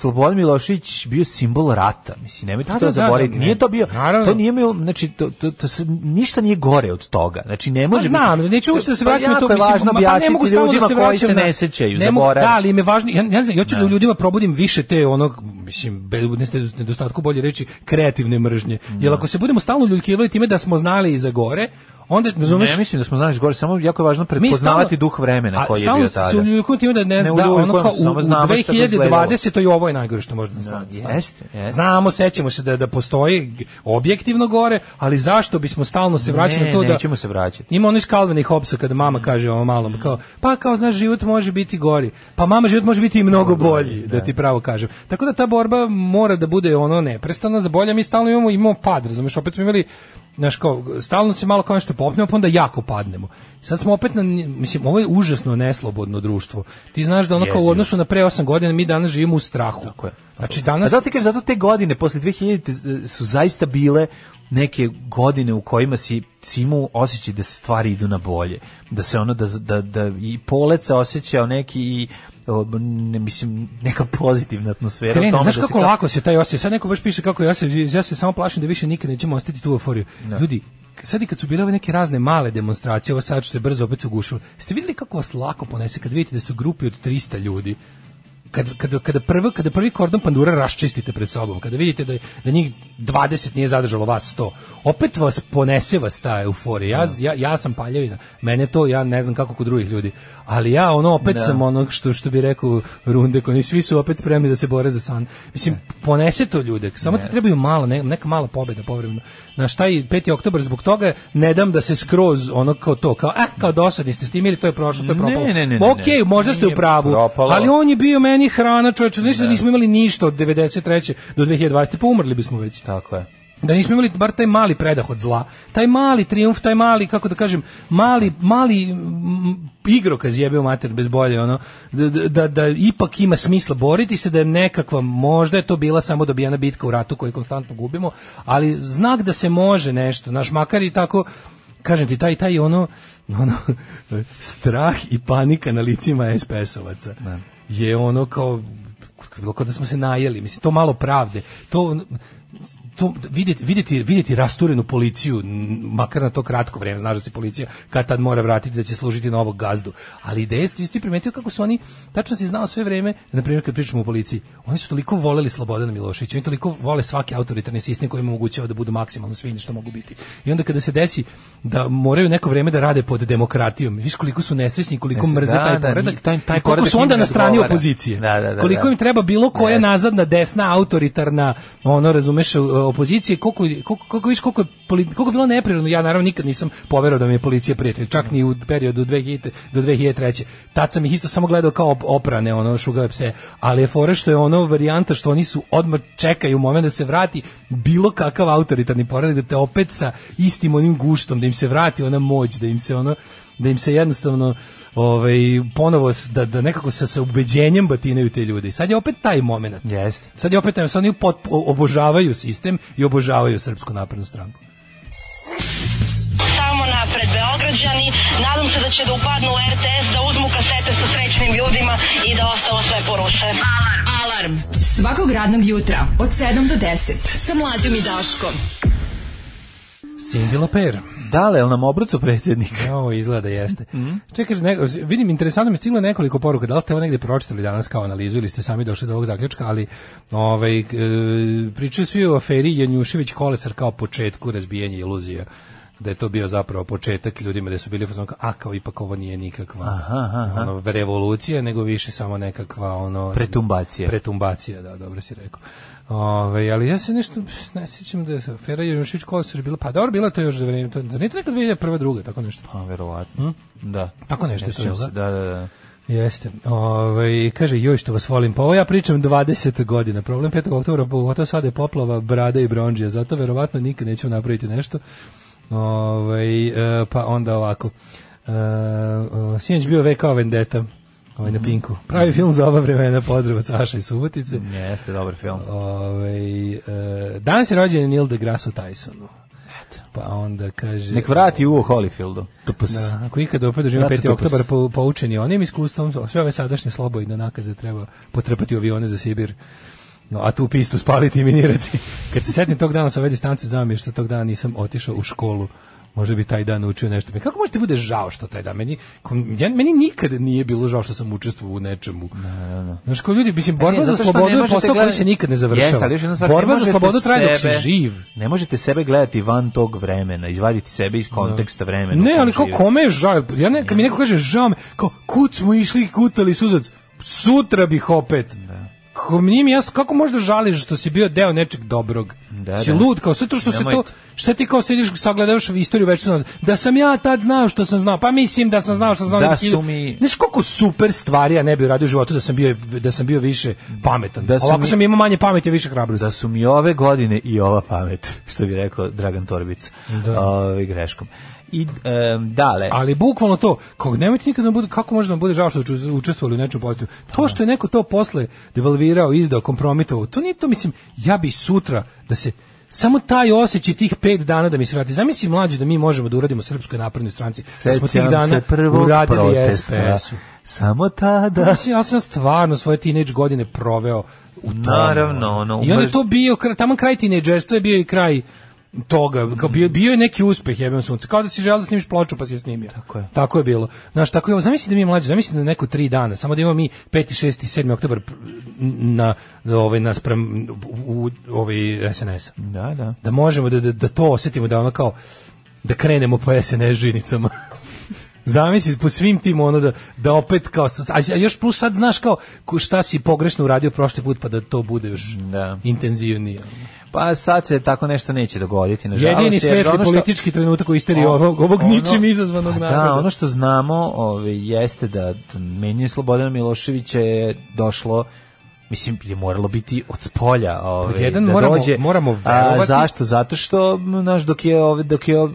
G: Slobodan Milošević bio simbol rata. Mislim, nemojte
F: Da,
G: to
F: da, da,
G: zaboraviti.
F: da, ne.
G: nije to bio,
F: Naravno.
G: to nije bio, znači, to, to, to se- ništa nije gore od toga. Znači, ne može...
F: Pa znam,
G: biti-
F: neću uopšte da se
G: Pa
F: vraćam na to,
G: jako je
F: mislim,
G: važno
F: ma- pa ne
G: objasniti
F: mogu stalno da
G: ljudima
F: se
G: koji
F: vraćam
G: se
F: na-
G: ne sećaju,
F: ne mogu-
G: zaborave.
F: Da, ali me važno, ja, ja, ne znam, ja hoću da u ljudima probudim više te onog, mislim, bez bez nedostatku bolje reći, kreativne mržnje. Jer ako se budemo stalno ljuljkivali time da smo znali i za gore, onda, razumeš,
G: Ne mislim da smo znaš gore, samo jako je važno
F: mi
G: prepoznavati
F: stalno-
G: duh vremena
F: a
G: koji je
F: stalno
G: bio tada.
F: se uljuljkujem time da ne,
G: Ne
F: da ono
G: uljuljkujem
F: kao
G: se,
F: u, u
G: samo znamo šta je to
F: 2020. i ovo je najgore što može da nas
G: Da,
F: sladi, stvarno.
G: jeste, jeste.
F: Znamo, sećamo se da, da postoji g- objektivno gore, ali zašto bismo stalno se vraćali
G: Ne,
F: na to da...
G: nećemo se vraćati.
F: Ima ono iz Calvina i Hobbesa kada mama kaže ovo malom, kao, pa kao, znaš, život može biti gori. Pa mama, život može biti i mnogo bolji, da ti pravo kažem. Tako da ta borba mora da bude ono neprestana, za bolje mi stalno imamo, imamo pad, razumiješ, opet smo imali Znaš, kao, stalno se malo kao nešto popnemo, pa onda jako padnemo. Sad smo opet na, mislim, ovo je užasno neslobodno društvo. Ti znaš da ono kao u
G: Jezivo.
F: odnosu na pre 8 godina mi danas živimo u strahu.
G: Tako je.
F: Znači
G: A
F: danas...
G: zato ti kažeš, zato te godine, posle 2000 su zaista bile neke godine u kojima si, si imao osjećaj da stvari idu na bolje. Da se ono, da, da, da i polec se osjećao neki i o, ne, mislim, neka pozitivna atmosfera.
F: Krene,
G: u tome
F: znaš
G: da se
F: kako
G: kao-
F: lako se taj osjećaj, sad neko baš piše kako ja se, ja se samo plašim da više nikad nećemo ostati tu euforiju. Ljudi, k- sad i kad su bile ove neke razne male demonstracije, ovo sad što je brzo opet ugušilo, ste vidjeli kako vas lako ponese kad vidite da ste u grupi od 300 ljudi, kad, kada, kada, prvo, kada prvi kordon pandura raščistite pred sobom, kada vidite da, da njih 20 nije zadržalo vas 100, opet vas ponese vas ta euforija. Ja, ja, ja sam paljevina, mene to, ja ne znam kako kod drugih ljudi, ali ja ono opet sam ono što, što bi rekao runde, koji svi su opet spremni da se bore za san. Mislim, ponese to ljude, samo ti trebaju malo, ne- neka mala pobeda povremeno. Znaš, taj 5. oktober zbog toga ne dam da se skroz ono kao to, kao, eh, kao dosadni ste s tim ili to je prošlo, to je
G: Ne,
F: propalo.
G: ne, ne, ne,
F: Okej,
G: ne.
F: možda ste u
G: Nije
F: pravu,
G: propalo.
F: ali on je bio meni hrana, čoveče, znači da nismo imali ništa od 93. do 2020. pa umrli bismo već.
G: Tako je.
F: Da nismo imali bar taj mali predah od zla, taj mali triumf, taj mali, kako da kažem, mali, mali mm, igrokaz jebe u mater bez bolje, ono, da, da- da, da ipak ima smisla boriti se, da je nekakva, možda je to bila samo dobijena bitka u ratu koju konstantno gubimo, ali znak da se može nešto, naš makar i tako, kažem ti, taj, taj ono, ono, strah i panika na licima SPS-ovaca je ono kao, bilo kao da smo se najeli, mislim, to malo pravde, to, to vidjeti vidjeti vidjeti rasturenu policiju n- makar na to kratko vrijeme znaš da se policija kad tad mora vratiti da će služiti novog gazdu ali ideje ti ti primetio kako su oni tačno si znao sve vrijeme na primjer kad pričamo o policiji oni su toliko voleli Slobodana Miloševića oni toliko vole svaki autoritarni sistem koji im omogućava da budu maksimalno svinje što mogu biti i onda kada se desi da moraju neko vrijeme da rade pod demokratijom viš koliko su nesrećni koliko
G: Mislim,
F: mrze
G: da,
F: taj
G: da,
F: poredak
G: njih- taj- taj
F: i koliko
G: poredak
F: su onda
G: njima
F: na strani
G: odgovara.
F: opozicije
G: Da, da, da,
F: koliko
G: da.
F: im treba bilo koja
G: Jeste.
F: nazadna desna autoritarna ono razumeš opozicije koliko koliko koliko viš, koliko je poli- koliko je bilo neprirodno ja naravno nikad nisam poverovao da mi je policija prijatelj čak ni u periodu 2000 do 2003 tad sam ih isto samo gledao kao op- oprane ono šugave pse ali je fore što je ono varijanta što oni su odmah čekaju moment da se vrati bilo kakav autoritarni poredak da te opet sa istim onim guštom da im se vrati ona moć da im se ono da im se jednostavno ovaj ponovo s- da da nekako sa sa ubeđenjem batinaju te ljude. I sad je opet taj momenat.
G: Jeste.
F: Sad je opet taj, sad oni pot, o- obožavaju sistem i obožavaju srpsku naprednu stranku.
K: Samo napred Beograđani. Nadam se da će da upadnu u RTS, da uzmu kasete sa srećnim ljudima i da ostalo sve poruše. Alarm!
E: Alarm. Svakog radnog jutra od 7 do 10. Sa mlađom i Daškom.
F: Singila per.
G: Dale, jel nam obrucu predsjednik?
F: Ovo izgleda jeste. Čekaj, kaže, neko, vidim, interesantno mi je stiglo nekoliko poruka. Da li ste ovo negdje pročitali danas kao analizu ili ste sami došli do ovog zaključka, ali ovaj, e, pričaju svi o aferi Janjušević Kolesar kao početku razbijanja iluzija da je to bio zapravo početak ljudima da su bili u fazonu kao, a kao ipak ovo nije nikakva ono, revolucija nego više samo nekakva ono
G: Pretumbacija.
F: pretumbacija da dobro si rekao Ove, ali ja se nešto pff, ne sjećam da je afera Janjušić Kolesar bila, pa dobro, bila je to još za vreme, to, zar nije to nekad 2001. druga, tako nešto?
G: Pa, verovatno. Da.
F: Tako nešto je to,
G: sjećam
F: jel da?
G: se, Da, da, da.
F: Jeste. Ovaj kaže joj što vas volim. Pa ovo ja pričam 20 godina. Problem 5. oktobra, pogotovo sada je poplava brada i bronđija. Zato verovatno nikad nećemo napraviti nešto. Ovaj e, pa onda ovako. E, o, Sinoć bio VK Vendetta. Ovaj
G: Mhm.
F: na Pinku. Pravi film za ova vremena. Pozdrav od Saša i Subotice.
G: Jeste, dobar film.
F: Ovaj, e, danas je rođen Neil deGrasse Tysonu. Pa onda kaže...
G: Nek vrati u Holyfieldu. Tupus.
F: Da, ako ikada opet doživimo
G: Znate
F: 5.
G: to, pa s-
F: oktobar po, poučeni onim iskustvom, sve ove sadašnje slobodne nakaze treba potrpati u avione za Sibir. No, a tu pistu spaliti i minirati. Kad se setim tog dana sa ove distance, znam je što tog dana nisam otišao u školu. Možda bi taj dan učio nešto. Pa Kako možete bude žao što taj dan? Meni, kom- ja, meni nikada nije bilo žao što sam učestvovao u nečemu. Znaš, kao ljudi, mislim, borba
G: E, Ne,
F: za
G: zato što
F: slobodu
G: ne
F: je
G: možete
F: posao koji
G: gledati-
F: se nikad ne
G: Jeste,
F: završava.
G: ali još jedna stvar, ne
F: borba za
G: možete
F: slobodu traje dok si
G: sebe-
F: živ.
G: Ne možete sebe gledati van tog vremena, izvaditi sebe iz konteksta vremena. u
F: Ne,
G: kojem
F: ali kao
G: živite.
F: kome je žao? Ja ne, kad mi neko kaže žao me, kao kud smo išli i kutali suzac, sutra bih opet. Kako mi nije mi jasno, kako možda žališ što si bio deo nečeg dobrog?
G: Da,
F: si
G: da.
F: lud, kao sutra što se to,
G: Nemojte.
F: šta ti kao sediš, sagledavaš istoriju večno da sam ja tad znao što sam znao, pa mislim da sam znao što sam znao.
G: Da
F: neki-
G: su mi-
F: Znaš koliko super stvari ja ne bih radio u životu da sam bio, da sam bio više pametan.
G: Da su
F: Ovako
G: mi-
F: sam imao manje pameti, a više hrabrosti.
G: Da su mi ove godine i ova pamet, što bi rekao Dragan Torbic,
F: Da.
G: ovaj, greškom. I, em, dale,
F: Ali bukvalno to, kako nemojte nikad da nam bude, kako može da nam bude žao što su učestvovali u nečem pozitivnom. To što je neko to posle devalvirao, izdao, kompromitovao, to nije to, mislim, ja bi sutra da se samo taj osjećaj tih pet dana da mi se vrati. Zamisli mlađi da mi možemo da uradimo Srpskoj naprednoj stranci. Da smo tih
G: sećam
F: dana
G: se prvog
F: uradili
G: protesta.
F: SPS-u.
G: Samo tada...
F: Mislim, ja sam stvarno svoje teenage godine proveo u tome.
G: Naravno, ono,
F: I onda je
G: umrz-
F: to bio, kra- tamo kraj tinejdžerstva je bio i kraj toga, kao bio, bio je neki uspeh jebem sunce, kao da si želeo da snimiš ploču pa si je snimio.
G: Tako je.
F: Tako je bilo. Znaš, tako je, ovo. zamisli da mi je mlađi, zamisli da neko tri dana, samo da imamo mi 5. 6. 7. oktober pr- na, na ovaj, naspram u, u, ovaj SNS.
G: Da, da.
F: Da možemo da, da, da to osjetimo, da ono kao, da krenemo po SNS žinicama. Zamisli po svim tim ono da, da opet kao, sa- a a još plus sad znaš kao ko- šta si pogrešno uradio prošli put pa da to bude još
G: Da.
F: intenzivnije.
G: Pa sad se tako nešto neće dogoditi, nažalost.
F: Jedini
G: jer
F: svetli
G: ono što-
F: politički trenutak u isteriji ovog, ovog
G: ono-
F: ničim izazvanog
G: Pa
F: naroda.
G: Da, ono što znamo ove, jeste da menje Slobodana Miloševića je došlo mislim je moralo biti od spolja ovaj
F: Pod jedan,
G: da
F: moramo-
G: dođe
F: moramo
G: A,
F: verovati-
G: zašto zato što m, naš dok je ovaj dok je m,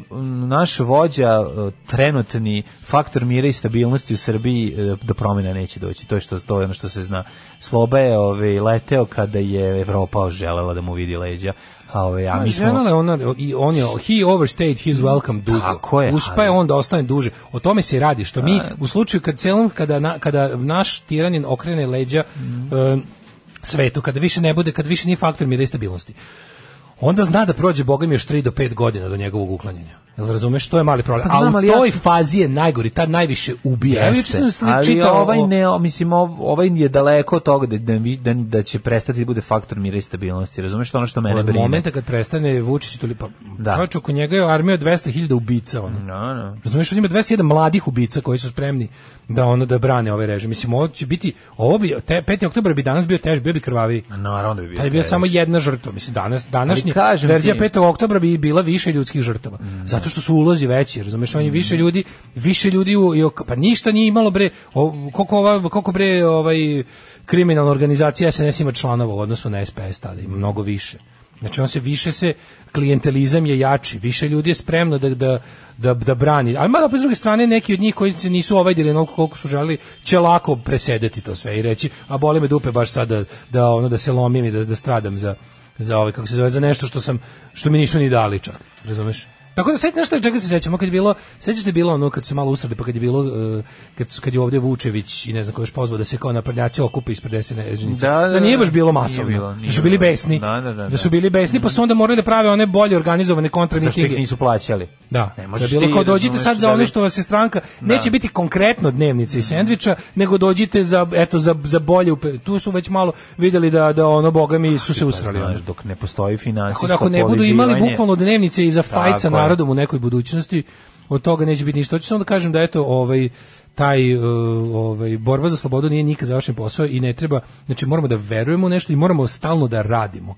G: naš vođa e, trenutni faktor mira i stabilnosti u Srbiji e, do promjena neće doći to je što to je ono što se zna Sloba je ovaj leteo kada je Evropa želela da mu vidi leđa a ovaj a mi smo
F: Pa Žena je ona, i on je, he overstayed his welcome dugo.
G: Tako je,
F: Uspa je
G: ali-
F: on da ostane duže. O tome se i radi, što mi u slučaju kad celom, kada, na- kada naš tiranin okrene leđa e, svetu, kada više ne bude, kada više nije faktor mira i stabilnosti onda zna da prođe Boga mi još 3 do 5 godina do njegovog uklanjanja. Jel razumeš? To je mali problem.
G: Pa znam,
F: A u
G: ali ja-
F: toj fazi je najgori, tad najviše ubija. Ja juče sam sli-
G: ali
F: čitao
G: ovaj
F: o-
G: ne, mislim ov- ovaj je daleko od toga da da, da, da će prestati da bude faktor mira i stabilnosti. Razumeš to ono što mene
F: od
G: brine.
F: momenta kad prestane Vučić i toliko da. čovječ oko njega je armija od 200.000 ubica ono.
G: No, no.
F: Razumeš, on ima 21 mladih ubica koji su spremni da ono da brane ovaj režim. Mislim ovo će biti ovo bi te, 5. oktobar bi danas bio tež, bio bi krvaviji.
G: Naravno da bi bio
F: Tad Pa je bio
G: tež.
F: samo jedna žrtva, mislim danas današnji
G: Ali kažem
F: verzija
G: ti-
F: 5. oktobra bi bila više ljudskih žrtava. Zato što su ulozi veći, razumeš, on je više ljudi, više ljudi u, i ok- pa ništa nije imalo bre, o, koliko ova koliko bre ovaj kriminalna organizacija SNS ima članova u odnosu na SPS tada, ima mnogo više. Znači on se više se klijentelizam je jači, više ljudi je spremno da da da, da brani. Ali malo opet s druge strane neki od njih koji se nisu ovajdili onoliko koliko su želeli će lako presedeti to sve i reći a boli me dupe baš sada da, da ono da se lomim i da, da stradam za za ovaj kako se zove za nešto što sam što mi nisu ni dali čak, razumeš? Tako da sad nešto čega se sećamo kad je bilo, sećaš se bilo ono kad su malo usrali pa kad je bilo e, kad su- kad je ovdje Vučević i ne znam ko je još pozvao da se kao naprednjaci okupe ispred desene ženice.
G: Da,
F: Da,
G: da, da.
F: nije baš bilo
G: Nije
F: masovno.
G: bilo, nije
F: da su bili
G: bilo.
F: besni.
G: Da, da, da,
F: da su
G: da.
F: bili besni, pa su onda morali da prave one bolje organizovane
G: Zašto ih
F: kontramitinge.
G: nisu plaćali?
F: Da,
G: Ne
F: da
G: možeš
F: bilo
G: ti,
F: kao dođite
G: razumeš,
F: sad za
G: da
F: ono
G: bi-
F: što vas je stranka,
G: Da.
F: neće biti konkretno dnevnice i sendviča, nego dođite za, eto, za, za bolje, upe- tu su već malo vidjeli da, da ono, boga mi su se usrali.
G: Znaš,
F: ono.
G: dok ne postoji
F: Tako
G: finansijsko
F: da ako ne budu imali
G: povezivanje-
F: bukvalno dnevnice i za fajt sa
G: Tako je.
F: narodom u nekoj budućnosti, od toga neće biti ništa. Hoću samo da kažem da eto ovaj taj e, ovaj borba za slobodu nije nikad završen posao i ne treba, znači moramo da verujemo u nešto i moramo stalno da radimo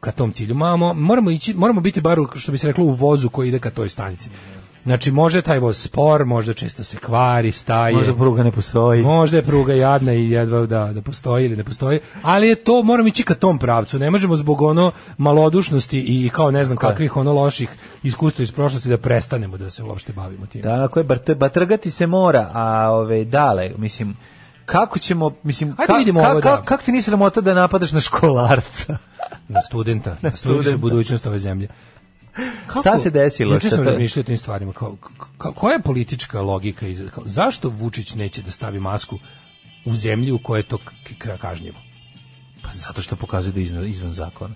F: ka tom cilju. Mamo, moramo ići, moramo biti bar u, što bi se reklo u vozu koji ide ka toj stanici. Znači može taj voz spor, možda često se kvari, staje.
G: Možda pruga ne postoji.
F: Možda je pruga jadna i jedva da, da postoji ili ne postoji, ali je to, moram ići ka tom pravcu, ne možemo zbog ono malodušnosti i kao ne znam kakvih ono loših iskustva iz prošlosti da prestanemo da se uopšte bavimo tim.
G: Da, ako je bart- batrgati se mora, a ove dale, mislim kako ćemo, mislim,
F: Ajde vidimo ovo, da.
G: kako ti nisi ramota da napadaš na školarca?
F: Na studenta, na studenta su
G: studenta.
F: budućnost ove zemlje.
G: Šta se desilo?
F: Juče
G: sa
F: sam
G: to-
F: razmišljao o tim stvarima. Kao, ka- ka- koja je politička logika? Iz, kao, zašto Vučić neće da stavi masku u zemlji u kojoj je to k- k- kažnjivo?
G: Pa zato što pokazuje da je izna- izvan zakona.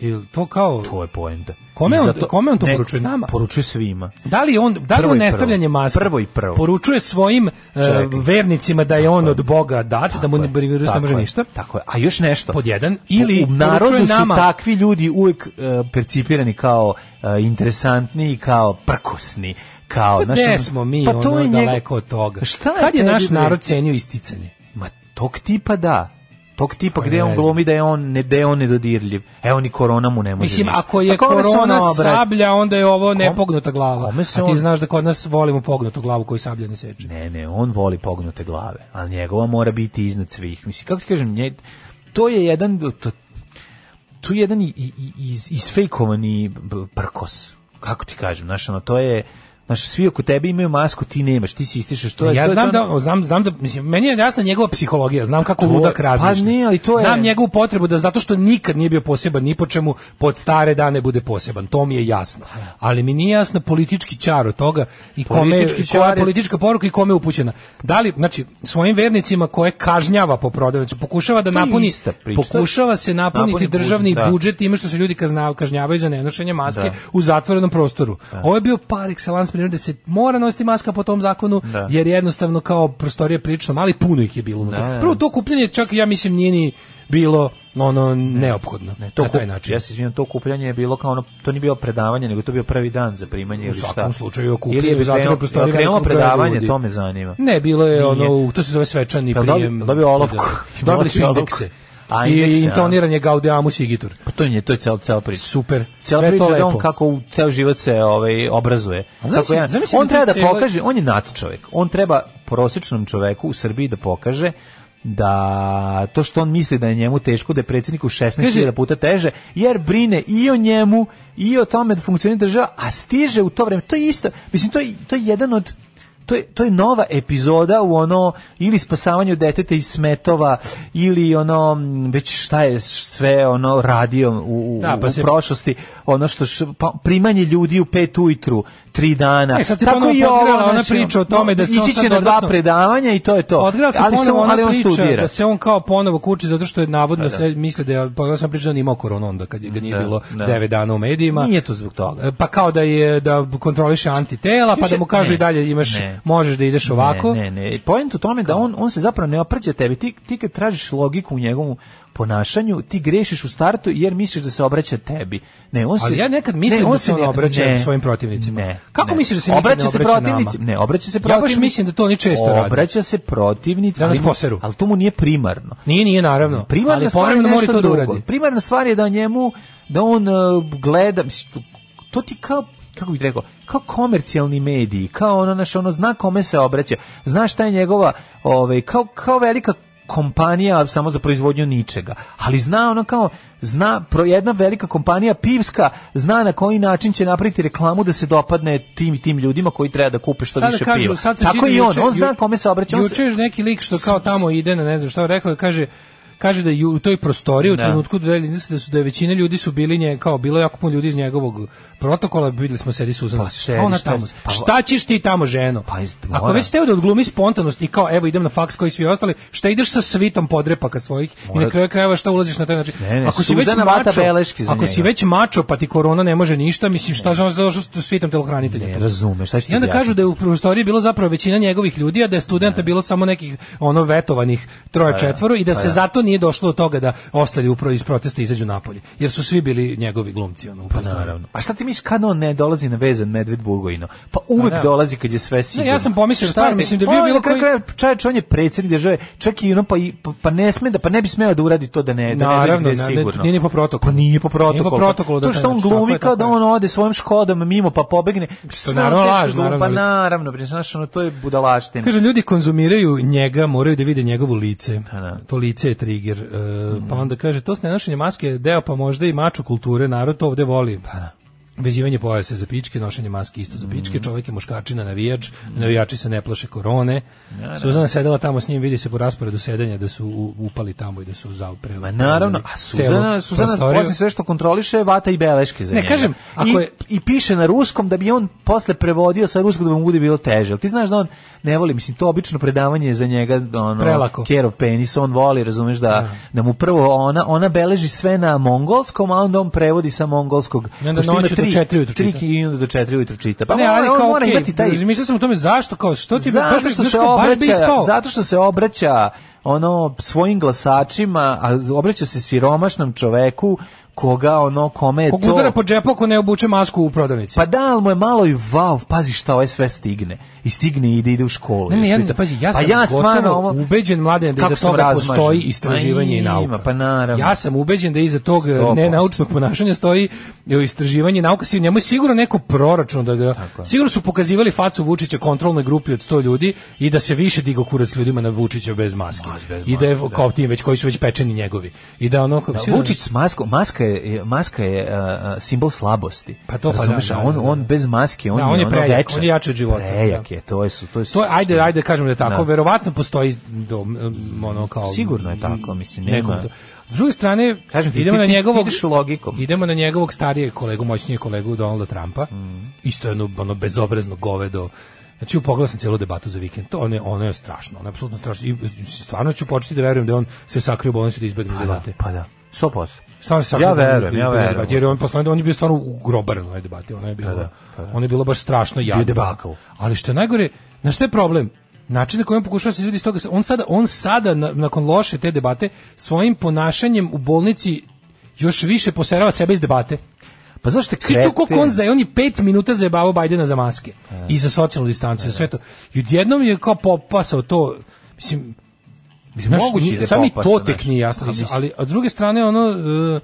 F: Ili to kao...
G: To je poenta.
F: Kome
G: I
F: on-
G: zato-
F: kome on to
G: ne,
F: poručuje? Nama?
G: Poručuje svima.
F: Da li on da li
G: Prvo
F: on
G: i prvo.
F: nestavljanje maske
G: Prvo i prvo.
F: poručuje svojim e,
G: Čekaj.
F: vernicima da je on od Boga dat, da mu ni virus ne
G: Tako
F: može
G: je, Pa
F: ništa.
G: Tako je. A još nešto.
F: Pod jedan, ili
G: u narodu
F: poručuje
G: su
F: nama-
G: takvi ljudi uvek e, percipirani kao e, interesantni i kao prkosni, kao
F: Pa
G: znaš,
F: gde
G: ono-
F: smo mi
G: pa to
F: ono
G: je njegov-
F: daleko od toga?
G: Šta
F: Kad je
G: tebi
F: naš
G: bre?
F: narod cenio isticanje?
G: Ma tog tipa da. Tog tipa
F: Pa
G: gde
F: ne
G: on
F: znam.
G: glumi da je on ne da je on nedodirljiv. Evo ni korona mu ne može.
F: Mislim,
G: ništa.
F: ako je
G: Pa kome se
F: korona
G: ona obraća?
F: sablja, onda je ovo nepognuta glava.
G: kome se
F: A ti
G: on-
F: znaš da kod nas volimo pognutu glavu koju sablja ne seče.
G: Ne, ne, on voli pognute glave, ali njegova mora biti iznad svih. Mislim, kako ti kažem, nje, to je jedan to, tu je jedan i, i, i- iz, isfejkovani b- prkos. Kako ti kažem, znaš, ono, to je znaš, svi oko tebe imaju masku, ti nemaš, ti si istišeš, to je...
F: ja
G: to ono- je-
F: znam
G: to je-
F: da znam znam da mislim meni je jasna njegova psihologija, znam kako
G: To-
F: ludak
G: pa
F: razmišlja.
G: ne, ali to je-
F: Znam njegovu potrebu da zato što nikad nije bio poseban ni po čemu pod stare dane bude poseban, to mi je jasno.
G: Pa
F: Ali mi nije jasno politički čar od toga i kome
G: Politički
F: i koja
G: čar je-
F: politička poruka i kome je upućena. Da li znači svojim vernicima koje kažnjava po prodavnicu pokušava da
G: To je
F: napuni
G: Pa ista priča.
F: pokušava se napuniti
G: Napuni budžet,
F: državni budžet,
G: da.
F: time što se ljudi kazna- kažnjavaju za nenošenje maske
G: Da.
F: u zatvorenom prostoru. Ovo je bio par excellence primjer da se mora nositi maska po tom zakonu
G: Da.
F: jer jednostavno kao prostorije prilično mali, puno ih je bilo unutra.
G: Da, da.
F: Prvo to kupljenje čak ja mislim nije ni bilo ono neophodno
G: Ne, to
F: na taj
G: kup-
F: način.
G: Ja se izvinjam, to kupljanje je bilo kao ono, to nije bilo predavanje, nego to je bio prvi dan za primanje ili šta.
F: svakom slučaju okupljanje
G: Ili je
F: u zatvorenoj
G: krenulo-
F: prostoriji
G: je krenulo
F: velikog broja ljudi.
G: predavanje, to me zanima.
F: Ne, bilo je
G: Nije.
F: ono, to se zove svečani
G: Jel dobi-
F: prijem.
G: dobio olovku?
F: Da. Dobili su
G: Dobio olovku.
F: indekse.
G: A,
F: I
G: indekse, a.
F: intoniran je Gaudeamus Sigitur.
G: Pa to je, to je cel, cel priča.
F: Super.
G: Cijela
F: Sve
G: priča
F: to
G: da
F: lepo.
G: on kako u ceo život se ovaj obrazuje.
F: A zamisli-
G: Kako jedan-
F: zamisli
G: on
F: da ti
G: treba da
F: cijelo-
G: pokaže, on je nat čovjek. On treba prosječnom čoveku u Srbiji da pokaže da to što on misli da je njemu teško, da je predsjedniku 16.000 puta teže, jer brine i o njemu i o tome da funkcionira država, a stiže u to vreme. To je isto, mislim, to je, to je jedan od to je, to je nova epizoda u ono ili spasavanju deteta iz smetova ili ono m, već šta je sve ono radio u, u,
F: Da, pa
G: u
F: se-
G: prošlosti ono što š- pa, primanje ljudi u pet ujutru tri dana.
F: E, sad se
G: Tako
F: ponovo
G: i ovo,
F: podgrela ona
G: znači,
F: priča o tome da se on
G: ići će
F: sad
G: na dva
F: dodatno-
G: predavanja i to je to.
F: Odgrala se
G: ali,
F: ponovo
G: on-
F: ona
G: ali on
F: priča
G: studira.
F: da se on kao ponovo kuči zato što je navodno
G: Pa da.
F: se misle da je pogledao sam priča da on imao koronu onda kad je ga nije
G: Da,
F: bilo
G: da.
F: 9 dana u medijima.
G: Nije to zbog toga.
F: E, Pa kao da je da kontroliše antitela, pa da mu kažu
G: Ne,
F: i dalje imaš
G: ne.
F: možeš da ideš ovako.
G: Ne, ne, ne. Point u tome da on, on se zapravo ne oprđe tebi. Ti, ti kad tražiš logiku u njegovom ponašanju, ti grešiš u startu jer misliš da se obraća tebi. Ne, on se,
F: Ali ja nekad mislim
G: ne,
F: da se on
G: ne-
F: obraća
G: ne,
F: svojim protivnicima.
G: Ne,
F: Kako
G: ne.
F: misliš da se nikad ne
G: se
F: obraća nama?
G: protivnici- Ne, obraća se
F: Ja baš
G: protivnicima.
F: mislim da to oni često rade.
G: Obraća se protivnicima.
F: Da nas
G: ali mu-
F: poseru.
G: Ali to mu nije primarno.
F: Nije, nije naravno.
G: Primarna
F: ali
G: stvar je
F: povremeno mora
G: nešto
F: to da
G: drugo.
F: uradi.
G: Primarna stvar je da njemu da on uh, gleda mislim, to, to ti kao kako bih rekao, kao komercijalni mediji, kao ono naš ono zna kome se obraća. Zna šta je njegova, ovaj kao kao velika kompanija samo za proizvodnju ničega. Ali zna ono kao zna pro jedna velika kompanija pivska zna na koji način će napraviti reklamu da se dopadne tim i tim ljudima koji treba da kupe što
F: Sad da
G: više
F: kažemo,
G: piva.
F: sad sam
G: Tako
F: čitao
G: i on,
F: juče-
G: on zna
F: ju-
G: kome se obraća. on se-
F: Juče je neki lik što kao tamo ide na ne znam šta rekao je kaže kaže da je u toj prostoriji u
G: Da.
F: trenutku dodelili da su da je većina ljudi su bili nje kao bilo je jako puno ljudi iz njegovog protokola videli smo sedi Suzana
G: Pa
F: šta
G: sedi,
F: ona
G: šta-
F: tamo
G: pa-
F: šta ćeš ti tamo ženo
G: Pa iz-
F: ako
G: mora.
F: već teo da odglumi spontanost i kao evo idem na faks koji svi ostali šta ideš sa svitom podrepaka svojih i na
G: Mora-
F: kraju krajeva šta ulaziš na taj način
G: Ne, ne,
F: ako si već
G: Suzana vata
F: mačo
G: beleške za
F: ako si
G: njega.
F: već mačo pa ti korona ne može ništa mislim šta znaš da došao sa svitom telohranitelja
G: Ne
F: tu?
G: razumeš, šta ću ti
F: I onda kažu
G: objasniti?
F: da je u prostoriji bilo zapravo većina njegovih ljudi, a da je studenta bilo samo nekih ono vetovanih troje
G: Pa
F: četvoro i da se zato nije došlo do toga da ostali upravo iz protesta izađu napolje, jer su svi bili njegovi glumci ono u
G: Pa
F: prostoriji.
G: naravno. A šta ti misliš kad on ne dolazi na vezan medved Bugojno? Pa uvek
F: Pa da.
G: dolazi kad je sve sigurno.
F: ja sam pomislio,
G: Šta
F: stvarno,
G: je-
F: mislim da je bio
G: on je
F: bilo
G: na kraju
F: koji-
G: krajeva čovječ, on je predsjednik države, čak i ono, pa, i- pa, pa ne sme da, pa ne bi smeo da uradi to da ne, da
F: Naravno,
G: ne dođe
F: na-
G: gde
F: ne-
G: je sigurno.
F: nije ni po protokolu.
G: Pa nije po protokolu.
F: Nije po protokolu da
G: to
F: to
G: što on
F: znači, tako
G: glumi
F: je,
G: kao da
F: tako je.
G: on ode svojim škodom mimo pa pobegne. Sve ono
F: naravno
G: teško
F: laž,
G: glumi,
F: naravno,
G: Pa
F: ali-
G: naravno, bre, znaš, ono, to je budalaština.
F: Kaže, ljudi konzumiraju njega, moraju da vide njegovo lice.
G: Pa da. Mhm.
F: To lice je trigger. E, Pa onda kaže, to nenošenje maske je deo, pa možda i mačo kulture, narod to ovde voli.
G: Pa
F: Vezivanje pojasa za pičke, nošenje maske isto
G: Mhm.
F: za pičke, čovjek je muškačina, navijač, navijači se ne plaše korone. Suzana sedela tamo s njim, vidi se po rasporedu sedenja da su u- upali tamo i da su zaupre.
G: Ma naravno, a Suzana, Suzana
F: Pa
G: posle sve što kontroliše vata i beleške za
F: Ne,
G: njega.
F: kažem, ako
G: I,
F: je-
G: I piše na ruskom da bi on posle prevodio sa ruskog da mu bude bilo teže. Ali ti znaš da on ne voli, mislim, to obično predavanje je za njega, ono,
F: Prelako.
G: care of penis, on voli, razumeš, da, da mu prvo ona, ona beleži sve na mongolskom, a onda on prevodi sa mongolskog.
F: I onda
G: Pošto ima
F: noću do
G: tri-
F: četiri ujutru
G: tri-
F: čita.
G: I onda do četiri ujutru čita. Pa
F: ne, ali
G: on
F: kao,
G: mora
F: okej,
G: imati taj...
F: razmišljao sam o tome zašto kao što ti
G: Zato
F: baš-
G: što
F: znaš
G: se
F: kao, baš bi
G: obraća,
F: ispao.
G: zato što se obraća ono svojim glasačima, a obraća se siromašnom čoveku koga ono kome je
F: Kog
G: to.
F: udara po džepu ako ne obuče masku u prodavnici.
G: Pa da, ali mu je malo i vav, pazi šta ovaj sve stigne. I stigne i ide, ide u školu.
F: Ne, ne, ja,
G: Pita-
F: da, pazi, ja
G: Pa
F: sam gotovo
G: stvarno ovo-
F: ubeđen, mladen, da
G: Kako
F: iza
G: sam
F: toga
G: razmažen?
F: postoji
G: Pa
F: istraživanje i
G: ima,
F: nauka.
G: Pa naravno.
F: Ja sam ubeđen da iza tog
G: 100%.
F: nenaučnog ponašanja stoji e, istraživanje i nauka. Si- Njemu je sigurno neko proračun da ga... Sigurno su pokazivali facu Vučića kontrolnoj grupi od 100 ljudi i da se više digo kurac ljudima na Vučića bez maske. I da je kao tim već, koji su već pečeni njegovi. I da ono...
G: Da, Pa Vučić s maskom, maska je, maska je a, a, simbol slabosti.
F: Pa to pa da,
G: Razumeš,
F: da,
G: a on,
F: da, da.
G: on bez maske, on,
F: Da, on je
G: ono
F: prejak,
G: večan.
F: on je jači od života,
G: Prejak
F: da.
G: je, to je su, to je, su-
F: To je, ajde, ajde, kažem da je tako.
G: Da.
F: Verovatno postoji dom, ono kao...
G: Sigurno je tako, mislim, nema-
F: neko- S druge strane,
G: Kažem ti,
F: idemo
G: ti-
F: na
G: ti- ti
F: njegovog...
G: ideš logikom.
F: Idemo na njegovog starijeg kolegu, moćnijeg kolegu Donalda Trumpa.
G: Mm.
F: Isto je ono, ono bezobrazno govedo. Znači, upogledao sam cijelu debatu za vikend. To ono je, ono je strašno, ono je apsolutno strašno. I stvarno ću početi da verujem da je on se sakrio u bolnicu da izbegne
G: Pa da,
F: debate.
G: pa da. 100%.
F: Stvarno se sakrio da
G: Ja
F: izbegne-
G: verujem, ja
F: izbegne
G: verujem.
F: debate, Jer on posle on je bio stvarno ugrobar na debati, ono je bilo. Ono je bilo baš strašno jadno.
G: debakl.
F: Ali što je najgore, na što je problem? Način na koji on pokušava se izvedi iz toga, on sada, on sada na- nakon loše te debate, svojim ponašanjem u bolnici još više poserava sebe iz debate.
G: Pa zašto je
F: Ti ču
G: kreten?
F: koliko on za, on je pet minuta zajebavao Bajdena za maske i za socijalnu distancu, za sve to. I odjednom je kao popasao to, mislim, mislim
G: Znaš,
F: moguće
G: nije
F: je, sami
G: popasao,
F: to
G: znaš.
F: tek nije jasno.
G: Pa, mislim.
F: ali a s druge strane, ono, e,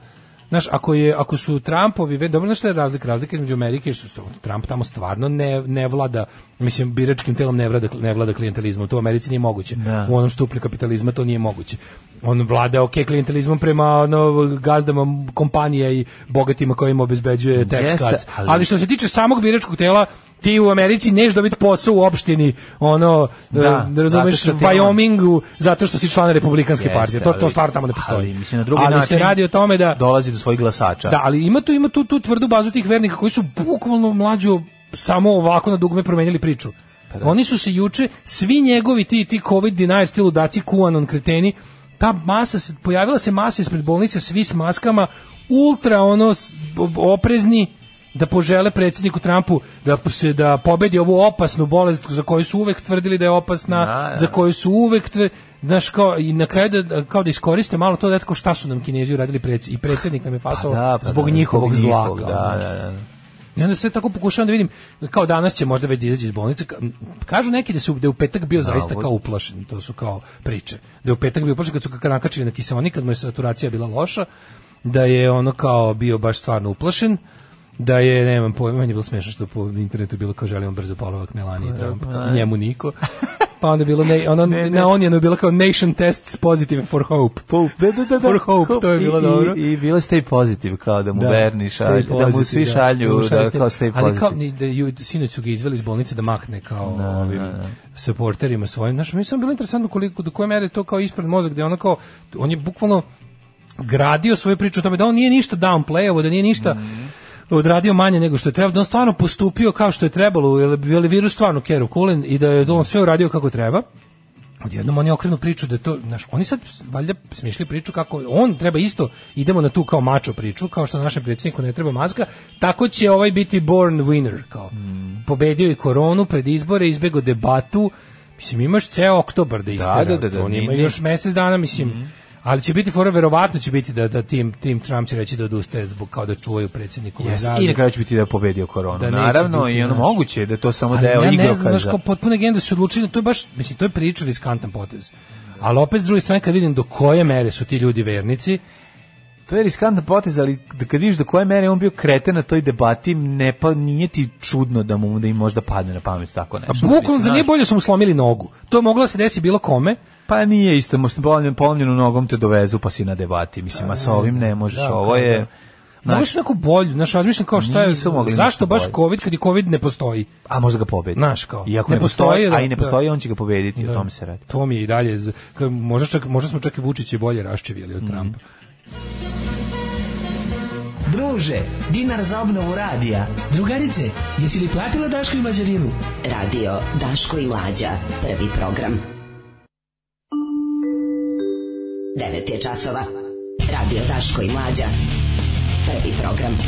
F: znaš, ako, je, ako su Trumpovi, ve- dobro, znaš šta je razlika? Razlika između Amerike, jer su sto- Trump tamo stvarno ne, ne vlada, mislim, biračkim telom ne vlada, ne vlada klijentelizmom, to u Americi nije moguće.
G: Da.
F: U onom stupnju kapitalizma to nije moguće. On vlada, ok, klijentelizmom prema ono, gazdama kompanije i bogatima kojima im obezbeđuje tax
G: Jeste,
F: cuts. Ali,
G: ali-
F: što se tiče samog biračkog tela, ti u Americi neš dobiti posao u opštini, ono,
G: Da,
F: e, razumeš,
G: zato što ti ono-
F: Wyomingu, zato što si član republikanske
G: Jeste,
F: partije. To, to
G: ali-
F: stvar tamo ne postoji.
G: Ali, mislim, na drugi
F: Ali se
G: način
F: radi o tome da...
G: dolazi do svojih glasača.
F: Da, ali ima tu ima tu tu tvrdu bazu tih vernika koji su bukvalno mlađo samo ovako na dugme promenili priču.
G: Pa
F: Oni su se juče, svi njegovi ti, ti covid denier stilu daci kuanon kreteni, ta masa, se, pojavila se masa ispred bolnice, svi s maskama, ultra ono s- ob- oprezni, da požele predsjedniku Trumpu da se da pobedi ovu opasnu bolest za koju su uvek tvrdili da je opasna,
G: Da, da.
F: za koju su uvek tve, znaš kao i na kraju da, kao da iskoriste malo to da eto kao šta su nam Kinezi uradili preds, i predsjednik nam je
G: Pa
F: fasao Pa zbog njihovog zla.
G: njihovog,
F: kao,
G: Da,
F: znaš.
G: da, da.
F: I onda sve tako pokušavam da vidim, kao danas će možda već da izađe iz bolnice. Ka- Kažu neki da, su, da je u petak bio zaista
G: ovo-
F: kao uplašen, to su kao priče. Da je u petak bio uplašen kad su ga nakačili na kiseonik, kad mu je saturacija bila loša, da je ono kao bio baš stvarno uplašen, da je, nemam pojma, meni je bilo smiješno što po internetu je bilo kao želimo brzo polovak Melanie Trump, njemu niko. Pa onda je bilo, ne, ono,
G: Ne, ne.
F: na onjenu je bilo kao nation tests positive for hope.
G: da, da, da, da.
F: For hope, to je bilo
G: I,
F: dobro.
G: I, i bilo stay pozitiv, kao da mu da, verni
F: stay
G: šalju, da mu
F: positive,
G: svi
F: da
G: šalju,
F: mu
G: da,
F: šalju stay-
G: kao stay
F: Ali kao,
G: pozitiv.
F: ni- da, ju, sinoć su ga izveli iz bolnice da mahne kao ovim supporterima svojim. Znaš, mi samo bilo interesantno koliko, do koje mere je to kao ispred mozak, gde ono kao, on je bukvalno gradio svoju priču o tome da on nije ništa downplayovo, da nije ništa
G: Mhm.
F: odradio manje nego što je trebalo, da on stvarno postupio kao što je trebalo, jer je- jer je virus stvarno kerov kulen i da je on sve uradio kako treba odjednom oni okrenu priču da je to, znaš, oni sad valjda smišljaju priču kako on treba isto, idemo na tu kao mačo priču, kao što našem predsjedniku ne treba maska, tako će ovaj biti born winner, kao.
G: Mm.
F: Pobedio je koronu pred izbore, izbjegao debatu, mislim imaš ceo oktobar da istera,
G: da, da, da, Mm.
F: on
G: ni-
F: ima
G: ni-
F: još mjesec dana, mislim, Ali će biti fora, verovatno će biti da, da tim, tim Trump će reći da odustaje zbog kao da čuvaju predsjedniku
G: Jeste, I na kraju će biti da je pobedio koronu.
F: Da neće
G: Naravno,
F: biti,
G: i ono
F: znaš.
G: moguće je da je to samo
F: Ali
G: deo
F: ja ne znam, znaš,
G: igrokaza.
F: kao potpuno genijalno da su odlučili, to je baš, mislim, to je priča riskantan potez. Ali opet s druge strane kad vidim do koje mere su ti ljudi vernici,
G: To je riskantan potez, ali da kad vidiš do koje mere je on bio kreten na toj debati, ne pa nije ti čudno da mu da im možda padne na pamet tako nešto. Mislim,
F: bukvalno za
G: znaš,
F: nije bolje su mu slomili nogu. To je moglo da se desi bilo kome.
G: Pa nije isto, možda polomljenu, polomljenu nogom te dovezu pa si na debati, mislim, a sa ovim ne možeš,
F: Da,
G: ovo je...
F: Znaš,
G: znaš,
F: Možeš neku bolju, znaš, razmišljam kao šta je,
G: Nisu mogli
F: zašto
G: ništa
F: baš
G: bolje.
F: COVID kad i COVID ne postoji.
G: a možda ga pobedi.
F: Znaš, kao,
G: Iako
F: ne
G: ne, postoji,
F: postoji,
G: a i ne
F: da.
G: postoji, on će ga pobediti, o
F: Da.
G: tome se radi.
F: To mi je i dalje, z- kao, možda, čak, možda smo čak i Vučić je bolje raščevili
G: Mhm.
F: od Trumpa.
L: Druže, dinar za obnovu radija. Drugarice, jesi li platila Daško i Mađarinu?
I: Radio Daško i Mlađa, prvi program. 9 je časova. Radio Daško i Mlađa, prvi program.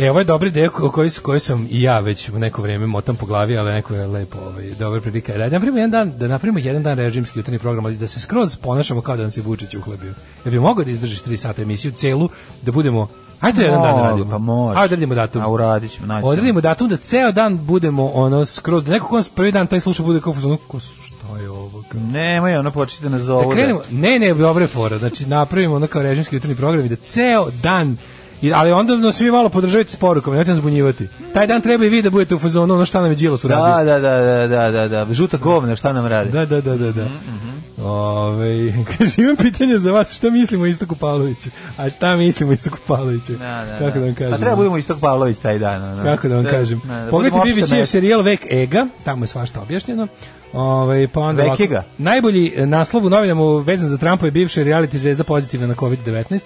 F: E, ovo je dobri deo ko- koji, s- koji sam i ja već u neko vrijeme motam po glavi, ali neko je lepo, ovaj, dobra prilika. Da napravimo jedan dan, da napravimo jedan dan režimski jutarnji program, ali da se skroz ponašamo kao da nam se Vučić uhlebio. Ja bi mogao da izdržiš 3 sata emisiju celu, da budemo Hajde jedan dan
G: Mogu,
F: radimo.
G: pa može.
F: Hajde radimo datum.
G: A uradit ćemo, naći ćemo.
F: Odredimo datum da ceo dan budemo ono skroz da neko ko nas prvi dan taj sluša bude kao u fazonu, ko su- šta je ovo kao?
G: Nemoj, ono početi da nas
F: da
G: zovu.
F: krenemo. Ne, ne, dobro je fora. Znači napravimo ono kao režimski jutarnji program i da ceo dan I, ali onda nas svi malo podržavajte s porukom, nemojte nas zbunjivati. Taj dan treba i vi da budete u fazonu ono šta nam je Đilas
G: Da,
F: uradio.
G: da, da, da, da, da, da, žuta govna, šta nam radi?
F: Da, da, da, da, da.
G: Mhm,
F: Ovaj, kaže, imam pitanje za vas, šta mislimo o Istoku Pavloviću? A šta mislimo o Istoku Pavloviću?
G: Da, da,
F: Kako da vam kažem? ono?
G: Pa treba budemo Istok Pavlović taj dan. ono.
F: Kako da vam kažem?
G: da, da budemo
F: Pogledajte
G: opšte
F: BBC
G: mesto.
F: serijal Vek Ega, tamo je svašta objašnjeno. Ovaj pa onda
G: Vek
F: ovako,
G: Ega?
F: najbolji e, naslov u novinama vezan za Trumpa je bivša reality zvezda pozitivna na COVID-19.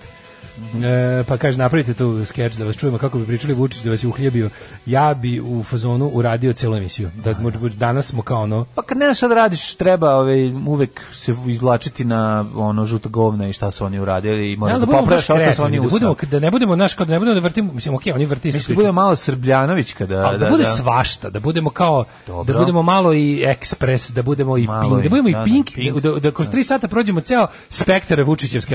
G: Mhm.
F: E, pa kaže napravite tu skeč da vas čujemo kako bi pričali Vučić da vas je uhljebio ja bi u fazonu uradio celu emisiju da, možda- danas smo kao ono
G: Pa kad ne znaš šta da radiš, treba ovaj, uvek se izlačiti na ono žuto govna i šta su oni uradili i moraš
F: Ali
G: da,
F: budemo
G: popraviš
F: baš
G: ono što su
F: kreativni,
G: oni
F: da,
G: usrali.
F: budemo, da ne budemo naš, kao da ne budemo da vrtimo, mislim, okej, oni vrti istu
G: Mislim, da
F: priču.
G: bude malo Srbljanović kada...
F: Ali Pa da, bude svašta, da budemo kao
G: Dobro.
F: da budemo malo i ekspres, da budemo i
G: Malo
F: pink, da
G: i-
F: budemo i
G: da, da,
F: pink,
G: Pink.
F: da, da, kroz tri sata prođemo ceo spektar Vučićevske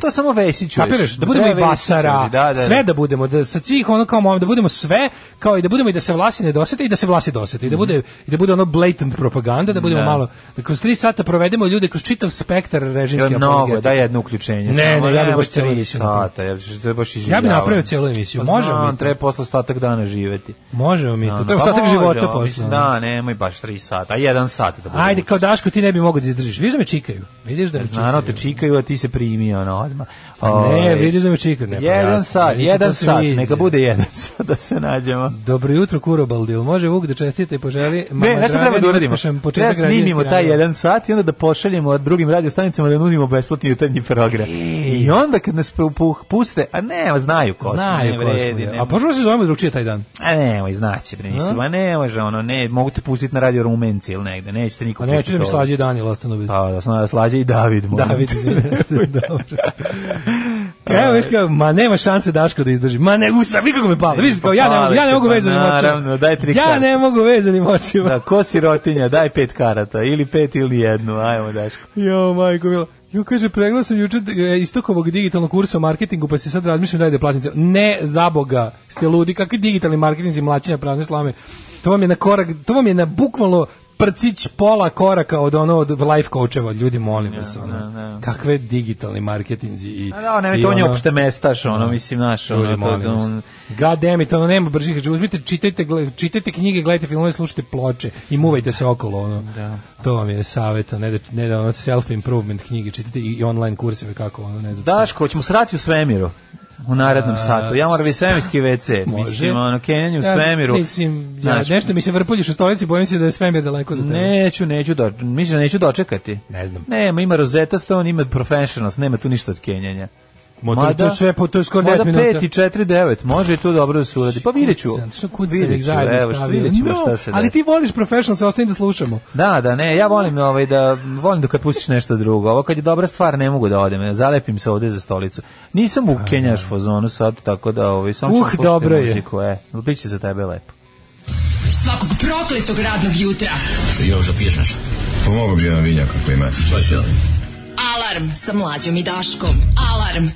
G: Pa to samo Vesiću.
F: Kapiraš? Da budemo i basara, sve da budemo, da sa svih ono kao mom, da budemo sve, kao i da budemo i da se vlasi ne dosete i da se vlasi dosete i da bude i da bude ono blatant propaganda, da budemo
G: Mhm. Da.
F: malo da kroz tri sata provedemo ljude kroz čitav spektar režimske
G: Jer
F: apologetike.
G: mnogo, da jedno uključenje.
F: Ne,
G: samo,
F: ne, ja bi
G: nemoj
F: baš cijelu
G: tri
F: emisiju
G: sata, jer to je baš
F: Ja
G: iživljavanje.
F: bi napravio cijelu emisiju.
G: Pa
F: Možemo
G: znam,
F: mi to.
G: treba posle ostatak dana živeti.
F: Možemo mi to. To je
G: Pa
F: ostatak
G: možemo,
F: života posle. ono.
G: mislim, Da, nemoj baš tri sata, a jedan sat da budemo.
F: Ajde, kao Daško, ti ne bi mogao da izdržiš. Vidiš da me čikaju. Vidiš da me
G: Naravno te
F: čikaju.
G: čikaju, a ti se primi ono odmah.
F: Pa ne,
G: Ovaj,
F: vidiš da me čika ne. pa
G: Jedan
F: jasno,
G: sat,
F: nisi to
G: jedan
F: svi
G: sat,
F: vidio.
G: neka bude jedan sat da se nađemo.
F: Dobro jutro, Kurobaldil. Može Vuk da čestite i poželi Mama
G: Ne, znaš šta treba
F: Dragani
G: da uradimo?
F: uspešan
G: Treba
F: početak
G: snimimo
F: građevinskih
G: taj
F: radova.
G: jedan sat i onda da pošaljemo drugim radiostanicama da nudimo besplatni jutarnji program. I onda kad nas pu- pu- puste, a ne, znaju ko smo.
F: Znaju
G: ne
F: ko smo,
G: vredi,
F: da.
G: ne-
F: A pa što se zovemo drugčije taj dan?
G: A nemoj, znaće, bre, nisu,
F: A?
G: ma ne može, ono, ne, mogu te pustiti na radio Rumenci ili negde, nećete niko
F: A neću da mi
G: pustiti ovo.
F: Pa slađe Danijel ostanu bez.
G: Pa, da sam da slađe i David. molim
F: David,
G: te.
F: izvinite. Dobro. Evo, viš kao, ma nema šanse Daško da izdrži. Ma ne mogu sam, nikako me pala. Viš kao, ja ne mogu, ja ne mogu
G: Pa,
F: vezanim očima.
G: naravno, daj tri
F: Ja
G: karte.
F: ne mogu vezanim očima.
G: Da, ko sirotinja, daj pet karata, ili pet ili jednu, ajmo, Daško.
F: Jo, majko, bilo. Jo, kaže, pregledao sam juče e, istokovog digitalnog kursa o marketingu, pa se sad razmišljam da ide platnice. Ne, za boga, ste ludi, kakvi digitalni marketinzi mlačenja prazne slame. To vam je na korak, to vam je na bukvalno prcić pola koraka od ono od life coacheva, ljudi molim vas, ono. Kakve digitalni marketinzi i
G: A da, ne,
F: i
G: to on je
F: ono-
G: opšte mestaš, ono, mislim, naš, ono,
F: Ljudi,
G: to-
F: molim
G: to-
F: vas.
G: on-
F: God damn it, ono nema bržih. Znači, Uzmite, čitajte, gle- čitajte knjige, gledajte filmove, slušajte ploče i muvajte se okolo. Ono. To vam je savjet, a ne da, ne da ono self-improvement knjige, čitajte i, i online kurseve kako, ono, ne znam.
G: Daško, ćemo srati u svemiru u narednom
F: A,
G: satu. Ja moram biti svemirski WC.
F: Može.
G: Mislim, ono, Kenjanje u
F: Ja,
G: svemiru.
F: Mislim, ja,
G: Znaš,
F: nešto mi se vrpuljiš u stolici, bojim se da je svemir daleko za tebe.
G: Neću, neću, do, misliš da neću dočekati?
F: Ne znam.
G: Nema, ima Rosetta Stone, ima Professionals, nema tu ništa od Kenjanja.
F: Ma, to- to je sve po- to je skoro
G: mada
F: devet minuta.
G: 5 i 4, 9, može i tu dobro da se uradi. Pa vidjet ću.
F: Kucam, Što kucam
G: Vidjet
F: ih
G: ću,
F: zajedno
G: evo, što
F: stavio.
G: vidjet ćemo
F: No,
G: šta se
F: ali
G: desi.
F: ti voliš professional, se ostavim da slušamo.
G: Da, da, ne, ja volim ovaj da volim da kad pustiš nešto drugo. Ovo kad je dobra stvar ne mogu da odem, zalepim se ovde za stolicu. Nisam u Kenjaš fazonu sad, tako da ovaj samo ću
F: Uh,
G: da pustim
F: dobro je.
G: muziku, e. Biće za tebe lepo.
E: Svakog prokletog radnog jutra.
M: Još da piješ nešto? Pomogu bi jedan vinjak ako imate. Pa će
I: Alarm sa mlađom i Daškom. Alarm.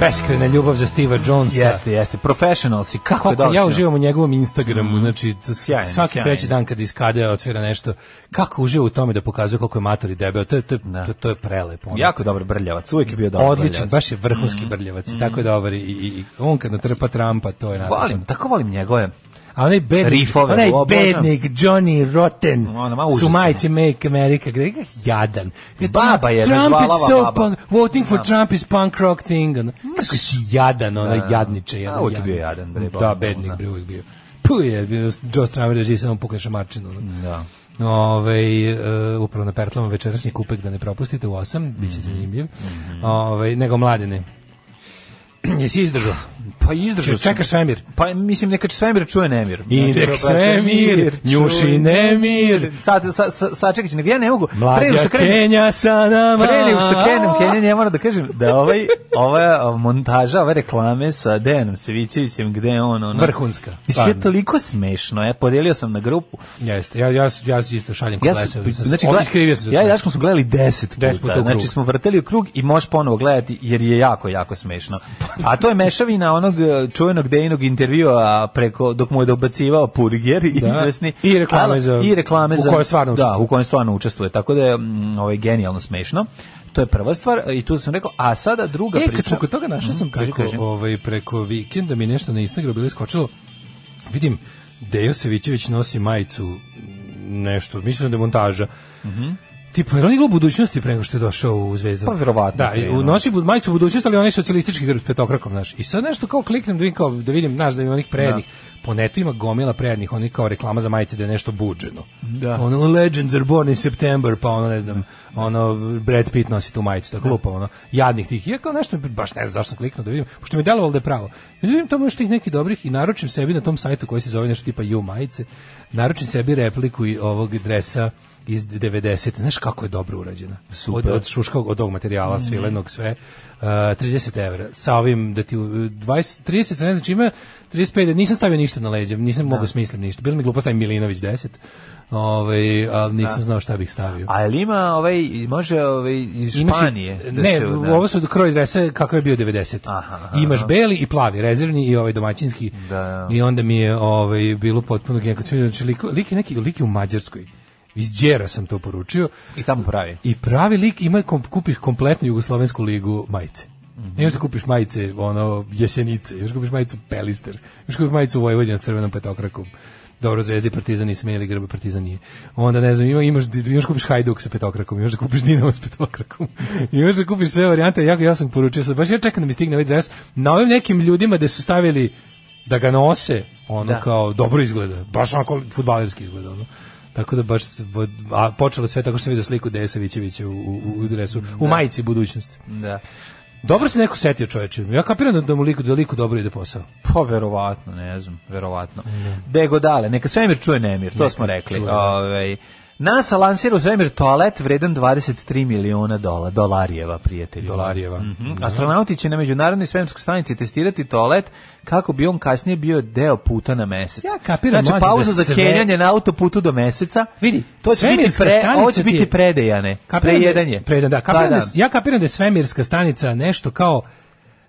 F: Beskrena ljubav za Steve Jonesa.
G: Jeste, jeste. Professionals i kako, je
F: Kako
G: dobro.
F: ja uživam u njegovom Instagramu, znači to s-
G: Sjajno,
F: svaki
G: sjajno.
F: treći dan kad iskade otvara nešto, kako uživa u tome da pokazuje koliko je mator i debel, to je, to je, to, to je prelepo. ono.
G: Jako dobar brljavac, uvijek je bio dobar
F: Odličan,
G: brljavac.
F: baš je vrhunski
G: Mhm.
F: brljavac,
G: Mhm.
F: tako je dobar i, i, i on kad natrpa Trumpa, to je natrpan.
G: Volim, tako volim njegove.
F: A onaj bednik,
G: Riffove,
F: onaj
G: obožavam.
F: bednik Johnny Rotten,
G: Ono, ma užasno.
F: su majice Make America, gre, jadan. Gre,
G: Baba je,
F: Trump
G: bezvalava
F: is so
G: baba.
F: punk, voting for
G: Da. Mm.
F: Trump is punk rock thing, ono. kako si jadan,
G: Da,
F: ono,
G: da.
F: jadniče,
G: A,
F: jadan,
G: uvijek je bio jadan, bre,
F: Da,
G: baba,
F: bednik,
G: da.
F: bre, uvijek bio. Puh, je, bio Joe Stramer reži samo pukneša marčinu. ono.
G: Da.
F: Ove, e, upravo na Pertlama večerašnji kupek da ne propustite u 8, bit
G: Mhm.
F: će zanimljiv. Ovaj, nego mladene. Jesi izdržao?
G: Pa izdržao sam.
F: Čekaš svemir?
G: Pa mislim neka svemir čuje nemir.
F: I
G: Znači,
F: nek
G: brate,
F: svemir
G: mir čuje-
F: njuši nemir.
G: Sad sa, sa, sačekaj, nego ja ne mogu.
F: Mlađa
G: Pre nego što krenem-
F: Kenja sa nama.
G: Pre nego što krenem Kenjan, ja moram da kažem da ovaj, ova montaža, ove reklame sa Dejanom Savićevićem, gde je on... Ono,
F: Vrhunska,
G: Mislim, je
F: stvarno.
G: toliko smešno, ja podijelio sam na grupu.
F: Jeste, ja, ja, ja se isto šaljem kod
G: Ja
F: ja
G: sam,
F: Leseovića.
G: znači,
F: Ovdje
G: gleda,
F: skrivio sam se.
G: ja i
F: sve.
G: Daško smo gledali 10 puta.
F: Deset puta u krug.
G: znači, smo vrteli u krug i možeš ponovo gledati jer je jako, jako smešno. A to je mešavina onog eh, čuvenog Dejinog intervjua preko, dok mu je dobacivao Purger i
F: Da.
G: izvesni.
F: I reklame
G: ali-
F: za-
G: I reklame
F: u
G: za...
F: kojoj stvarno
G: Da,
F: učestvuje.
G: u kojem stvarno učestvuje. Tako da je mm, ovaj, genijalno smešno. To je prva stvar i tu sam rekao, a sada druga
F: E,
G: priča.
F: kad smo kod toga našao sam
G: Mhm, kaži,
F: preko,
G: kaži.
F: Ovaj, preko vikenda mi je nešto na Instagramu bilo skočilo. Vidim, Dejo Savićević nosi majicu nešto, mislim da je montaža. Tipa, je li on igrao u budućnosti pre nego što je došao u Zvezdu?
G: Mhm. Pa, verovatno,
F: Da, i
G: krenuo.
F: u nosi bud, majicu budućnosti, ali onaj socijalistički grb s petokrakom, znaš. I sad nešto kao kliknem da vidim, kao, da vidim, znaš, da ima onih prednih. Po netu ima gomila prednih, oni kao reklama za majice da je nešto buđeno.
G: Da.
F: Ono, Legends are born in September, pa ono, ne znam, ono, Brad Pitt nosi tu majicu, tako lupa, ono, jadnih tih. I ja kao nešto, baš ne znam zašto sam kliknuo da vidim, pošto mi je delovalo da je pravo. I da vidim tamo još tih nekih dobrih i naručim sebi na tom sajtu koji se zove nešto tipa You majice, naručim sebi repliku i ovog dresa iz 90. Znaš kako je dobro urađena? Od, od šuškog, od ovog
G: Mhm.
F: materijala, svilenog, sve. Uh, 30 evra. Sa ovim da ti u- 20, 30, sa ne znam čime, 35, nisam stavio ništa na leđa, nisam mogao smislim ništa. Bilo mi glupo stavim Milinović 10. Ovaj, ali nisam
G: Da.
F: znao šta bih stavio.
G: A jel ima, ovaj, može ovaj, iz
F: Imaš i-
G: Španije? da
F: ne,
G: se- da.
F: ovo su kroj drese kako je bio 90. Imaš beli i plavi, rezervni i ovaj domaćinski. I onda mi je ovaj bilo potpuno genijalno. Znači, lik, lik je neki lik je u Mađarskoj. Iz Đera sam to poručio.
G: I tamo pravi.
F: I pravi lik ima kom, kupiš kompletnu jugoslovensku ligu majice. I onda kupiš majice, ono, jesenice, još kupiš majicu Pelister, još kupiš majicu Vojvodina s crvenom petokrakom. Dobro, Zvezda i Partizan nisam ili grbe Partizan nije. Onda ne znam, ima, imaš, imaš kupiš Hajduk sa petokrakom, imaš da kupiš Dinamo sa petokrakom. imaš da kupiš sve varijante, ja, ja sam poručio sad, baš ja čekam da mi stigne ovaj dres. Na ovim nekim ljudima da su stavili da ga nose, ono
G: Da.
F: kao dobro izgleda, baš onako futbalerski izgleda, ono. Tako da baš se- a počelo sve tako što sam vidio sliku Desa Vićevića u, u, u dresu, u majici budućnosti.
G: Da.
F: Dobro se neko setio čoveče. Ja kapiram da, da mu liku, da liku dobro ide posao.
G: Pa verovatno, ne znam, verovatno. Dego dale, neka svemir čuje nemir, to
F: Neka
G: smo rekli.
F: čuje.
G: Ovaj NASA lansira u svemir toalet vredan 23 miliona dola, dolarijeva, prijatelji.
F: Dolarijeva.
G: Mhm. Astronauti će na međunarodnoj svemirskoj stanici testirati toalet kako bi on kasnije bio deo puta na mesec.
F: Ja kapiram,
G: znači,
F: mlađe, da
G: pauza za
F: sve-
G: kenjanje na autoputu do meseca.
F: Vidi,
G: to će biti
F: svemirska
G: pre,
F: stanica
G: ovo će
F: ti je-
G: biti predejane.
F: Kapiram da-
G: Prejedanje. Pa
F: Prejedan, da. Kapiram da, ja kapiram da je svemirska stanica nešto kao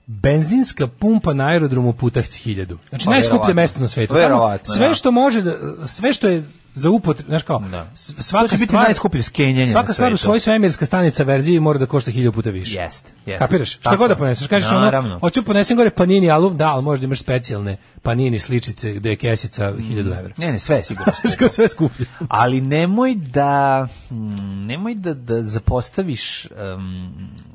F: benzinska pumpa na aerodromu puta 1000. Znači
G: Pa,
F: najskuplje
G: verovatno.
F: mesto na svetu. Tamo
G: Verovatno,
F: sve
G: da.
F: što može da, sve što je za upotrebu, znači kao s- svaka
G: To će biti
F: stvar-
G: najskuplje skenjanje
F: Svaka
G: na
F: stvar u
G: svetu.
F: svojoj svemirska stanica verziji mora da košta 1000 puta više.
G: Jeste, jeste.
F: Kapiraš? Šta
G: Tako
F: god da
G: je.
F: poneseš, kažeš ono,
G: Naravno.
F: hoću ponesem gore panini alum, da, ali možda imaš specijalne panini sličice gde je kesica 1000 evra.
G: Ne, ne, sve je sigurno. skupo.
F: Znaš, kao sve skuplje.
G: Ali nemoj da mm, nemoj da, da zapostaviš em,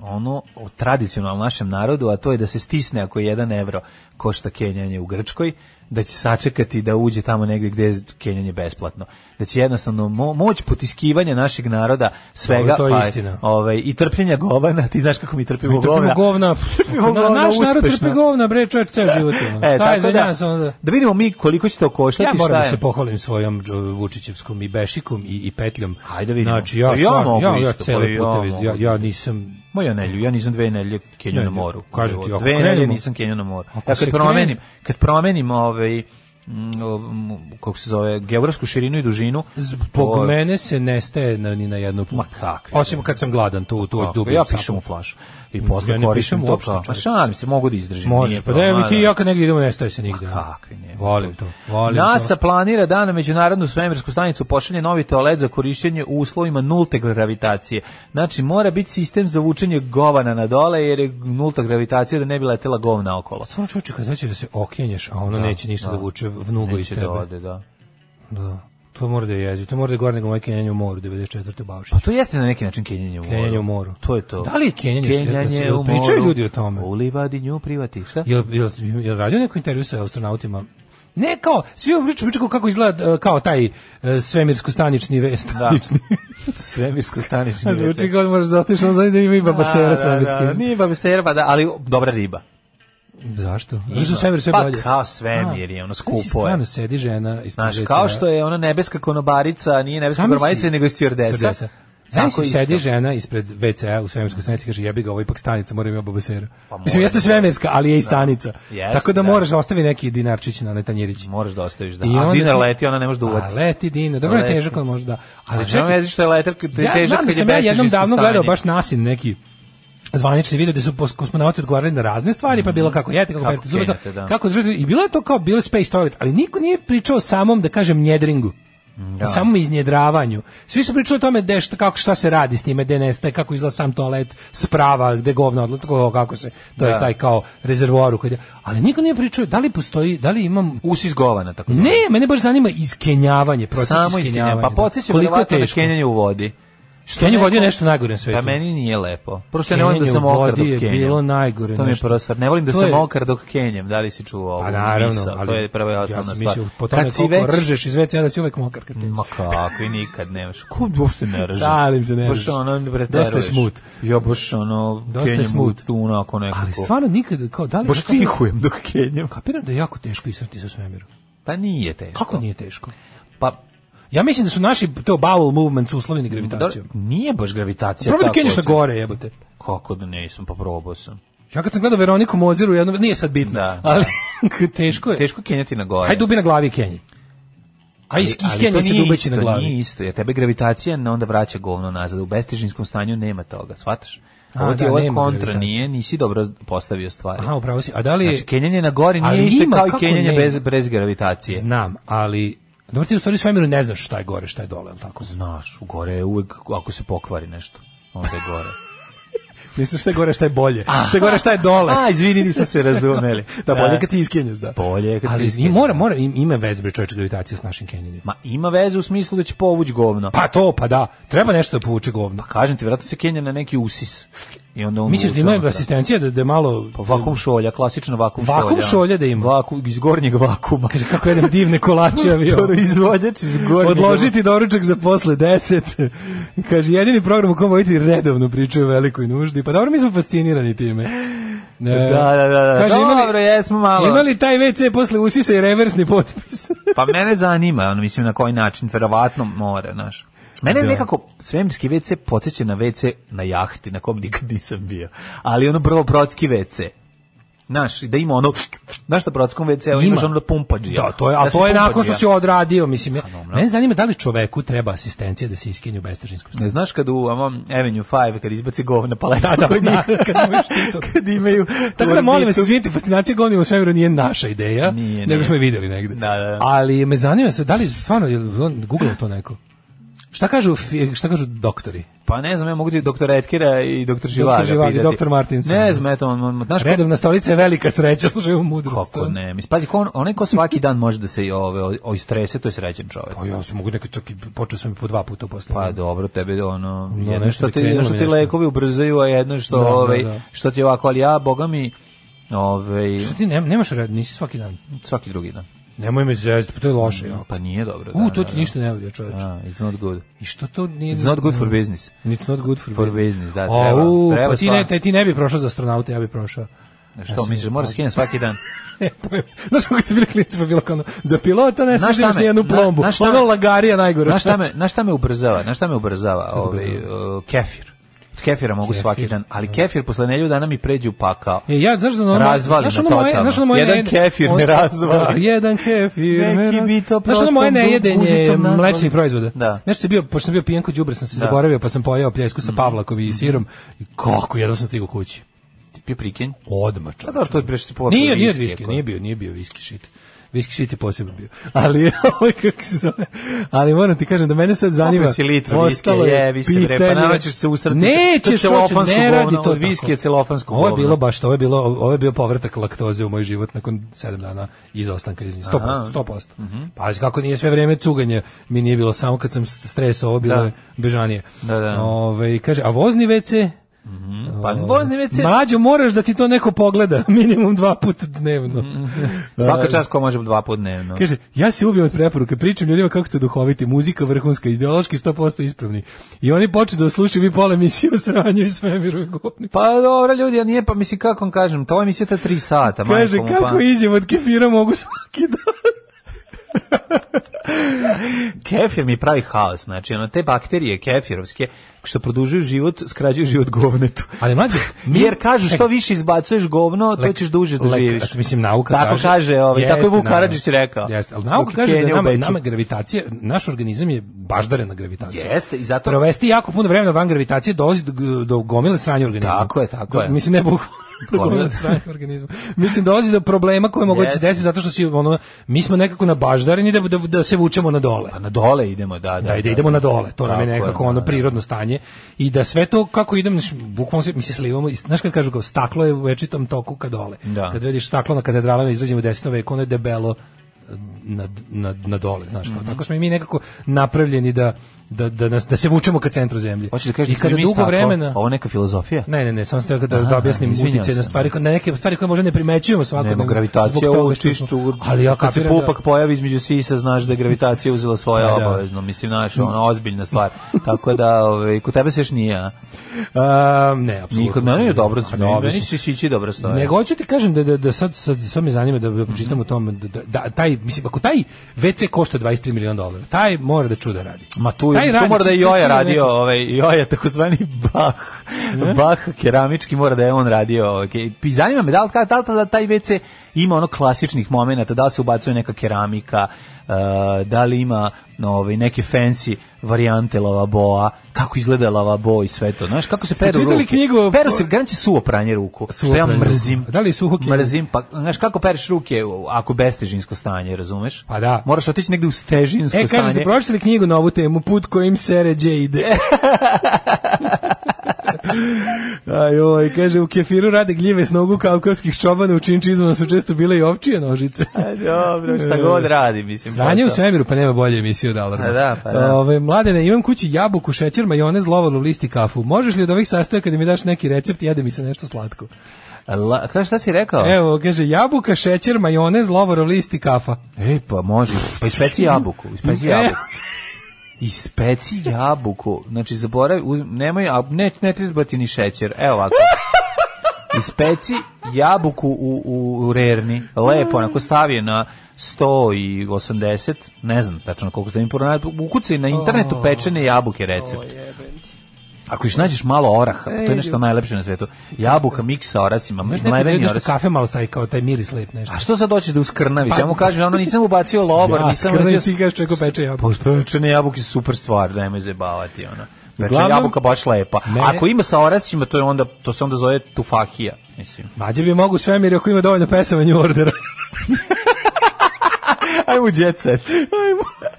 G: ono o tradicionalnom našem narodu, a to je da se stisne ako je jedan evro košta kenjanje u Grčkoj, da će sačekati da uđe tamo negdje gdje je kenjanje besplatno. Da će jednostavno mo- moć potiskivanja našeg naroda svega
F: Dobro, to je
G: pa,
F: istina.
G: ovaj, i trpljenja govana, ti znaš kako mi trpimo
F: Mi trpimo
G: govna.
F: govna. pa
G: Trpimo
F: Na-
G: govna
F: naš narod
G: uspešno.
F: trpi govna, bre, čovjek ceo život. ono.
G: E,
F: Šta je
G: tako
F: za
G: da,
F: nas onda?
G: da vidimo mi koliko će to koštati,
F: Ja moram
G: šta
F: da
G: je.
F: se pohvalim svojom dž- Vučićevskom i Bešikom i, i Petljom.
G: Ajde vidimo.
F: Znači, ja,
G: Pa ja
F: stvarno,
G: mogu
F: ja, ja,
G: isto, pa
F: cele
G: ja
F: puteve,
G: mogu.
F: ja, ja nisam...
G: Ma ja nelju, ja nisam dve nelje kenju
F: Ne,
G: na
F: ne,
G: moru.
F: kažem ti, ako
G: dve nelje
F: krenemo-
G: nisam kenju na moru.
F: Ako
G: Ja
F: se
G: kad promenim,
F: krene-
G: kad promenim ovaj mm, um, kako se zove, geografsku širinu i dužinu.
F: Zbog
G: to-
F: mene se nestaje na, ni na jednu put.
G: Ma kakvi.
F: Osim kad sam gladan, tu, tu,
G: Tako,
F: tu.
G: ja pišem u flašu. I posle
F: Ja ne
G: koristim
F: pišem
G: to
F: uopšte,
G: kao- Ma
F: čoveče.
G: šalim se, mogu da izdržim.
F: Možeš,
G: nije
F: pa da
G: problem,
F: mi ti i
G: da.
F: ja kad negdje idemo nestaje se nigde.
G: kakvi, ne.
F: Volim to, volim
G: NASA
F: to.
G: planira da na međunarodnu svemirsku stanicu pošalje novi toalet za korišćenje u uslovima nulte gravitacije. Znači, mora biti sistem za vučenje govana na dole, jer je nulta gravitacija da ne bi letela govna okolo.
F: Stvarno čovječe, kad znači da se okenješ, a ono
G: Da,
F: neće ništa da,
G: da.
F: vuče vnugo iz
G: Neće
F: tebe.
G: da ode, da.
F: Da. To mora da je jezivo. To mora da je gore nego moje kenjanje u moru 94. u Baušiću.
G: Pa to jeste na neki način kenjanje u moru.
F: Kenjanje u moru.
G: To je to.
F: Da li je kenjanje
G: Kenjanje
F: svjetlo?
G: u
F: Pričaju
G: moru,
F: ljudi o tome?
G: U livadi nju privati, šta?
F: Jel, jel, jel radio neko intervju sa astronautima? Ne, kao, svi ovom priču, priču kao kako izgleda e, kao taj e, svemirsko-stanični ve, stanični.
G: Svemirsko stanični.
F: Zvuči
G: recept.
F: kao da moraš da ostaviš ono zadnje da ima i
G: Da,
F: babasera
G: da,
F: svemirski.
G: da, Nije babasera, pa da, ali dobra riba.
F: Zašto? Zašto su svemir sve
G: Pa
F: bolje?
G: kao svemir je, ono,
F: Znači,
G: skupo je.
F: Stvarno sedi žena ispred
G: Znaš,
F: recimo,
G: kao što je ona nebeska konobarica, nije nebeska
F: Zamisli-
G: konobarica, nego je stjordesa.
F: stewardesa. Znaš,
G: Tako
F: si
G: isto.
F: sedi žena ispred WC-a u svemirskoj stanici, kaže jebi ga, ovo je ipak stanica, mora ima babasera.
G: Pa
F: Mislim,
G: mora,
F: jeste
G: da.
F: svemirska, ali je i stanica.
G: Jeste,
F: Tako da,
G: da.
F: moraš da ostavi neki dinarčić na netanjirići.
G: Moraš da ostaviš, da.
F: I
G: A
F: onda
G: dinar
F: ti-
G: leti, ona ne može da
F: A
G: uvati.
F: leti dinar, dobro je
G: Leti.
F: težak, on može da. Ali
G: Ali čekaj,
F: čekaj,
G: vezi što je letar, kad je
F: ja
G: težak
F: znam da
G: kad je
F: sam ja jednom
G: bestižinsko
F: davno
G: stanje.
F: gledao baš nasin neki zvanični video gde su pos- kosmonauti odgovarali na razne stvari, pa je bilo kako jete, kako,
G: Mhm. Kako
F: perite zube,
G: kenjate, da.
F: kako držite, i bilo je to kao bilo je space toilet, ali niko nije pričao o samom, da kažem, njedringu. O samom iznjedravanju. Svi su pričali o tome gde šta, kako, šta se radi s time, gde nestaje, kako izgleda sam toalet, sprava, gde govna odlazi, tako, kako se, to je
G: Da.
F: taj kao rezervoar u koji- ali niko nije pričao da li postoji, da li imam
G: Us iz govana, tako
F: ne, mene baš zanima iskenjavanje, proces
G: Samo iskenjavanje. Pa podsjeća verovatno na kenjanje u vodi.
F: Što je vodio nešto najgore na svetu.
G: Pa meni nije lepo. Prosto ja ne volim da
F: Kenjanje
G: sam
F: u
G: okar
F: vodi
G: dok
F: je
G: kenjam.
F: bilo najgore,
G: To mi je
F: nešto.
G: prva stvar. Ne volim da
F: To
G: sam
F: je-
G: okar dok kenjam. Da li si čuo ovo?
F: Pa naravno,
G: Nisam.
F: ali
G: to je prva i
F: ja
G: osnovna
F: sam
G: stvar.
F: mislio po tome
G: Kad si
F: koliko
G: već-
F: ržeš iz WC-a da si uvek mokar kad
G: Ma
F: krećeš.
G: kakvi nikad nemaš. Ko uopšte ne reže?
F: Šalim se, ne
G: Baš
F: režem.
G: ono, bre,
F: Dosta je
G: teruješ.
F: smut.
G: Ja baš ono,
F: Dosta je
G: kenjam
F: smut.
G: u- tu onako nekako.
F: Ali stvarno nikad, kao da li...
G: Baš
F: kapiram-
G: tihujem dok kenjam.
F: Kapiram da je jako teško israti sa svemiru.
G: Pa nije teško.
F: Kako nije teško?
G: Pa,
F: Ja mislim da su naši to bowel movements uslovljeni
G: da,
F: gravitacijom.
G: nije baš gravitacija.
F: Probaj da
G: tako
F: kenješ na
G: oštra.
F: gore, jebote.
G: Kako da nisam, pa probao sam.
F: Ja kad sam gledao Veroniku Moziru, jedno, nije sad bitno,
G: Da,
F: ali teško Pa je.
G: Teško kenjati na gore.
F: Hajde dubi na glavi kenji. A
G: Ali-
F: is,
G: ali
F: iskenjaj
G: to
F: se
G: nije
F: dubeći na
G: isto,
F: glavi.
G: Nije isto, jer tebe gravitacija ne onda vraća govno nazad. U bestižinskom stanju nema toga, shvataš?
F: A,
G: Ovo ti
F: da,
G: je ovaj
F: nema
G: kontra,
F: gravitacije.
G: nije, nisi dobro postavio stvari.
F: Aha, upravo si. A da li je...
G: Znači, kenjanje na gori
F: Ali
G: nije isto
F: ima,
G: kao i
F: kako
G: kenjanje
F: nema?
G: bez, bez gravitacije.
F: Znam, ali... Dobro, ti u stvari u svemiru ne znaš šta je gore, šta je dole, je li tako?
G: Znaš, u gore je uvek, ako se pokvari nešto, onda je gore.
F: Mislim šta je gore, šta je bolje. Šta je gore, šta je dole.
G: A, izvini, nismo se razumeli.
F: da, bolje kad se iskenješ, da.
G: Bolje je kad
F: Ali
G: se
F: i
G: iskenješ.
F: mora, mora, im- ima veze bre čovječe gravitacija s našim kenjanjem.
G: Ma ima veze u smislu da će povući govno.
F: Pa to, pa da. Treba nešto da povuče govno.
G: Pa kažem ti, vjerojatno se kenja na neki usis. I onda on
F: Misliš da
G: uvuče ono
F: ima
G: unutra.
F: asistencija da, da je malo...
G: Pa vakum šolja, klasično vakum, šolja. ono.
F: Vakum šolja da ima. Znači
G: Vakum, iz gornjeg vakuma. Kaže,
F: Kako jedem divne kolače avio.
G: Proizvođač iz gornjeg
F: Odložiti doručak za posle 10. Kaže, jedini program u kom voditi redovno priču o velikoj nuždi. Pa dobro, mi smo fascinirani time. Ne.
G: Da, da, da, da.
F: Kaže, ima li-
G: Dobro, jesmo malo.
F: Ima li taj WC posle usisa i reversni potpis?
G: pa mene zanima, ono, mislim na koji način, verovatno more, znaš. Mene
F: Da.
G: nekako svemirski WC podsjeća na WC na jahti, na kom nikad nisam bio. Ali ono brlo brodski WC. Znaš, da ima ono, znaš na brodskom WC-u imaš ono da pumpađija.
F: Da, to je, a
G: Da si
F: to je nakon što
G: pumpađija.
F: si odradio, mislim. Ja, mene zanima da li čoveku treba asistencija da se iskinje u bestažinskom
G: Ne znaš kad u ovom Avenue 5 kad izbaci govna paleta
F: Da, da,
G: kod
F: da,
G: njih,
F: kad mu je štito.
G: kad imaju
F: Tako da molim vas,
G: orbitu.
F: svinite fascinacije govnima u svemiru nije naša ideja,
G: Nije,
F: nego
G: nije.
F: smo je videli negde.
G: Da, da, da.
F: Ali me zanima se, da li stvarno, je li on googlao to neko? Šta kažu, fi- šta kažu doktori?
G: Pa ne znam, ja mogu ti doktor Etkera i doktor Živaga
F: Živaga i
G: pitati.
F: doktor Martinson.
G: Ne znam, eto, on, on, znaš, ko,
F: Redovna stolica je velika sreća, slušaj u mudrost.
G: Kako ne? Mislim, pazi, ko on, onaj ko svaki dan može da se i ove, o, o istrese, to je srećen čovjek.
F: Pa ja sam mogu nekad čak i počeo sam i po dva puta posle.
G: Pa dobro, tebe ono,
F: No,
G: jedno
F: nešto
G: što
F: bi
G: ti,
F: krenulo
G: jedno što
F: mi
G: ti
F: nešto.
G: lekovi ubrzaju, a jedno što,
F: Da, da,
G: ovaj,
F: da.
G: što ti je ovako, ali ja, boga mi, ovaj,
F: Šta ti ne, nemaš red, nisi svaki dan.
G: svaki drugi dan.
F: Nemoj me zezati, pa to je loše. jako.
G: Pa nije dobro.
F: U, to ti ništa ne vodi, čoveče.
G: Da, it's not good.
F: I što to nije...
G: znači. It's not good for business.
F: It's not good for,
G: For business, da, treba,
F: Au,
G: treba
F: pa ti ne,
G: stvarno.
F: taj, ti ne bi prošao za astronauta, ja bi prošao. Ja
G: E, Što
F: sam-
G: misliš, mora skinem svaki dan.
F: Ne, pa je- Znaš kako su bili klinici, pa je bilo kao ono, za pilota ne smiješ
G: Znaš
F: da
G: šta
F: imaš
G: me-
F: nijednu
G: na-
F: plombu.
G: znaš šta
F: ono
G: me-
F: lagarija najgore.
G: Na šta me, na šta me ubrzava? Na šta me ubrzava
F: te
G: ovaj uh, kefir? Od kefira mogu svaki dan, ali kefir posle nedelju dana mi pređe u pakao.
F: E, ja, znaš da ono,
G: Razvali
F: znaš
G: me
F: ono moje,
G: totalno.
F: znaš ono moje
G: Jedan
F: nejed-
G: kefir me razvali.
F: Da, jedan kefir me
G: Neki
F: raz-
G: bi to
F: Znaš ono
G: prostom
F: moje
G: dug-
F: nejedenje
G: gužicom nazvali.
F: mlečnih proizvoda.
G: Da.
F: Nešto sam bio, pošto sam bio pijen kod đubre, sam se
G: Da. Mm.
F: zaboravio, pa sam pojeo pljesku sa Pavlakom i sirom. I kako, jedno sam stigao kući.
G: Ti prikenj.
F: Odmah,
G: Pa
F: čovječe.
G: da što je prešli po.
F: Nije, nije od
G: pa-
F: viski, nije bio, nije bio viski shit. Viski shit je posebno bio. Ali, ovaj, kako se zove, ali moram ti kažem da mene sad zanima.
G: Popio si litru
F: ostalo
G: viskija,
F: je
G: jebi se bre, pa
F: pitanje-
G: naravno ćeš se usrati. To je
F: Nećeš, čoče,
G: celofansko
F: ne radi
G: govno,
F: to
G: od viskija
F: tako.
G: celofansko
F: Ovo je
G: govno.
F: bilo baš, to, ovo je, bilo, ovo je bio povratak laktoze u moj život nakon 7 dana izostanka iz nje. 100%,
G: Aha. Mhm.
F: 100%. Pazi Pa kako nije sve vreme cuganje, mi nije bilo samo kad sam stresao, ovo bilo
G: Da.
F: je bežanije.
G: Da, da.
F: Ove, kaže, a vozni WC?
G: Pa vozni WC.
F: Mlađo, moraš da ti to neko pogleda, minimum dva puta dnevno.
G: Svaka čast ko može dva puta dnevno.
F: Kaže, ja se ubijem od preporuke, pričam ljudima kako ste duhoviti, muzika vrhunska, ideološki 100% ispravni. I oni počnu da slušaju vi pola emisije o sranju i svemiru i govni.
G: Pa dobro ljudi, a nije pa mislim kako vam kažem, to je misija ta 3 sata,
F: Kaže,
G: majko mu,
F: kako
G: pa.
F: iđem od kefira mogu svaki dan.
G: Kefir mi pravi haos, znači ono, te bakterije kefirovske što produžuju život, skraćuju život govnetu.
F: Ali mlađe,
G: Jer kažu što više izbacuješ govno, to ćeš duže da
F: Lek-
G: živiš.
F: Mislim, nauka
G: tako
F: kaže...
G: kaže, ovaj,
F: Jeste,
G: tako je Vuk
F: naravno.
G: Karadžić rekao.
F: Jeste, ali nauka
G: Dok je
F: kaže da
G: Kenija u
F: nama,
G: Beču.
F: nama gravitacija, naš organizam je baždarena gravitacija.
G: Jeste, i zato-
F: Provesti jako puno vremena van gravitacije dolazi do, g- do gomile sranja organizma.
G: Tako je, tako
F: Do-
G: je.
F: Mislim, ne bukvalno. do
G: Gomile.
F: gomile sranja organizma. Mislim, dolazi do problema koje mogu da se
G: Jeste.
F: desiti zato što si, ono, mi smo nekako na baždareni da, da, da se vučemo na dole
G: Pa na dole idemo, da, da.
F: da, da idemo na dole. To nam je
G: Tako je,
F: nekako
G: da,
F: ono
G: da.
F: prirodno stanje i da sve to kako idem znaš, bukvalno se mi se slivamo i znaš kad kažu kao staklo je u večitom toku ka dole.
G: Da.
F: Kad vidiš staklo na katedralama izrađeno u 10. veku ono je debelo eh, na, na, na dole, znaš,
G: Mhm.
F: kao, tako smo i mi nekako napravljeni da, da, da, nas, da se vučemo ka centru zemlje.
G: Hoćeš da kažeš
F: I
G: da smo
F: kada
G: mi
F: dugo
G: staklo?
F: vremena...
G: Ovo neka filozofija?
F: Ne, ne, ne, samo ste da, da
G: Aha,
F: objasnim
G: izvinjam
F: utjecaj na
G: se.
F: stvari, na neke stvari koje možda ne primećujemo svakodnevno.
G: Nema
F: zbog
G: gravitacija,
F: toga
G: ovo
F: što smo-
G: čišću,
F: Ali ja
G: kad se
F: kapiram da-
G: pupak pojavi između sisa, znaš da je gravitacija uzela svoje
F: Pa da.
G: obavezno, mislim, znaš, ono, ozbiljna stvar. Tako da, ovaj, kod tebe se još nije, a?
F: Um, ne, apsolutno.
G: Nikod, meni je dobro,
F: A
G: meni-
F: dobro
G: meni
F: smo.
G: si sići dobro stoje.
F: Pa Nego hoću ti kažem da da da sad sad sve me zanima da, da
G: Mhm.
F: pročitam o tome da, da taj mislim ako taj WC košta 23 miliona dolara, taj mora da čuda radi.
G: Ma tu,
F: Taj
G: je,
F: radi
G: tu mora da je
F: sigurno
G: Joja
F: neko-
G: radio, ovaj, Joja takozvani Bah, Bah keramički mora da je on radio. Okay. I zanima me da li, da li tada taj WC ima ono klasičnih momenata, da li se ubacuje neka keramika, eh, da li ima no, ovaj, neke fancy varijante lavaboa, kako izgleda lavabo i sve to. Znaš, kako se
F: Ste
G: peru
F: čitali
G: ruke?
F: knjigu-
G: Peru se, garanti će suvo pranje ruku,
F: Suvo
G: što ja
F: pranje ruku.
G: mrzim.
F: Da li je suho knjiga?
G: Mrzim, pa znaš kako pereš ruke u- ako bestežinsko stanje, razumeš?
F: Pa da.
G: Moraš otići negde u stežinsko
F: E,
G: stanje.
F: kažete, pročitali knjigu na ovu temu, put kojim se ređe ide. Aj, oj, kaže, u kefiru rade gljive s nogu kaukavskih čobana, u činčizama su često bile i ovčije nožice.
G: A, dobro, šta
F: E,
G: god radi, mislim.
F: Sranje u
G: posao.
F: svemiru, pa nema bolje emisije od Alarma.
G: A da, pa da.
F: Ove, mladene, imam kući jabuku, šećer, majonez, lovornu, list i kafu. Možeš li od ovih sastojaka da mi daš neki recept, jede mi se nešto slatko?
G: La, kaže, šta si rekao?
F: Evo, kaže, jabuka, šećer, majonez, lovorov list i kafa.
G: E, pa može. Pa ispeci jabuku, ispeci
F: E.
G: jabuku. Ispeci jabuku. Znači, zaboravi, uzm, nemoj, a ne, ne treba ti ni šećer. Evo ovako. Ispeci jabuku u, u, u rerni. Lepo, onako stavi je na 180, ne znam tačno koliko ste mi poronali. Ukucaj na internetu pečene jabuke recept. Ako još nađeš malo oraha, to je nešto najlepše na svetu. Jabuka, miks sa orasima,
F: Znaš, nekad je
G: mleveni
F: nešto
G: orasi.
F: kafe malo stavi kao taj miris lep nešto.
G: A što sad hoćeš da uskrnaviš?
F: Pa-
G: ja mu kažem, ono nisam ubacio lobar,
F: Ja,
G: nisam
F: skrnavi,
G: ubacio...
F: ti kažeš čovjeku peče jabuku.
G: Pa uspečene jabuke su super stvar, nemoj zajebavati, ono. Peče
F: Uglavnom-
G: jabuka baš lepa.
F: Mene-
G: Ako ima sa orasima, to, je onda, to se onda zove tufakija, mislim.
F: Mađe bi mogu svemir ako ima dovoljno pesama New Ordera.
G: Ajmo u jet set. Ajmo.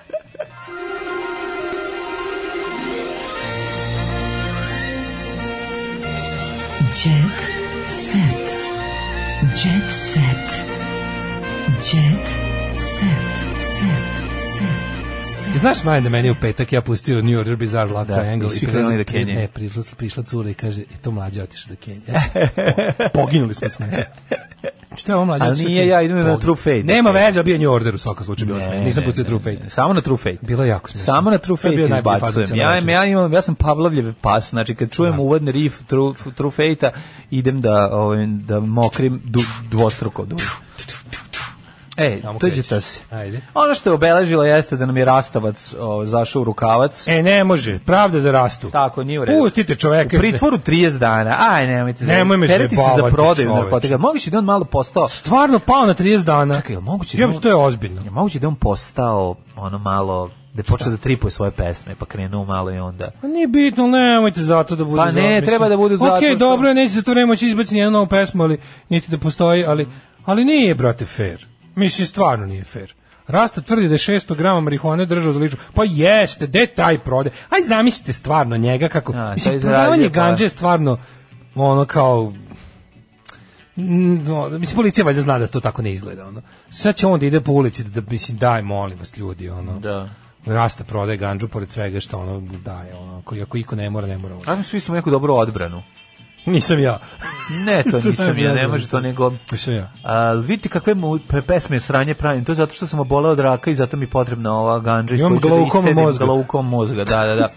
E: Jet set. Jet set. Jet set. Set. Set.
F: Znaš, Maja, da meni je u petak ja pustio New Order Bizarre Love
G: Da,
F: Triangle.
G: i svi
F: prilaz-
G: krenuli do
F: pri-
G: Kenije.
F: Ne, prišla, prišla cura i kaže, e, to mlađe otišao do Kenije. Ja sam- po- poginuli smo s mene. Šta je ovo mlađe
G: Ali
F: otišao do
G: nije,
F: Kenije?
G: ja idem na
F: Pogin-
G: True Fate.
F: Nema veze, bio je New Order u svakom slučaju, bilo
G: Ne,
F: smiješno. Nisam
G: ne,
F: pustio
G: ne,
F: True
G: ne,
F: Fate.
G: ne, Samo na True Fate.
F: Bilo je jako smiješno.
G: Samo na True
F: To je
G: Fate
F: bio najbolji fazon
G: izbacujem.
F: cijele
G: Ja,
F: večeri.
G: ja, imam, ja sam Pavlovljev pas, znači kad čujem uvodni riff True, true Fate-a, idem da, ovaj, da mokrim du, dvostruko dugo. E,
F: Samo
G: to je
F: kreći.
G: ta se.
F: Ajde.
G: Ono što je obeležilo jeste da nam je rastavac o, zašao u rukavac.
F: E, ne može, pravda za rastu.
G: Tako, nije u redu.
F: Pustite čoveka.
G: U pritvoru 30 dana. Aj, nemojte. se-
F: Nemoj me
G: Tereti se za
F: zajebavati,
G: prodaju
F: čoveče.
G: narkotika. Moguće da je on malo postao...
F: Stvarno pao na 30 dana.
G: Čekaj, jel moguće
F: Ja,
G: da on-
F: to je ozbiljno.
G: Je moguće da je on postao ono malo da je počeo da tripuje svoje pesme, pa krenuo malo i onda.
F: Pa nije bitno, ali nemojte zato da budu
G: Pa ne, treba da budu zato
F: Okej,
G: što-
F: dobro, neće za to vreme moći izbaciti nijednu novu pesmu, ali niti da postoji, ali, ali nije, brate, fair. Mislim, stvarno nije fair. Rasta tvrdi da je 600 grama marihuane držao za liču. Pa jeste, de taj prode? Aj zamislite stvarno njega kako...
G: A, to je
F: mislim,
G: zaradio, pa.
F: prodavanje ganđe je stvarno ono kao Mm, no, mislim policija valjda zna da to tako ne izgleda ono. Sad će on da ide po ulici da, da mislim daj molim vas ljudi ono.
G: Da.
F: Rasta prodaje ganđu pored svega što ono daje, ono, ako, ako iko ne mora, ne mora.
G: Ajmo svi smo neku dobru odbranu.
F: Nisam ja.
G: Ne, to nisam ja, ne može to nego...
F: Nisam ja.
G: A, vidite kakve mu pe- pesme sranje pravim, to je zato što sam oboleo od raka i zato mi je potrebna ova ganđa iz
F: Imam
G: koje ću
F: glaukom
G: iscedim
F: mozga.
G: glaukom mozga, da, da, da.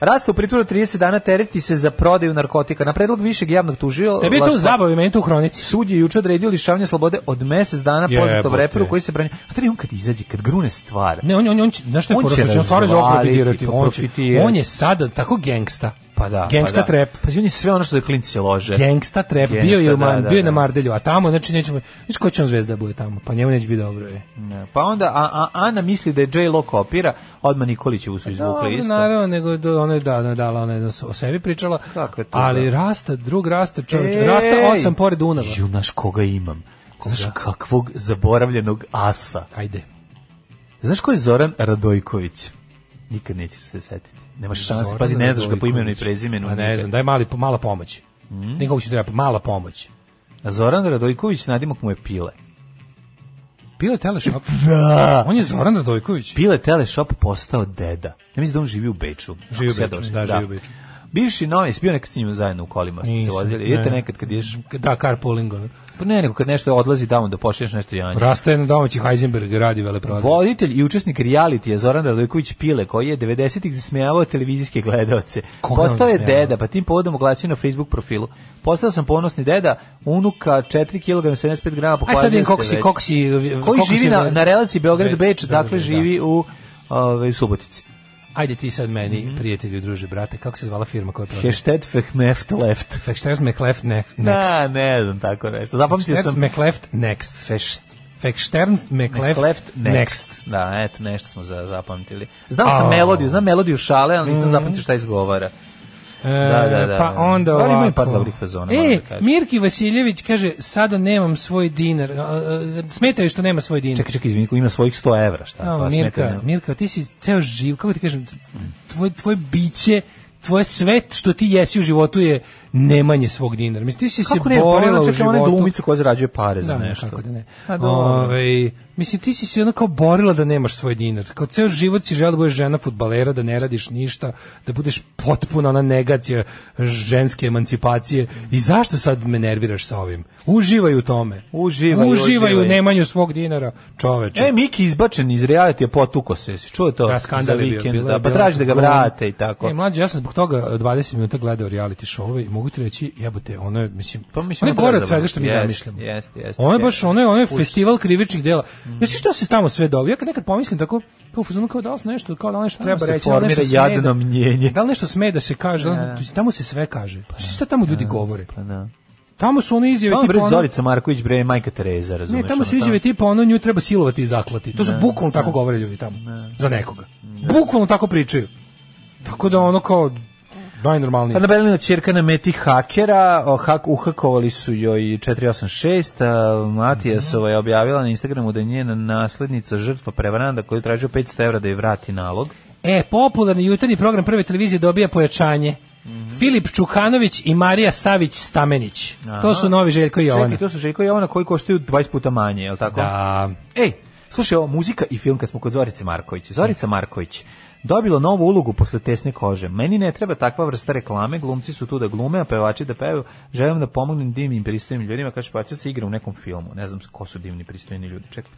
G: Rasta u pritvoru 30 dana tereti se za prodaju narkotika. Na predlog višeg javnog tužila...
F: Tebi je to u zabavi, meni je to u hronici.
G: Sud je juče odredio lišavanje slobode od mesec dana poznatom
F: Jebote.
G: reperu koji se branio. A to je on kad izađe, kad grune stvar.
F: Ne, on, je- on, je- on će, znaš što je
G: On
F: fora,
G: će
F: što će on stvarno
G: razvaliti,
F: zaprofitirati. On, će,
G: profitirati.
F: on je sada tako gangsta.
G: Pa da.
F: Gangsta
G: pa da.
F: trap.
G: Pazi, on je sve ono što za klinci se lože.
F: Gangsta trap,
G: Gangsta,
F: bio je, u
G: da,
F: man,
G: da,
F: bio je na
G: da.
F: Mardelju, a tamo, znači nećemo, znaš ko će on zvezda da bude tamo, pa njemu neće biti dobro. Je.
G: Ne, Pa onda a, a, Ana misli da je J-Lo kopira, odmah Nikolićevu su izvukli
F: Dobro,
G: isto.
F: naravno, nego do- ona je da, ona je dala, ona je da se o sebi pričala.
G: Kako je to,
F: ali
G: da?
F: rasta, drug rasta, čovječ,
G: Ej!
F: rasta osam pored Dunava.
G: Ju, znaš koga imam? Znaš kakvog zaboravljenog asa?
F: Ajde.
G: Znaš ko je Zoran Radojković? Nikad nećeš se setiti. Nemaš šanse, pazi, ne znaš ga po imenu i prezimenu.
F: Pa ne
G: nikad.
F: znam, daj mali, mala pomoć. Mm. Nikog će treba, mala pomoć.
G: A Zoran Radojković, nadimak mu je Pile.
F: Bilo je teleshop. On je Zoran Radojković.
G: Pile Teleshop postao deda. Ja mislim da on živi u Beču.
F: Živi u
G: Ako se ja
F: Beču,
G: dobro
F: da,
G: sjećam.
F: živi u Beču.
G: Bivši novi, bio nekad s njim zajedno u kolima, ste se
F: Nisam,
G: vozili.
F: ne.
G: Idete nekad kad ješ,
F: Da, carpooling. ono.
G: pa ne, nego kad nešto odlazi tamo da pošliješ nešto janje.
F: Rastaje na domaći Heisenberg, radi vele prodaju.
G: Voditelj i učesnik reality je Zoran Radojković Pile, koji je 90-ih zasmejavao televizijske gledaoce.
F: Koga je
G: Postao
F: on
G: je
F: zasmejavao?
G: deda, pa tim povodom oglasio na Facebook profilu. Postao sam ponosni deda, unuka 4 kg 75 g,
F: Aj
G: pohvalio
F: sad vidim
G: se
F: koliko si,
G: već.
F: koliko si... eh,
G: Koji
F: koliko si-
G: živi na, na relaciji Beograd-Beč,
F: Da, da,
G: dakle
F: da.
G: živi u ovaj, Subotici.
F: Ajde ti sad meni,
G: Mhm.
F: prijatelju, druže, brate, kako se zvala firma koja prodaje?
G: Hashtag Fehmeft Left.
F: Feksters McLeft ne- Next.
G: Da, ne znam tako nešto. Zapamtio
F: Feksters
G: sam
F: McLeft Next.
G: Fešt.
F: Feksterns McLeft
G: Left
F: Next.
G: next. Da, eto, nešto smo za, zapamtili. Znam sam
F: A. Mhm.
G: melodiju, znam melodiju šale, ali nisam zapamtio šta izgovara. Da, da, da.
F: Pa onda
G: Ali
F: ovako.
G: ima i par dobrih fazona, moram
F: E,
G: da kažem.
F: Mirki Vasiljević kaže, sada nemam svoj dinar. A, a, Smetaju što nema svoj dinar.
G: Čekaj, čekaj, izvini, ko ima svojih 100 evra, šta?
F: A,
G: pa smeta,
F: Mirka,
G: ne?
F: Mirka, ti si ceo živ, kako ti kažem, tvoj, tvoje biće tvoje sve što ti jesi u životu je nemanje svog dinara. Mislim, ti si
G: Kako
F: se
G: ne,
F: borila
G: borila
F: u
G: čak i ona
F: životu.
G: glumica koja zarađuje pare za
F: Da,
G: nešto.
F: Kako da ne.
G: A, dobro.
F: Ovaj, mislim, ti si se onako borila da nemaš svoj dinar. Kao ceo život si žela da budeš žena futbalera, da ne radiš ništa, da budeš potpuna ona negacija ženske emancipacije. I zašto sad me nerviraš sa ovim? Uživaj u tome.
G: Uživaj,
F: uživaj. u
G: uživaj.
F: nemanju svog dinara, čoveče.
G: E, Miki izbačen iz realitija, potuko se, si čuo to?
F: Da, skandal
G: Za
F: je bio.
G: vikend,
F: bila je
G: da, pa
F: bila
G: traži da ga
F: glum.
G: vrate i tako.
F: E, mlađe, ja sam zbog toga 20 minuta gledao reality show i mogu ti reći, jebote, ono je, mislim, pa,
G: mislim,
F: ono
G: ono
F: je gore
G: treba
F: od
G: da
F: svega
G: bude.
F: što mi
G: Jeste,
F: zamišljamo.
G: jeste, jeste,
F: Ono
G: jeste.
F: je
G: Mhm.
F: baš, ono je, ono je
G: Užas.
F: festival krivičnih dela. Mm. Jesi šta se tamo sve dobio? Ja kad nekad pomislim tako, kao u fazonu, kao da li se nešto, kao da li nešto
G: Tamo
F: treba
G: se
F: reći, da li nešto
G: formira
F: sme
G: jadno
F: da-
G: mnjenje.
F: Da li nešto sme da se kaže, da li-
G: Da, da.
F: tamo se sve kaže. Znaš šta tamo ljudi govore?
G: Pa da.
F: Tamo su one izjave
G: Tamo bre
F: ono-
G: Zorica Marković, bre Majka Tereza, razumeš?
F: ne, tamo
G: ono,
F: su izjave tipa ono nju treba silovati i zaklati. To su
G: Ne,
F: bukvalno tako
G: ne.
F: govore ljudi tamo. Za nekoga. Bukvalno tako pričaju. Tako da ono kao najnormalnije.
G: Pa na Belina ćerka na meti hakera, o, hak, uhakovali su joj 486, a
F: Mhm.
G: Matijasova je objavila na Instagramu da je njena naslednica žrtva prevaranda koju je tražio 500 evra da je vrati nalog.
F: E, popularni jutarnji program prve televizije dobija pojačanje. Filip Čukanović i Marija Savić Stamenić. To su novi Željko i Jovana.
G: Čekaj, to su Željko i Jovana koji koštaju 20 puta manje, je li tako?
F: Da.
G: Ej, slušaj, ovo muzika i film kad smo kod Zorice Marković. Zorica Marković dobila novu ulogu posle tesne kože. Meni ne treba takva vrsta reklame, glumci su tu da glume, a pevači da pevaju. Želim da pomognem divnim i pristojnim ljudima, kaže pa se igra u nekom filmu. Ne znam ko su divni i pristojni ljudi. Čekaj.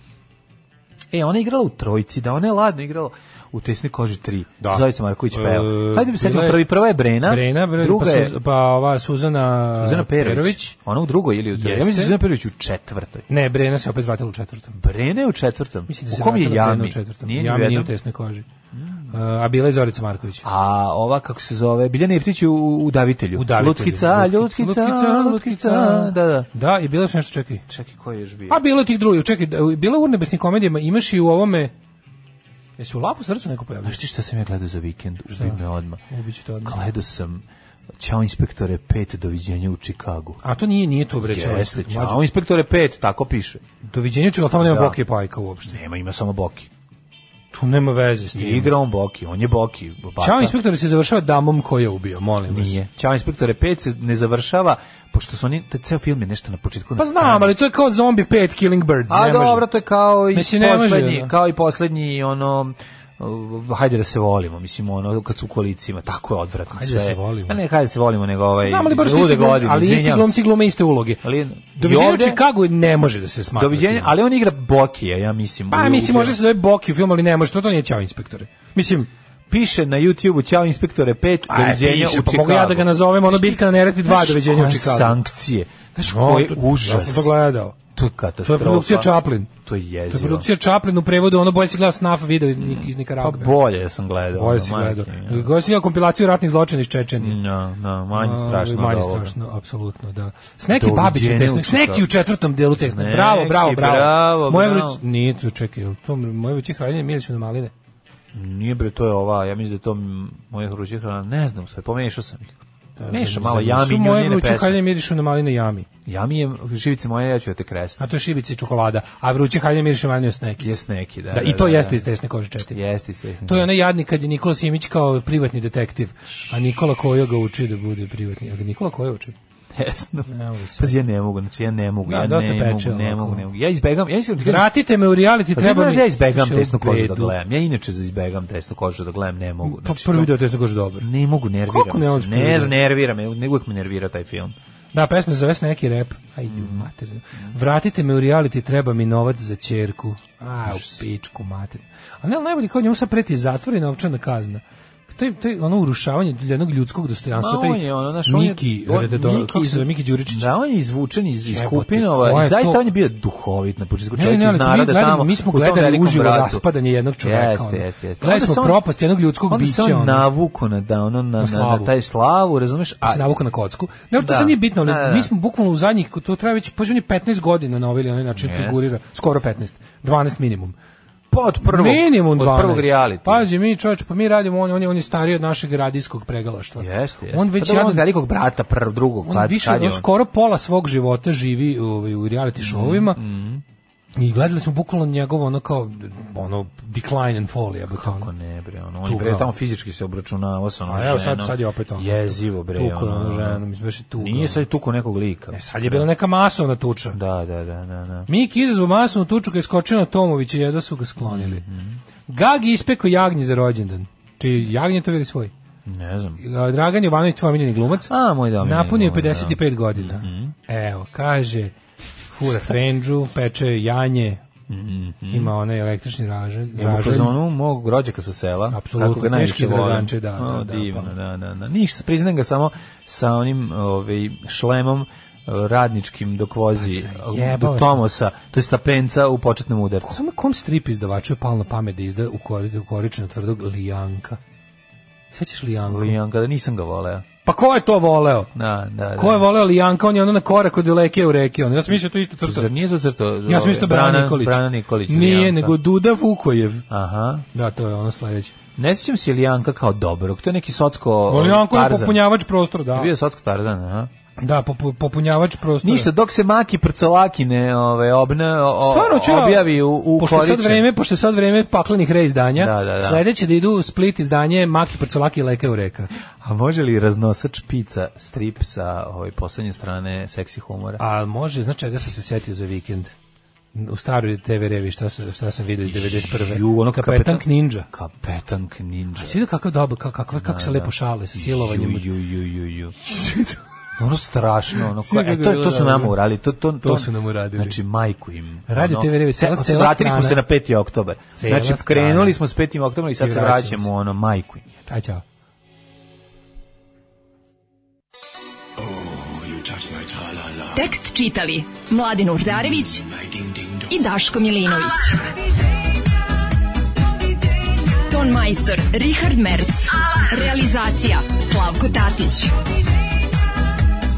G: E, ona je igrala u Trojici, da ona je ladno igrala u tesni koži 3.
F: Da.
G: Zorica Marković peva.
F: E,
G: Hajde bi se
F: bila je-
G: prvi, prva je Brena,
F: Brena, bre,
G: druga
F: pa,
G: je
F: Suz- pa ova Suzana,
G: Zuzana Perović. Ona u drugoj ili u trećoj? Ja
F: Jeste.
G: mislim da je Zuzana Perović u četvrtoj.
F: Ne, Brena se opet vratila u četvrtom.
G: Brene je u četvrtom.
F: Mislim da
G: u
F: se
G: kom je
F: vratila Brena
G: Jami?
F: u četvrtom.
G: Nije ni u
F: Jami nije u
G: jednom.
F: tesnoj koži. E, a bila je Zorica Marković.
G: A ova kako se zove? Biljana Jeftić je u, u Davitelju.
F: U Davitelju.
G: Lutkica, lutkica, lutkica, Pa- Da, da.
F: Da, i bilo je još nešto, čekaj.
G: Čekaj, ko je još bio?
F: A bilo je tih drugih, čekaj, da, bilo je u urnebesnim komedijama, imaš i u ovome... Jesi u Lapu srcu neko pojavio?
G: Znaš ti šta sam ja gledao za vikend? Ubij me odmah.
F: Ubiću te odmah.
G: Gledao sam Ćao inspektore 5, doviđenja u Čikagu.
F: A to nije, nije to brećao.
G: Jeste, Ćao inspektore 5, tako piše.
F: Doviđenja čega, ali tamo nema
G: Da.
F: Boki i Pajka uopšte.
G: Nema, ima samo Boki.
F: Tu nema veze s
G: I
F: tim.
G: igra on Boki, on je Boki. bata.
F: Ćao inspektor se završava damom koji je ubio, molim vas.
G: pa Nije. Ćao inspektore 5 se ne završava, pošto su oni, taj ceo film je nešto na početku.
F: Pa
G: na strani.
F: znam, ali to je kao zombie 5 Killing Birds.
G: A
F: ne može.
G: dobro, to je kao i
F: Mislim, ne može,
G: poslednji,
F: da.
G: kao i poslednji ono uh, hajde da se volimo, mislim ono kad su u kolicima, tako je odvratno
F: Hajde
G: sve.
F: da se volimo.
G: Pa ne, hajde da se volimo, nego ovaj
F: Znam, ali bar su
G: lude
F: isti, glum,
G: godine,
F: ali isti
G: izvinjavam
F: glumci
G: se.
F: glume iste uloge.
G: Ali-
F: Doviđenja
G: i
F: u
G: ovde-
F: Čikagu ne može da se smatra.
G: Doviđenja,
F: tim.
G: ali on igra Bokija, ja mislim.
F: Pa
G: u-
F: mislim,
G: u-
F: može se zove Boki u filmu, ali ne može, to, to nije Ćao inspektore. Mislim,
G: piše na YouTubeu Ćao inspektore 5
F: Aj,
G: doviđenja
F: piše,
G: u
F: pa
G: Čikagu.
F: mogu ja da ga nazovem, ono, bitka na Neretvi dva,
G: Znaš
F: doviđenja u
G: koje
F: Čikagu.
G: Sankcije. Znaš koji
F: to-
G: užas.
F: Ja sam to gledao.
G: To je
F: To je
G: katastrofa.
F: produkcija Chaplin.
G: To je
F: To je
G: jezivo.
F: produkcija Chaplin u prevodu, ono bolje si gledao snaf video iz, Nik- iz
G: Pa
F: Nikaragve.
G: bolje sam gledao.
F: Bolje
G: ono,
F: si
G: majke
F: gledao.
G: mi, ja.
F: Bolje si gledao kompilaciju ratnih zločina iz Čečenije.
G: No, no, manje strašno.
F: Ovaj, Manje
G: od ovoga.
F: strašno, apsolutno, da. Sneki
G: Doviđenja
F: Babić u
G: u
F: tesnoj,
G: Čikagu.
F: Sneki u četvrtom delu tesne.
G: Sneki,
F: Bravo, bravo, bravo.
G: bravo,
F: Moje
G: bravo. Pa
F: vruć... Nije to, čekaj, jel to moje vruće hranjenje Miliću na maline.
G: Nije bre, to je ova, ja mislim da je to m- moje hruće hrana, ne znam sve, pomešao sam ih. Meša malo jami
F: Su
G: i
F: moje
G: njene
F: vruće hranjenje
G: pesme.
F: mirišu na maline jami.
G: Jami je, živice moje, ja ću da te kresna.
F: A to je šibica i čokolada. A vruće hranjenje mirišu na maline sneki.
G: Jes neki, da.
F: Da, I to jeste iz tesne kože četiri.
G: Jeste iz tesne.
F: To je onaj jadnik kad je Nikola Simić kao privatni detektiv, a Nikola Kojo ga uči da bude privatni. Jel ga Nikola Kojo uči?
G: Tesno.
F: Evo ga sad.
G: Pazi, ja ne mogu, znači ja ne mogu,
F: Da,
G: ja
F: dosta
G: ne
F: peče
G: mogu, ne
F: ovako.
G: mogu, ne mogu. Ja izbegam, ja iskreno ti kažem,
F: Vratite me u
G: Pa ti
F: reality, treba
G: znaš
F: mi...
G: da ja izbegam
F: Slušaj,
G: tesnu
F: u
G: kožu da
F: bedu.
G: gledam. Ja inače za izbegam tesnu kožu da gledam, ne mogu.
F: Pa
G: Znači,
F: prvi
G: to-
F: video tesne kože dobro.
G: Ne mogu, nervira
F: Kako ne
G: me.
F: voliš
G: se.
F: prvi
G: Ne,
F: video?
G: znam, nervira me, uvijek me nervira taj film.
F: Da, pesma se zove neki rep. Ajde,
G: Mm.
F: materinu. Vratite me u reality, treba mi novac za čerku. A, u pičku materinu. A ne, ali najbolje kao njemu sad preti zatvor i novčana kazna. To je, to je ono urušavanje jednog ljudskog dostojanstva.
G: Ma,
F: taj
G: on je ono, znaš, on je-
F: Miki,
G: on-
F: rededor-
G: Miki
F: kako se
G: iz-
F: zove, Miki Đuričić.
G: Da, on je izvučen iz, iz
F: Jebote, ko
G: Kupinova
F: je
G: i zaista
F: to?
G: on je bio duhovit na početku
F: Ne, ne,
G: čovjek
F: ne,
G: iz
F: ali to mi
G: naroda
F: gledamo,
G: tamo.
F: mi smo
G: u tom
F: gledali
G: velikom
F: uživo
G: bratu.
F: raspadanje jednog čoveka,
G: Jeste,
F: ono.
G: jeste, jeste.
F: Gledali
G: Onda
F: smo
G: se on-
F: propast jednog ljudskog
G: onda se
F: bića,
G: on
F: ono.
G: navuku na, da, ono, na, na, na,
F: slavu.
G: taj slavu, razumeš?
F: se navuku na kocku. Ne, to
G: Da.
F: sad nije bitno, ali
G: Da, da, da.
F: mi smo bukvalno u zadnjih, to treba već, pađe on je 15 godina na ovaj ili onaj način
G: Jeste.
F: figurira, skoro 15, 12 minimum.
G: pa od prvog,
F: Minimum 12.
G: od prvog reality.
F: Pazi, mi čovječe, pa mi radimo, on, on, je, on je stariji od našeg radijskog pregalaštva.
G: jeste, jeste.
F: On već
G: pa,
F: jadno-
G: jedan velikog brata, prvog, drugog,
F: on
G: kad,
F: više,
G: kad je Mhm,
F: on skoro pola svog života živi ovaj, u reality showovima. I gledali smo bukvalno njegovo ono kao ono decline and fall je
G: kako ne bre ono on je bre tamo fizički se obračunavao sa onom
F: A evo sad
G: ženom.
F: sad je opet ono.
G: jezivo bre
F: Tuko je
G: ono,
F: onu ženu, mislim baš je tuko.
G: nije sad tuko nekog lika
F: E, sad je bila neka masovna tuča.
G: Da, da, da, da, da.
F: Miki izazvao masovnu tuču kad je skočio na Tomovića i jedva su ga sklonili. Gagi ispeko jagnje za rođendan. Čiji jagnje to ili svoj?
G: ne znam
F: A, Dragan Jovanović, tvoj omiljeni glumac.
G: A, moj da. Mhm.
F: Napunio je 55 godina. Evo, kaže, fura frendžu, peče janje, ima onaj električni raželj.
G: Ja Mhm. u
F: raželj.
G: fazonu mog rođaka sa sela.
F: Apsolutno,
G: kako ga najviše
F: teški
G: volim.
F: draganče, da,
G: O,
F: da, da,
G: divno,
F: pa.
G: da, da, da. Ništa, priznam ga samo sa onim ovaj, šlemom eh, radničkim dok vozi
F: Pa
G: eh,
F: zajebao
G: do
F: je.
G: Tomosa, to je stapenca u početnom udarcu.
F: Samo kom strip izdavaču je palo na pamet da izda u kori- u koričinu tvrdog Lijanka. Sećaš Lijanku?
G: Lijanka, da nisam ga voleo.
F: Pa ko je to voleo?
G: Da, da, da.
F: Ko je voleo Lijanka? On je ono na korak od Leke u reke. Ono. Ja sam mislio to isto crto.
G: Zar nije to crto? ovaj,
F: Ja sam mislio Brana Nikolić.
G: Brana Nikolić.
F: Nije,
G: Lijanka.
F: nego Duda Vukojev.
G: Aha.
F: Da, to je ono sledeće.
G: Ne sjećam se Lijanka kao dobrog, to je neki socko ovaj,
F: Lijanko je
G: Tarzan.
F: popunjavač prostora, da.
G: Je bio socko Tarzan, aha.
F: Da, popu- popunjavač prostora.
G: Ništa, dok se Maki Prcolaki ne ovaj, obna, o,
F: Stvarno ću ja-
G: objavi u, u
F: pošto je sad
G: koriče.
F: vreme, pošto je sad vreme paklenih reizdanja,
G: Da, da, da.
F: sledeće da idu Split izdanje Maki Prcolaki i Leke u reka.
G: A može li raznosač pica strip sa ovaj, poslednje strane seksi humora?
F: A može, znaš čega sam se setio za vikend? U staroj TV revi šta, sam- šta sam vidio iz 91.
G: Ju, ono
F: Kapetan,
G: kapetan-
F: Kninđa.
G: Kapetan Ninja.
F: A si vidio kakav doba, kako, kako, kako se lepo šale sa silovanjem?
G: Ju, ju, ju, ju, ju. Ono strašno, ono,
F: Svi
G: koja, e,
F: kako
G: to,
F: je
G: to su nam
F: dobro.
G: uradili. To, to, to,
F: To su nam uradili.
G: Znači, majku im.
F: Radio
G: ono.
F: TV Revi,
G: Se-
F: cela- cela
G: Vratili smo
F: strana.
G: se na 5. oktober.
F: Cela
G: Znači,
F: strana.
G: krenuli smo s 5. oktober i sad
F: I
G: se
F: vraćamo
G: vraćamo,
F: se.
G: ono, majku im.
F: Aj, čao.
E: Tekst čitali Mladin Urdarević i Daško Milinović. Ton majstor Richard Merc. Realizacija Slavko Tatić.